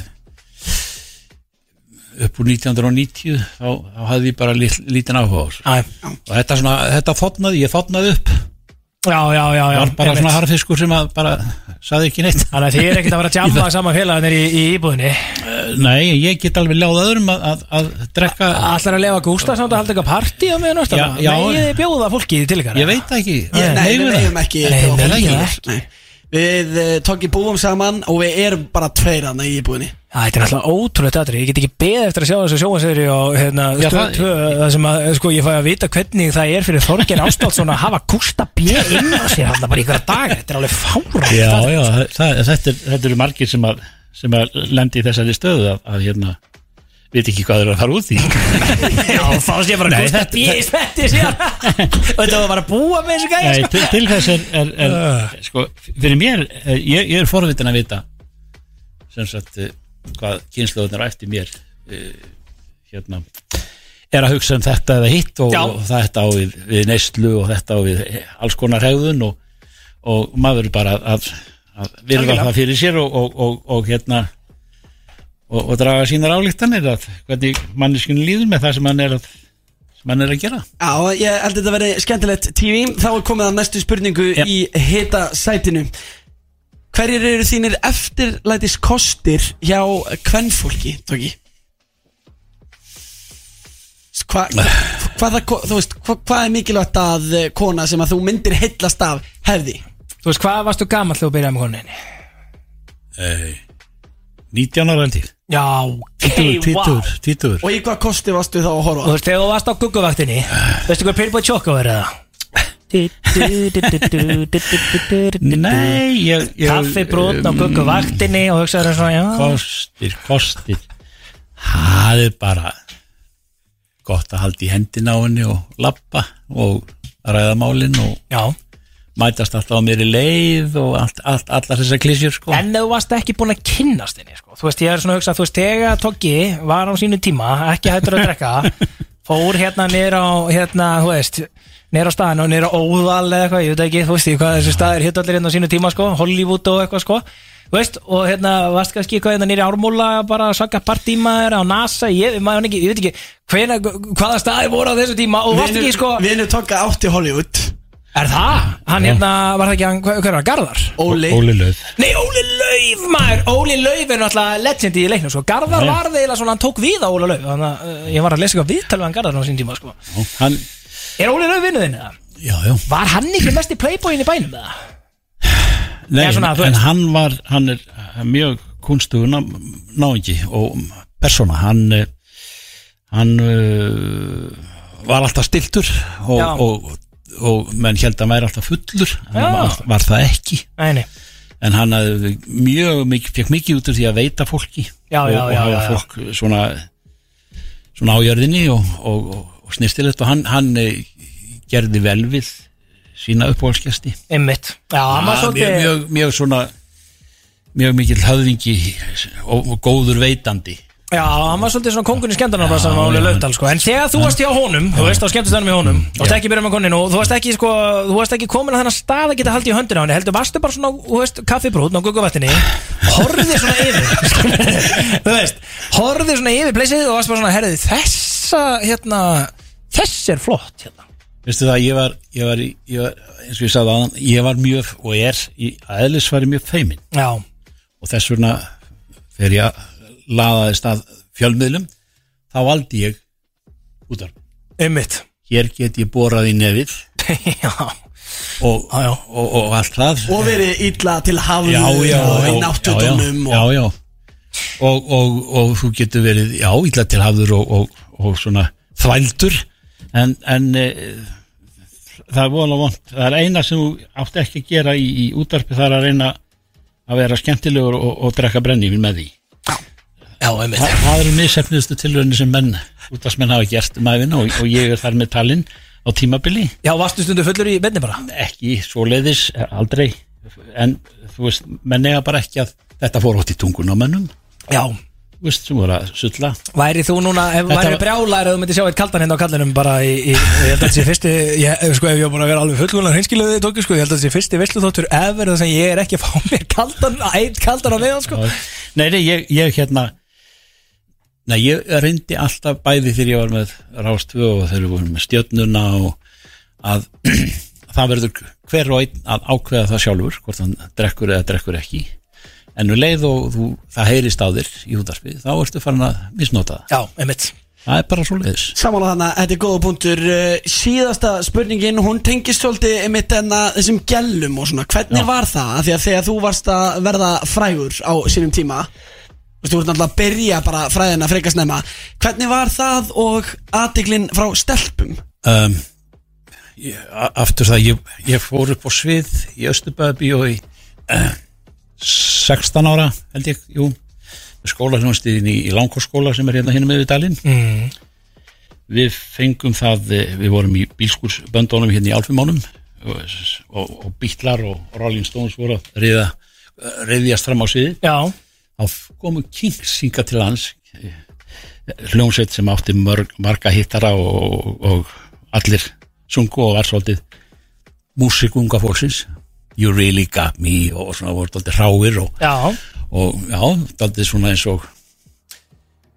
Speaker 5: upp úr 1990 þá, þá hafði ég bara lit, lítinn áhuga á þessu.
Speaker 2: Æ,
Speaker 5: og þetta svona, þetta þotnaði, ég þotnaði upp
Speaker 2: Já, já, já, já
Speaker 5: var bara
Speaker 2: einmitt.
Speaker 5: svona harfiskur sem að bara saði ekki neitt
Speaker 2: Þannig að þið er ekkert að vera að jamma saman félagarnir í, í íbúðinni
Speaker 5: Nei, ég get alveg ljáð öðrum að, að, að drekka
Speaker 2: Allar að lefa Gústa samt að halda eitthvað partí á meðan ástæða
Speaker 5: Já, já.
Speaker 2: Nei, ég bjóða fólki til ykkar
Speaker 5: Ég veit það ekki,
Speaker 2: Ég-
Speaker 4: Nei, við
Speaker 5: Megum það?
Speaker 4: eigum ekki
Speaker 2: Nei, við eigum það
Speaker 4: ekki Við uh, tókki búum saman og við erum bara tveir hann í íbúinni
Speaker 2: Æ, Þetta er alltaf ótrúlega datri Ég get ekki beðið eftir að sjá þessu sjóansöðri og hérna,
Speaker 5: Já,
Speaker 2: stöð
Speaker 5: það-
Speaker 2: 2 Það sem að, sko, ég fæ að vita hvernig það er fyrir Þorgeir Ástálsson að hafa Gústa B inn á sér hann bara ykkur dag Þetta er alveg fára
Speaker 5: Já, já, það, þetta, er- þetta eru margir sem að, sem að lendi í þessari stöðu að, að hérna, veit ekki hvað þeir eru að fara út í
Speaker 2: Já, þá sé ég bara
Speaker 5: Nei,
Speaker 2: Gústa
Speaker 5: þetta-
Speaker 2: B í svetti sér Og þetta var bara að búa með þessu gæja
Speaker 5: Nei,
Speaker 2: sko.
Speaker 5: til, til þess er, er,
Speaker 2: Ah.
Speaker 5: er sko, fyrir mér, eh, ég, ég er forvitin að vita sem sagt eh, hvað kynnslóðunar eftir mér eh, hérna er að hugsa um þetta eða hitt og,
Speaker 2: Já.
Speaker 5: og þetta á við, við neyslu og þetta á við eh, alls konar hegðun og, og maður er bara að, að virða
Speaker 2: Algjörlega.
Speaker 5: það fyrir sér og, og, og, og hérna og, og draga sínar álíktanir að hvernig manneskinu líður með það sem hann er að, sem hann er að gera
Speaker 4: Já, ég held þetta að vera skemmtilegt TV Þá er komið að næstu spurningu
Speaker 5: Já.
Speaker 4: í hita sætinu Hverjir eru þínir eftirlætis kostir hjá kvennfólki, Tóki? Hva, hvaða, ko- þú veist, hva, hvað er mikilvægt að eh, kona sem að þú myndir heillast af hefði?
Speaker 2: Þú veist, hvað varstu gamall þegar þú byrjaði með koninni?
Speaker 5: Nei, 19 ára held ég
Speaker 2: Já, ok,
Speaker 5: Títur,
Speaker 2: wow
Speaker 5: títur, títur
Speaker 4: Og í hvað kosti varstu þá að
Speaker 2: Og þú
Speaker 4: horfa?
Speaker 2: veist, þegar þú varst á gugguvaktinni Veistu hvað Pyrbo Choco er það?
Speaker 5: Nei, ég, ég
Speaker 2: Kaffibrotn á gugguvaktinni Og hugsaður svona, já
Speaker 5: Kostir, kostir Það er bara gott að halda í hendina á henni og lappa og ræða málin og
Speaker 2: Já,
Speaker 5: mætast alltaf á mér í leið og allt, allt, allar þessar klísjur sko
Speaker 2: en ef þú varst ekki búin að kynnast henni sko. Þú veist, ég er svona að hugsa, þú veist, þegar Toggi var á sínu tíma, ekki hættur að drekka Fór hérna niður á, hérna, þú veist Niður á staðinu, niður á óðal eða eitthvað, ég veit ekki, þú veist, ég hvað þessi staðir hitt allir hérna á sínu tíma, sko, Hollywood og eitthvað, sko Þú veist, og hérna, varst kannski eitthvað hérna nýri ármúla, bara að saka partímaður á NASA, ég, maður, ekki, ég veit ekki hvena, hvaða staði voru á þessu tíma og varst ekki, sko,
Speaker 4: Vinnu tóka átt í Hollywood
Speaker 2: er það? Hann hérna, var það ekki, hann, hver, hver var, hann, Garðar?
Speaker 4: Óli
Speaker 5: Óli löð
Speaker 2: Nei, Óli Lauf, maður, Óli Lauf er náttúrulega legend í leiknum, sko Garðar
Speaker 5: Já.
Speaker 2: var þeirlega svona, hann tók við á Óli Lauf Þannig að uh, ég var að lesa eitthvað viðtal við hann Garðar á sín tíma, sko
Speaker 5: Hann,
Speaker 2: Er Óli Lauf vinnuðin, eða?
Speaker 5: já, já
Speaker 2: Var hann ekki mest í playboyin í bænum, eða?
Speaker 5: Nei,
Speaker 2: Já, svona, þú
Speaker 5: en
Speaker 2: veist.
Speaker 5: hann var, hann er mjög kunstugur ná, náingi og persóna, hann eh, hann uh, var alltaf stiltur og,
Speaker 2: Já.
Speaker 5: og, og menn held að hann væri alltaf fullur hann
Speaker 2: Já.
Speaker 5: var, var það ekki
Speaker 2: Nei, nei,
Speaker 5: en hann hafði mjög mikið, fekk mikið út úr því að veita fólki
Speaker 2: Já,
Speaker 5: og,
Speaker 2: já,
Speaker 5: og
Speaker 2: já,
Speaker 5: hafa
Speaker 2: já, já.
Speaker 5: fólk svona svona ájörðinni og, og, og, og snirtilegt og hann, hann eh, gerði vel við sína uppáhalskjasti
Speaker 2: einmitt Já, hann var
Speaker 5: mjög,
Speaker 2: svolítið
Speaker 5: Ah, mjög, mjög svona mjög mikill höfðingi og, og góður veitandi
Speaker 2: Já, hann var svolítið svona kongun í skemmtarnarbransan á Óli Laufdal, sko En þegar þú varst hjá honum, þú veist á skemmtastænum í honum Þú varst ekki byrjað með koninu, og þú varst ekki, sko, þú varst ekki komin að þennan stað að geta haldið í höndina á henni Heldur, varstu bara svona, þú veist, kaffibrúðn á guggavættinni Horfið svona yfir sko, Þú veist, horfið svona yfir pleysið og varst bara svona, herðið, þessa, hérna, þess er flott, hérna
Speaker 5: veistu það, ég var, ég var, í- ég var eins og ég sagði aðan, ég var mjög og er í aðlisværi mjög feimin
Speaker 2: Já,
Speaker 5: og þess vegna þegar ég laðaðist að fjölmiðlum þá valdi ég útar
Speaker 2: einmitt
Speaker 5: hér get ég borað í nefið
Speaker 2: Já,
Speaker 5: og,
Speaker 2: já.
Speaker 5: og, og, allt það
Speaker 4: Og verið illa til hafðu
Speaker 5: já, já,
Speaker 4: Og í
Speaker 5: já,
Speaker 4: náttutunum
Speaker 5: já, já, já. Og, og, og þú getur verið já, illa til hafður og, og, og svona þvældur en, en e, það er vola vond það er eina sem þú átt ekki að gera í, í útarpi það er að reyna að vera skemmtilegur og, og drekka brennivín með því
Speaker 2: já, einmitt
Speaker 5: Þa, það eru misefniðustu tilraunir sem menn útarsmenn hafa gert um æfina og, og ég er þar með talinn á tímabili
Speaker 2: Já, varstu stundu fullur í beinni bara
Speaker 5: ekki svoleiðis, aldrei en þú veist, menn eiga bara ekki að þetta fór átt í tungun á mönnum
Speaker 2: Já,
Speaker 5: þú veist, sem voru að sulla
Speaker 2: Væri þú núna, ef
Speaker 5: Þetta
Speaker 2: væri
Speaker 5: var-
Speaker 2: brjálæri að þú myndir sjá eitt kaldan hérna á kallinum bara í, í ég held að þetta sé fyrsti, ég, ef- sko ef ég er búin að vera alveg fullkólan hreinskiluðið í tókju sko, ég held að þetta sé fyrsti veisluþóttur ever þess að ég er ekki að fá mér kaldan, eitt kaldan á meðan sko
Speaker 5: nei, nei, ég, ég hérna nei, ég reyndi alltaf bæði þegar ég var með Rástvö og þegar við vorum með stjörnuna og að það verður hver og einn að ákveða það sjálfur hvort hann drekkur eða drekkur ekki en um leið og þú, það heyrist á þér í útarpið, þá ertu farin að misnota það,
Speaker 2: Já, einmitt
Speaker 5: það er bara svoleiðis
Speaker 4: Samála þannig að þetta er góða punktur Eh, Síðasta spurningin, hún tengist svolítið einmitt en að þessum gellum og svona Hvernig
Speaker 5: Já.
Speaker 4: var það? Af Því að þegar þú varst að verða frægur á sínum tíma þú veist, Þú voru náttúrulega að byrja bara fræðina frekar snemma Hvernig var það og aðdeglin frá stelpum?
Speaker 5: um, ég, a- aftur það ég, ég fór upp á svið í Östubæði og í uh, 16 ára held ég jú, skólahljónstiðin í, í langkórsskóla sem er hérna hérna með við dalinn mm. við fengum það eh, við vorum í bílskursböndunum hérna í alfumánum og, og, og bítlar og Rolling Stones voru að reyða reyðjast fram á sviði
Speaker 2: Já,
Speaker 5: þá komu Kings hinga til hans eh, hljómsveit sem átti mörg, marga hittara og, og allir sungu og var svolítið músikunga fólksins You Really Got Me og svona voru svolítið hráir og,
Speaker 2: já,
Speaker 5: og já, svolítið svona eins og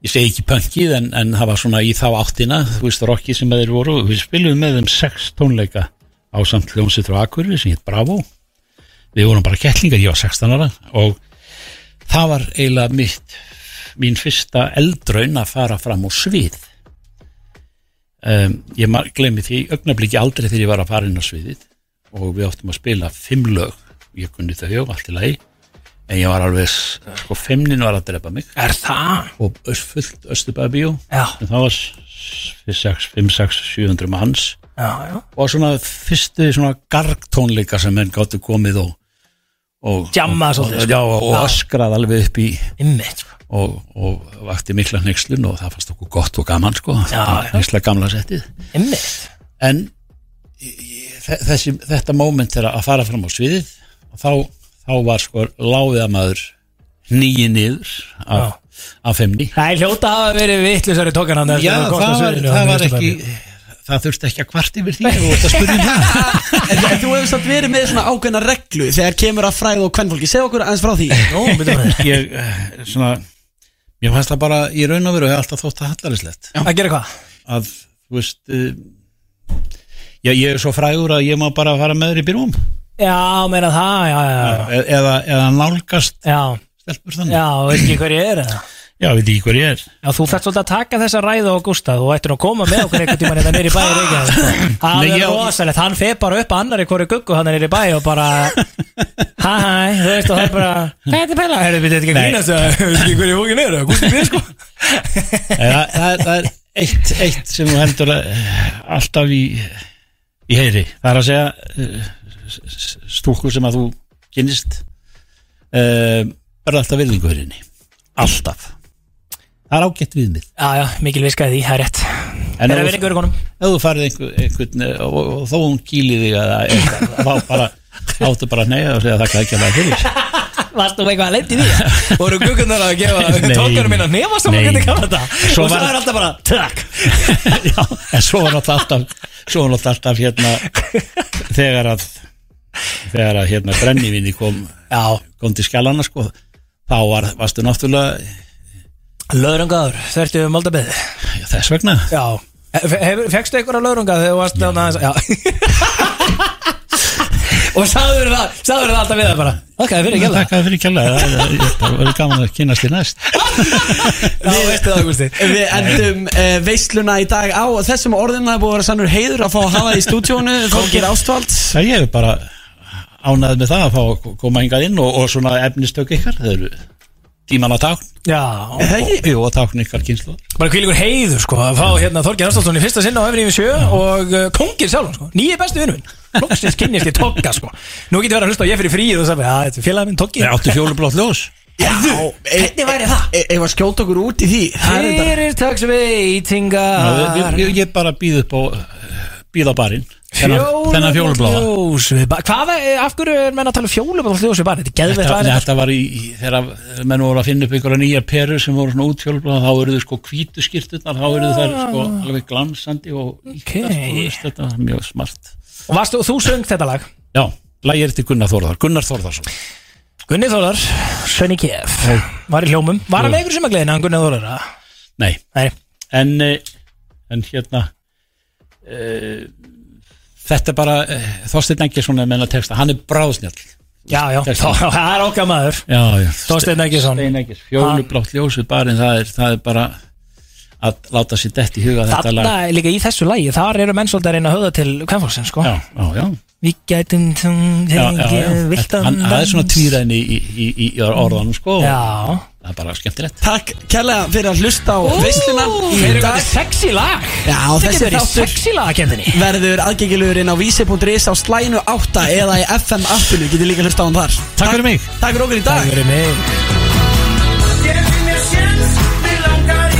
Speaker 5: ég segi ekki pönkið en, en það var svona í þá áttina þú veist rocki sem þeir voru við spilum með þeim sex tónleika á samt hljómsveit frá Akurri sem hétt Bravo við vorum bara kettlingar, ég var 16 ára og það var eiginlega mitt, mín fyrsta eldraun að fara fram á svið um, ég mar- gleymi því augnabliki aldrei þegar ég var að fara inn á sviðið og við áttum að spila fimm lög ég kunni þau og allt í lagi en ég var alveg s- sko femnin var að drepa mig
Speaker 2: Er það?
Speaker 5: og ös- fullt Östubæbíó
Speaker 2: Já.
Speaker 5: en það var 5-6-700 manns
Speaker 2: Já, já
Speaker 5: og svona fyrstu svona gargtónleika sem menn gáttu komið og og,
Speaker 2: Djammað
Speaker 5: og,
Speaker 2: svolítið, sko.
Speaker 5: já, og öskrað alveg upp í
Speaker 2: Einmitt, sko
Speaker 5: og, og vakti mikla hneykslun og það fannst okkur gott og gaman sko
Speaker 2: Já, já.
Speaker 5: hneksla gamla settið
Speaker 2: Einmitt
Speaker 5: en ég- þe- þessi, þetta moment þegar að fara fram á sviðið og þá, þá var sko láðamaður nýji niður af, af femni
Speaker 2: Það er hljóta að hafa verið vittlisari tókan hann
Speaker 5: Já, það var, það var ekki það þurfti ekki að kvart yfir því og það spurði um það
Speaker 4: En, en þú hefur samt verið með svona ákveðna reglu þegar kemur að fræða og kvennfólki Segð okkur aðeins frá því
Speaker 2: Nú, myndum við
Speaker 5: ég, eh, svona, ég fannst það bara í raun og veru og ég alltaf þótt það hallarislegt
Speaker 2: Að gera hvað?
Speaker 5: að, þú veist uh, já, ég er svo frægur að ég má bara fara með þér í byrjum
Speaker 2: Já, meira það, já, já, já
Speaker 5: e eða, eða nálgast
Speaker 2: Já,
Speaker 5: stelpur þannig
Speaker 2: já, veist ekki hver ég er eða?
Speaker 5: Já, veit ekki hver ég er
Speaker 2: Já, þú fært svolítið að taka þessa ræðu á Gústa Þú ættir nú að koma með okkur einhvern tímann eða nýri bæ í Reykjavík sko. Það
Speaker 5: Nei,
Speaker 2: er
Speaker 5: já.
Speaker 2: rosalegt, hann fer bara upp að annar í hverju guggu hann er nýri bæ og bara Hæ, hæ, þú veist og það er bara Hvað er þetta pæla? Herðu, við þetta ekki að grínast eða, Þú veist ekki hverju hókin er, eða, Gústi við sko
Speaker 5: það, það, er- það er eitt, eitt sem þú hendur að, eh, alltaf í, í heyri það er að segja eh, s- s- stúlkur sem að þú kynist uh, er alltaf virðingu fyrir henni alltaf það er ágætt viðmið
Speaker 2: Já, já, mikil viskaði því, það er rétt Er að
Speaker 5: en ef
Speaker 2: vera
Speaker 5: þú-
Speaker 2: einhverjum konum
Speaker 5: ef þú farið einhver, einhvern eh, og, og þó hún kýlir þig eða eitthvað, þá bara áttu bara að neyja og segja þakka ekki að það fyrir
Speaker 2: Varst þú eitthvað að lendi því? Voru guggunar að gefa
Speaker 5: Nei.
Speaker 2: tókana mína nefast og
Speaker 5: Nei.
Speaker 2: hvernig gaf þetta?
Speaker 5: Svo
Speaker 2: Og svo
Speaker 5: var-
Speaker 2: er alltaf bara, takk
Speaker 5: Já, en svo var náttúrulega alltaf svo var náttúrulega alltaf hérna þegar að þegar að hérna brennivinni kom
Speaker 2: Já,
Speaker 5: kom til skjallana sko þá var, varstu náttúrulega
Speaker 2: löðrungaður, þvertu um aldabæði
Speaker 5: já, þess vegna
Speaker 2: Já Fekstu einhverja laurunga þegar þú varst þarna aðeins Já Og sagður það, sagður það alltaf við það bara Ok, fyrir ekki alveg
Speaker 5: Takk að fyrir kjalla það það- ég- það verður gaman að kynast þér næst
Speaker 2: Já, veistu það, Gusti
Speaker 4: Við endum uh, veisluna í dag á þessum orðinu Það er búið að vera sannur heiður að fá að hafa það í stúdíónu Þorgir Ástvalds
Speaker 5: það ég er bara ánæðið með það að fá að koma hingað inn og, og svona efnistök ykkar þau eru tíman að tákn
Speaker 2: Já,
Speaker 5: og, jú, og tákn ykkar kynslu
Speaker 2: bara hvílíkur heiður sko að fá hérna Þorgeir Ástálsson í fyrsta sinna á Efri 7 og uh, kongir sjálf sko, nýji bestu vinnum Lóksins kynnist ég Togga sko Nú getur verið að hlusta á ég fyrir fríð og sagði, já, þetta er félagið minn Toggi
Speaker 5: Þeir áttu fjólublátt ljós
Speaker 4: Já,
Speaker 2: e-
Speaker 4: e-
Speaker 2: Hvernig væri það?
Speaker 4: Ef að skjóta okkur út í því Það er þetta
Speaker 2: Fyrir takks
Speaker 5: Já,
Speaker 2: veitingar
Speaker 5: ég- ég, ég bara býð upp á eh, býð á barinn þennan, þennan fjólubláða
Speaker 2: Fjólubláðljós við bar Hvað, er- af hverju er menn að tala um fjólubláðljós við bar? Þetta er geðveikt
Speaker 5: Þetta,
Speaker 2: hvað
Speaker 5: nei,
Speaker 2: er
Speaker 5: þetta var í, í- þegar menn voru að finna upp einhverja nýja perur sem voru svona útfjólblað þá eru þau sko hvítu skýrturnar þá eru þær sko alveg glansandi og
Speaker 2: Ok.
Speaker 5: ýktar, sko, þú veist, þetta var mjög smart
Speaker 2: Og varstu, þú söng þetta lag
Speaker 5: Já, lægir til Gunnar Þórðar, Gunnar Þórðarsson
Speaker 2: Gunni Þólar, Svenni Kef Var í hljómum, var hann með ykkur sem að gleðina hann Gunni Þólar eða?
Speaker 5: Nei,
Speaker 2: Nei,
Speaker 5: en eh, en hérna e, þetta er bara e, Þorsteinn Engilsson er menna texta, hann er bráðsnjall
Speaker 2: já, já,
Speaker 5: Þess-
Speaker 2: þá- það er okkar maður
Speaker 5: Já, já,
Speaker 2: Þorsteinn Eggertsson.
Speaker 5: Þorsteinn Engilsson, fjólublátt ljósið barinn, það er, það er bara að láta sér dett í huga þetta
Speaker 2: Þarna
Speaker 5: lag
Speaker 2: líka í þessu lagi, þar eru menn svolítið að reyna að höfða til kvennfólksinn, sko
Speaker 5: Já, já, já
Speaker 2: Við gætum
Speaker 5: já, já, já. Þetta-
Speaker 2: viltan
Speaker 5: hann það er svona
Speaker 2: dans.
Speaker 5: tvíræðin í, í, í, í orðanum sko og
Speaker 2: Já,
Speaker 5: það er bara skemmtilegt
Speaker 4: Takk kærlega fyrir að hlusta á veisluna í
Speaker 2: þetta er
Speaker 4: dag
Speaker 2: sexy lag
Speaker 4: Já,
Speaker 2: Þetta
Speaker 4: þessi
Speaker 2: getur verið
Speaker 4: þáttur
Speaker 2: sexy lag að kendinni
Speaker 4: verður aðgengilegur inn á vísi.is á slænu 8 eða í FM appinu, getur líka hlusta á hann þar
Speaker 5: Takk fyrir mig
Speaker 4: Takk fyrir okkur í dag
Speaker 2: Það er mig
Speaker 14: Gefið mér séns, mér langar